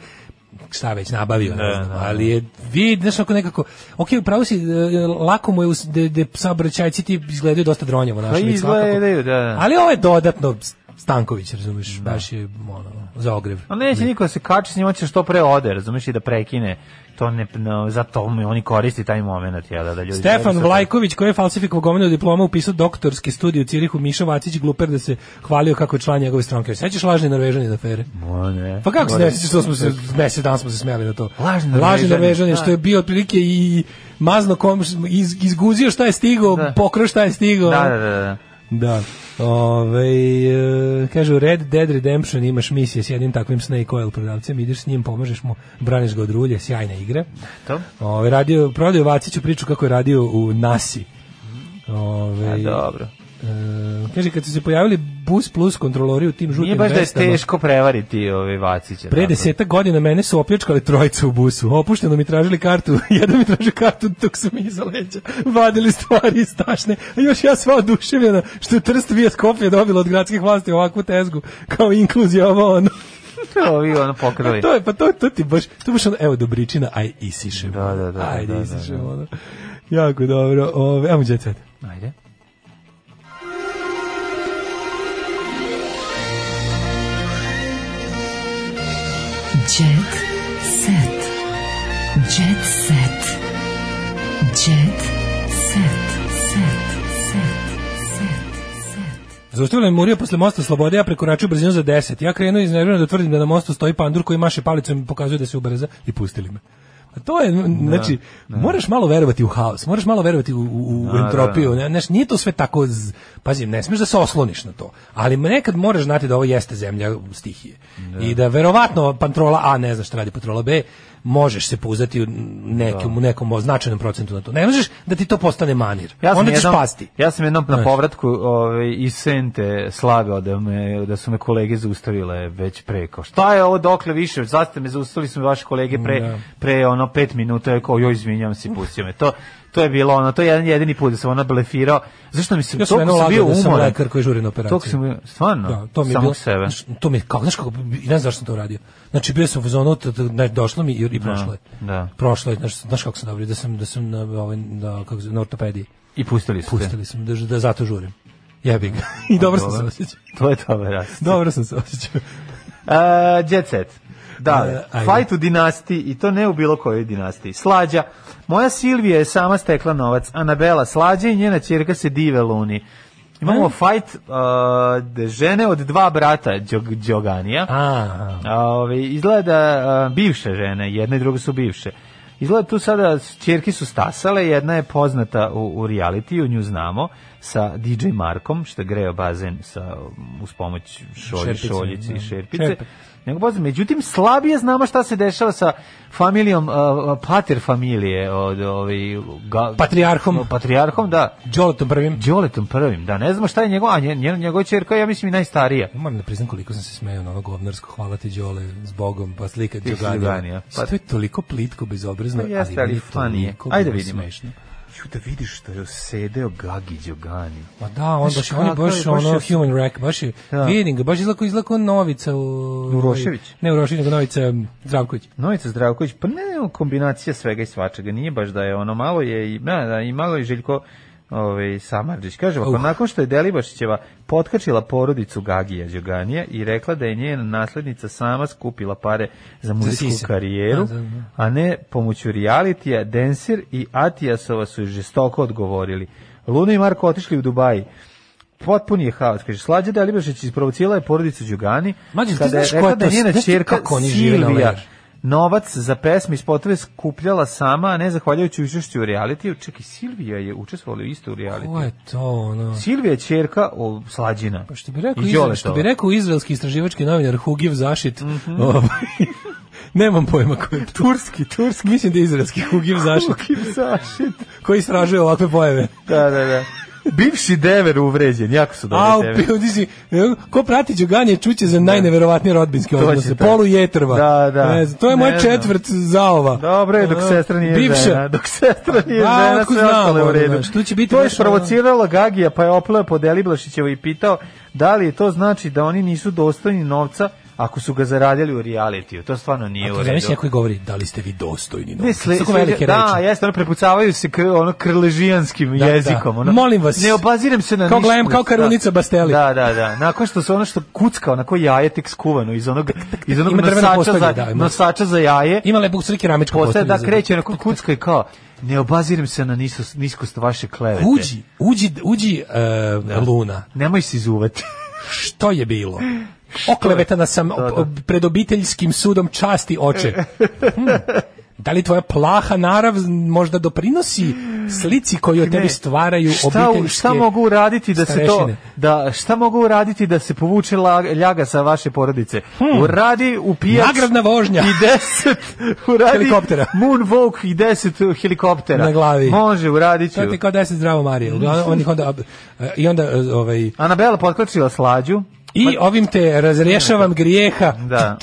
Speaker 7: šta već nabavio, ne,
Speaker 8: Da,
Speaker 7: znam,
Speaker 8: da.
Speaker 7: ali je vid, znaš, ako nekako, ok, upravo si, e, lako mu je, us- de, de, saobraćajci ti izgledaju dosta dronjevo, naš,
Speaker 8: Pa
Speaker 7: lik svakako.
Speaker 8: izgledaju, da, da.
Speaker 7: Ali ovo je dodatno Stanković, razumeš, baš je ono, za ogrev.
Speaker 8: A neće niko da se kači s njima, će što pre ode, razumeš, i da prekine. To ne, no, zato mi oni koristi taj moment, jel, da, da ljudi...
Speaker 7: Stefan
Speaker 8: sad-
Speaker 7: Vlajković koji je falsifikovao gomilu diploma upisao doktorski studij u Cirihu Miša Vacić gluper da se hvalio kako je član njegove stranke. Sećaš lažni Norvežani da fere?
Speaker 8: Mo, ne.
Speaker 7: Pa kako se
Speaker 8: Mo,
Speaker 7: ne sjećaš što smo se mesec dana smo se smeli na to. Lažni
Speaker 8: Lažni Norvežani,
Speaker 7: Norvežani
Speaker 8: da.
Speaker 7: što je bio otprilike i mazno kom iz, izguzio šta je stigao,
Speaker 8: Da.
Speaker 7: pokro šta je stigao.
Speaker 8: Da, da, da, da.
Speaker 7: Da. Ove, e, kaže, u Red Dead Redemption imaš misije s jednim takvim Snake Oil prodavcem, ideš s njim, pomažeš mu, braniš ga od rulje, sjajna igra.
Speaker 8: To?
Speaker 7: Ove, radio, prodaju Vaciću priču kako je radio u Nasi. Ove,
Speaker 8: A, da. dobro.
Speaker 7: e, kaže, kad su se pojavili Bus Plus kontrolori u tim žutim
Speaker 8: Nije baš da je
Speaker 7: vestama,
Speaker 8: teško prevariti ove Vacića.
Speaker 7: Pre
Speaker 8: da. zapravo.
Speaker 7: desetak godina mene su opljačkali trojica u busu. Opušteno mi tražili kartu, jedan mi traži kartu dok su mi iza leđa. Vadili stvari iz tašne, a još ja sva oduševljena što je Trst Vijat Kopje dobila od gradskih vlasti ovakvu tezgu, kao inkluzija ovo ono.
Speaker 8: Ovi ono pokrali.
Speaker 7: To je, pa to, to ti baš, to baš ono, evo dobričina, aj isišem.
Speaker 8: Da, da, da,
Speaker 7: Ajde,
Speaker 8: da, da,
Speaker 7: isišem,
Speaker 8: da.
Speaker 7: ono. Jako dobro. Ove, ajmo djecet.
Speaker 8: Ajde.
Speaker 5: Jet set. Jet set. Jet set. Set. Set. Set. Set.
Speaker 7: Zaustavila je Murija posle mosta Slobode, ja prekoračio brzinu za 10. Ja krenuo iz nervira da tvrdim da na mostu stoji pandur koji maše palicom i pokazuje da se ubrza i pustili me. A to je,
Speaker 8: Da,
Speaker 7: znači, moraš malo verovati u haos, moraš malo verovati u, u, u
Speaker 8: Da,
Speaker 7: entropiju, ne, znaš, nije to sve tako, z... pazi, ne smiješ da se osloniš na to, ali nekad moraš znati da ovo jeste zemlja stihije i da verovatno patrola A ne zna šta radi patrola B, možeš se pouzati u nekom,
Speaker 8: Da.
Speaker 7: u nekom značajnom procentu na to. Ne možeš da ti to postane manir,
Speaker 8: Ja sam
Speaker 7: onda ćeš
Speaker 8: jednom,
Speaker 7: pasti.
Speaker 8: Ja sam jednom na
Speaker 7: Znaš.
Speaker 8: povratku ovaj, iz Sente slavio da, me, da su me kolege zaustavile već preko. Šta je ovo dokle više? Sad ste me zaustavili su me vaše kolege pre,
Speaker 7: Da.
Speaker 8: pre ono pet minuta. Ja kao, joj, izvinjam se, pustio me. To, to je bilo ono, to je jedan jedini put da sam ono blefirao. Zašto mi se,
Speaker 7: Ja
Speaker 8: ja
Speaker 7: sam
Speaker 8: sam,
Speaker 7: mene
Speaker 8: toliko sam bio
Speaker 7: lagao da sam
Speaker 8: umoran.
Speaker 7: lekar koji žuri na operaciju.
Speaker 8: Toliko sam bio, stvarno,
Speaker 7: Da, to mi je
Speaker 8: samog
Speaker 7: bilo,
Speaker 8: sebe.
Speaker 7: znaš, to mi je kao, znaš kako, i ne znam zašto sam to uradio. Znači bio sam u zonu, t- t- ne, došlo mi i, i prošlo je.
Speaker 8: da.
Speaker 7: Prošlo je, znaš, znaš kako sam dobro, da sam, da sam na, ovaj, na, kako, se- na ortopediji.
Speaker 8: I pustili su te.
Speaker 7: Pustili sam, da, da zato žurim. Jebi ga. I dobro sam se
Speaker 8: Dobro.
Speaker 7: osjećao.
Speaker 8: To je dobra reakcija.
Speaker 7: Dobro sam se osjećao.
Speaker 8: Uh, jet set. Da,
Speaker 7: E, ajde.
Speaker 8: fight u dinastiji i to ne u bilo kojoj dinastiji. Slađa. Moja Silvija je sama stekla novac. Anabela slađa i njena ćerka se dive luni. Imamo fight uh, d- žene od dva brata Đog, Đoganija.
Speaker 7: A,
Speaker 8: A, Ove, izgleda a, bivše žene, jedna i druga su bivše. Izgleda tu sada, čerke su stasale, jedna je poznata u, u realitiju, nju znamo, sa DJ Markom, što je greo bazen sa, uz pomoć šolje,
Speaker 7: Šerpice,
Speaker 8: šoljice i
Speaker 7: da.
Speaker 8: šerpice.
Speaker 7: Šerpe.
Speaker 8: Nego poznat, međutim, slabije znamo šta se dešava sa familijom, a, pater familije, od, ovi, ga-
Speaker 7: Patrijarhom.
Speaker 8: patrijarhom, da,
Speaker 7: Đoletom prvim.
Speaker 8: Đoletom prvim, da, ne znamo šta je njegova, a nje- nje- njegova čerka, je, ja mislim, i najstarija.
Speaker 7: Moram da priznam koliko sam se smejao na ono govnarsko hvala ti Đole s Bogom, pa slika
Speaker 8: si Đoganija,
Speaker 7: Đoganija.
Speaker 8: pa-
Speaker 7: To je toliko plitko, bezobrazno,
Speaker 8: Pa jeste, ali
Speaker 7: ali,
Speaker 8: funny je.
Speaker 7: ali
Speaker 8: Ajde vidimo.
Speaker 7: Smešno.
Speaker 8: Ju da vidiš što je osedeo Gagi Đogani.
Speaker 7: Ma da, on
Speaker 8: Znaš
Speaker 7: baš, on je
Speaker 8: kako
Speaker 7: baš,
Speaker 8: je, baš
Speaker 7: ono
Speaker 8: je-
Speaker 7: human wreck, baš je,
Speaker 8: Da.
Speaker 7: vidim ga, baš izlako, izlako novica u...
Speaker 8: Urošević.
Speaker 7: Ne Urošević, nego novica um, Zdravković.
Speaker 8: Novica Zdravković, pa ne, ne, kombinacija svega i svačega, nije baš da je ono, malo je i, da, da, i malo je Željko ovaj, Samarđić. Kaže, ovako,
Speaker 7: Uh.
Speaker 8: nakon što je Delibašićeva potkačila porodicu Gagija Đoganija i rekla da je njena naslednica sama skupila pare za muzičku
Speaker 7: sise.
Speaker 8: karijeru,
Speaker 7: Da, da, da.
Speaker 8: a ne pomoću realitija, Densir i Atijasova su joj žestoko odgovorili. Luna i Marko otišli u Dubaji. Potpuni je haos. Kaže, Slađa Delibašić isprovocirala je porodicu Đugani.
Speaker 7: Mađo, ti
Speaker 8: kada je
Speaker 7: znaš
Speaker 8: rekla
Speaker 7: koja je
Speaker 8: da
Speaker 7: to-
Speaker 8: njena
Speaker 7: znaš ti
Speaker 8: ćerka
Speaker 7: kako oni žive na
Speaker 8: Silvija
Speaker 7: Leru?
Speaker 8: novac za pesme i spotove skupljala sama, a ne zahvaljujući učešću u realitiju. Čekaj, Silvija je učestvovala isto u
Speaker 7: Ko
Speaker 8: realitiju.
Speaker 7: je to, ono...
Speaker 8: Silvija je ćerka o, Slađina.
Speaker 7: Pa što bi rekao,
Speaker 8: I
Speaker 7: izra,
Speaker 8: Đoletova.
Speaker 7: što bi rekao izraelski istraživački novinar Hugiv Zašit,
Speaker 8: Mhm.
Speaker 7: ovaj, nemam pojma ko je to. Turski, turski. Mislim da je izraelski Hugiv Zašit,
Speaker 8: Kim Sašit.
Speaker 7: koji istražuje ovakve pojave.
Speaker 8: Da, da, da. Bivši dever uvređen, jako su
Speaker 7: A,
Speaker 8: dobre teme. Da.
Speaker 7: ti si, ko prati Đuganje čuće za najneverovatnije rodbinske
Speaker 8: To će
Speaker 7: odnose.
Speaker 8: tako.
Speaker 7: Polu jetrva.
Speaker 8: Da, da.
Speaker 7: Ne znam, to je moj
Speaker 8: Ne znam.
Speaker 7: četvrt zaova.
Speaker 8: Dobro je, dok
Speaker 7: Ono,
Speaker 8: sestra nije
Speaker 7: bivša.
Speaker 8: žena. Dok sestra nije
Speaker 7: A,
Speaker 8: žena,
Speaker 7: otkud
Speaker 8: sve
Speaker 7: znamo,
Speaker 8: ostalo je u
Speaker 7: ono,
Speaker 8: redu.
Speaker 7: znaš, tu će biti
Speaker 8: to je
Speaker 7: baš ono-
Speaker 8: provociralo Gagija, pa je opleo po Deliblašićevo i pitao da li je to znači da oni nisu dostojni novca ako su ga zaradili u realitiju. To stvarno nije
Speaker 7: A
Speaker 8: u
Speaker 7: to
Speaker 8: redu.
Speaker 7: zamisli neko i govori, da li ste vi dostojni
Speaker 8: Ne,
Speaker 7: novca?
Speaker 8: sle,
Speaker 7: Tako
Speaker 8: sle-
Speaker 7: velike
Speaker 8: da,
Speaker 7: reči.
Speaker 8: jeste, ono prepucavaju se kr, ono krležijanskim
Speaker 7: Da, da.
Speaker 8: jezikom. Ono,
Speaker 7: Molim vas.
Speaker 8: Ne obaziram se na
Speaker 7: Kao
Speaker 8: ništa.
Speaker 7: glem- kao Karunica
Speaker 8: da.
Speaker 7: Basteli.
Speaker 8: Da, da, da. Nakon što se ono što kucka, onako jaje tek skuvano iz onog, iz onog
Speaker 7: Ima drveno
Speaker 8: nosača,
Speaker 7: postolje,
Speaker 8: za,
Speaker 7: da, ima.
Speaker 8: nosača za jaje.
Speaker 7: Ima lepo srke keramičko
Speaker 8: Postaje
Speaker 7: postolje.
Speaker 8: da
Speaker 7: za-
Speaker 8: kreće onako kucka i kao ne obaziram se na nisos- niskost vaše klevete.
Speaker 7: Uđi, uđi, uđi e,
Speaker 8: Da.
Speaker 7: Luna.
Speaker 8: Nemoj se izuvati.
Speaker 7: Što je bilo? Oklevetana
Speaker 8: Da,
Speaker 7: sam ob- ob- pred obiteljskim sudom časti oče. Hm. Da li tvoja plaha narav možda doprinosi slici koju o tebi
Speaker 8: Ne.
Speaker 7: da stvaraju
Speaker 8: Šta, u-
Speaker 7: obiteljske
Speaker 8: šta mogu uraditi da se to
Speaker 7: starešine?
Speaker 8: da šta mogu uraditi da se povuče la- ljaga sa vaše porodice? Uradi u pijac
Speaker 7: Hmm. Nagradna vožnja.
Speaker 8: i 10 uradi
Speaker 7: Helikoptera.
Speaker 8: Moonwalk i 10 helikoptera
Speaker 7: Na glavi.
Speaker 8: Može uradit ću.
Speaker 7: To ti je kao 10 zdravo Marije. Uglavnom, on ih onda, ob- e, I onda e, ovaj,
Speaker 8: Anabela potklačila slađu.
Speaker 7: I
Speaker 8: Pa-
Speaker 7: ovim te razrješavam grijeha
Speaker 8: Da.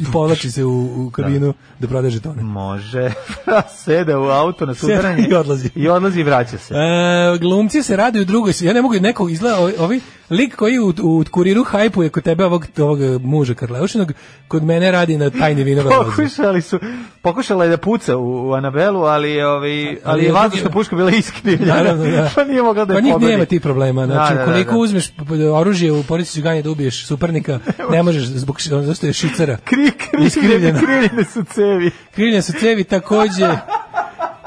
Speaker 7: i povlači se u, u kabinu da, prodaje žetone.
Speaker 8: Može. Seda u auto na
Speaker 7: Seda
Speaker 8: sudaranje.
Speaker 7: i odlazi.
Speaker 8: I odlazi i vraća se.
Speaker 7: E, glumci se rade u drugoj svi- ja ne mogu nekog izgleda ovi, ovi lik koji u, u kuriru hajpuje kod tebe ovog, ovog muža Karleušinog kod mene radi na tajni vinograd lozi.
Speaker 8: Pokušali su, pokušala je da puca u, u Anabelu, ali je ovaj, ali je
Speaker 7: je
Speaker 8: vazdušna
Speaker 7: drugi-
Speaker 8: puška bila iskrivljena.
Speaker 7: Naravno, da.
Speaker 8: pa nije mogla da je
Speaker 7: Kod njih
Speaker 8: pogodi.
Speaker 7: nema ti problema. Znači,
Speaker 8: Da, da, da,
Speaker 7: koliko
Speaker 8: da.
Speaker 7: uzmeš p- p- oružje u porici ciganje da ubiješ suparnika, ne možeš zbog š- ono, zato je šicara.
Speaker 8: Kri, kri,
Speaker 7: Iskrivljena.
Speaker 8: Iskrivljene su cevi.
Speaker 7: Krivnja su cevi takođe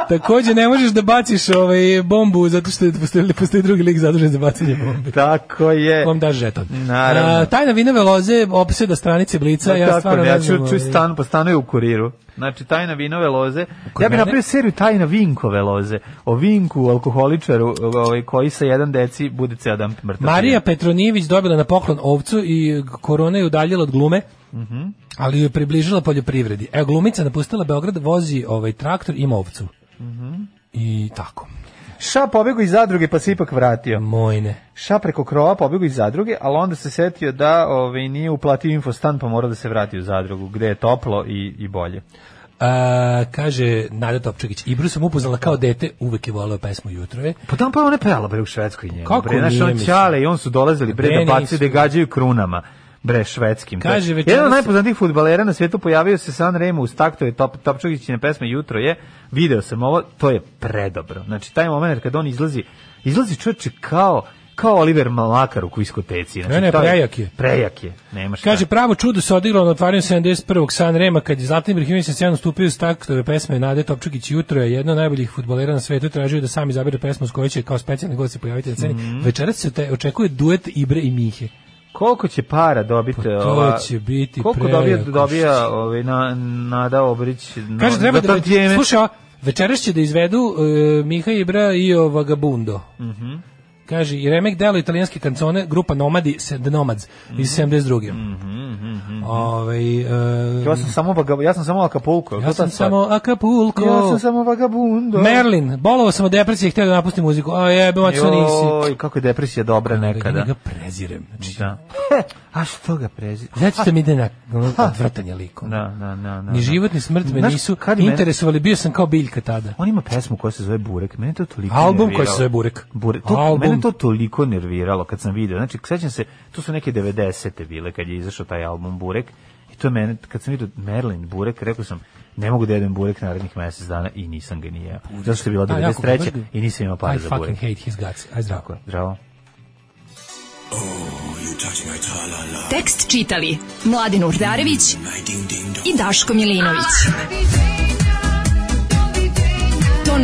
Speaker 7: Takođe ne možeš da baciš ovaj bombu zato što je- postoji, postoji drugi lik zadužen za bacanje bombe.
Speaker 8: Tako je.
Speaker 7: Vam daš žeton.
Speaker 8: Naravno.
Speaker 7: A, tajna vinove loze opseda stranice Blica.
Speaker 8: Pa
Speaker 7: ja
Speaker 8: tako,
Speaker 7: stvarno
Speaker 8: ja
Speaker 7: ne
Speaker 8: ću,
Speaker 7: znam.
Speaker 8: ću
Speaker 7: ovaj,
Speaker 8: stan, postanuju u kuriru. Znači, tajna vinove loze. ja bih
Speaker 7: mene-
Speaker 8: napravio seriju tajna vinkove loze. O vinku, alkoholičaru, ovaj, koji sa jedan deci bude ceo dan mrtav.
Speaker 7: Marija Petronijević dobila na poklon ovcu i korona je udaljila od glume.
Speaker 8: Mhm.
Speaker 7: Ali ju je približila poljoprivredi. Evo, glumica napustila Beograd, vozi ovaj traktor i ovcu.
Speaker 8: Mhm.
Speaker 7: I tako.
Speaker 8: Ša pobegao iz zadruge, pa se ipak vratio.
Speaker 7: Mojne.
Speaker 8: Ša preko krova pobegao iz zadruge, ali onda se setio da ovaj, nije uplatio infostan, pa mora da se vrati u zadrugu, gde je toplo i, i bolje.
Speaker 7: A, kaže Nada Topčagić, Ibru sam upoznala kao dete, uvek je voleo pesmu Jutrove.
Speaker 8: Pa tamo pa ona pela bre u Švedskoj njemu.
Speaker 7: Kako
Speaker 8: bre, znaš,
Speaker 7: nije,
Speaker 8: on
Speaker 7: mislim?
Speaker 8: Ćale i on su dolazili
Speaker 7: Bre,
Speaker 8: bre da baci
Speaker 7: nisu.
Speaker 8: da gađaju krunama bre švedskim. To je-
Speaker 7: Kaže, večeras-
Speaker 8: Jedan od najpoznatijih fudbalera na svijetu pojavio se San Remo uz taktove top, Topčagićine pesme Jutro je. Video sam ovo, to je predobro. Znači taj momenat kad on izlazi, izlazi čoveče kao kao Oliver Malakar u kviskoteci. Znači,
Speaker 7: Ne, ne,
Speaker 8: to
Speaker 7: prejak je.
Speaker 8: Prejak je, nema šta.
Speaker 7: Kaže, pravo čudo se odigralo na otvaranju 71. San Rema, kad je Zlatan Ibrahimović na scenu stupio s taktove pesme Nade Topčukić jutro je jedno od najboljih futbolera na svetu, tražio je da sam izabere pesmu s kojoj će kao specijalni gost se pojaviti na sceni.
Speaker 8: Mhm.
Speaker 7: Večeras se te očekuje duet Ibre i Mihe.
Speaker 8: Koliko će para dobiti?
Speaker 7: Pa to
Speaker 8: ova-
Speaker 7: će biti
Speaker 8: Koliko
Speaker 7: prejako.
Speaker 8: dobija, dobija ovaj, na, Nada Obrić? na-
Speaker 7: Kaže, treba
Speaker 8: za
Speaker 7: da...
Speaker 8: to vrijeme?
Speaker 7: Slušaj, ovo, večeras će da izvedu uh, Miha Ibra i o Vagabundo.
Speaker 8: Mhm.
Speaker 7: Kaže, i remek delo italijanske kancone, grupa Nomadi, se- The Nomads,
Speaker 8: Mhm.
Speaker 7: iz 72. Ovaj, e,
Speaker 8: Ja sam samo vagab, ja sam samo Acapulco.
Speaker 7: ja sam samo Acapulco.
Speaker 8: Ja sam samo vagabundo.
Speaker 7: Merlin, bolovao sam od depresije, htio da napustim muziku. A jebe, mač to nisi.
Speaker 8: Joj, kako je depresija dobra
Speaker 7: Ja
Speaker 8: nekada.
Speaker 7: ga prezirem. Znači,
Speaker 8: Da. A što ga prezi?
Speaker 7: Znači što mi ide na ono, odvrtanje likom.
Speaker 8: Da, da, da, da.
Speaker 7: Ni život, ni smrt me
Speaker 8: Znaš,
Speaker 7: nisu
Speaker 8: kad mene-
Speaker 7: interesovali, bio sam kao biljka tada.
Speaker 8: On ima pesmu koja se zove Burek. Mene je to toliko
Speaker 7: Album
Speaker 8: nerviralo.
Speaker 7: koji se zove Burek.
Speaker 8: Bure, to,
Speaker 7: Album.
Speaker 8: Mene je to toliko nerviralo kad sam video. Znači, sećam se, to su neke 90. bile kad je izašao taj album Burek. I to je mene, kad sam vidio Merlin Burek, rekao sam, ne mogu da jedem Burek narednih mjesec dana i nisam ga nije. Zato što je bila
Speaker 7: A, Da, jako ga
Speaker 8: 93.
Speaker 7: brzo.
Speaker 8: i nisam imao para
Speaker 7: I
Speaker 8: za
Speaker 7: fucking
Speaker 8: Burek.
Speaker 7: hate his guts. Aj zdravo.
Speaker 8: Zdravo.
Speaker 5: Tekst čitali Mladin Urdarević i Daško Milinović. Ton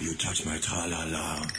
Speaker 13: You touch my tra-la-la.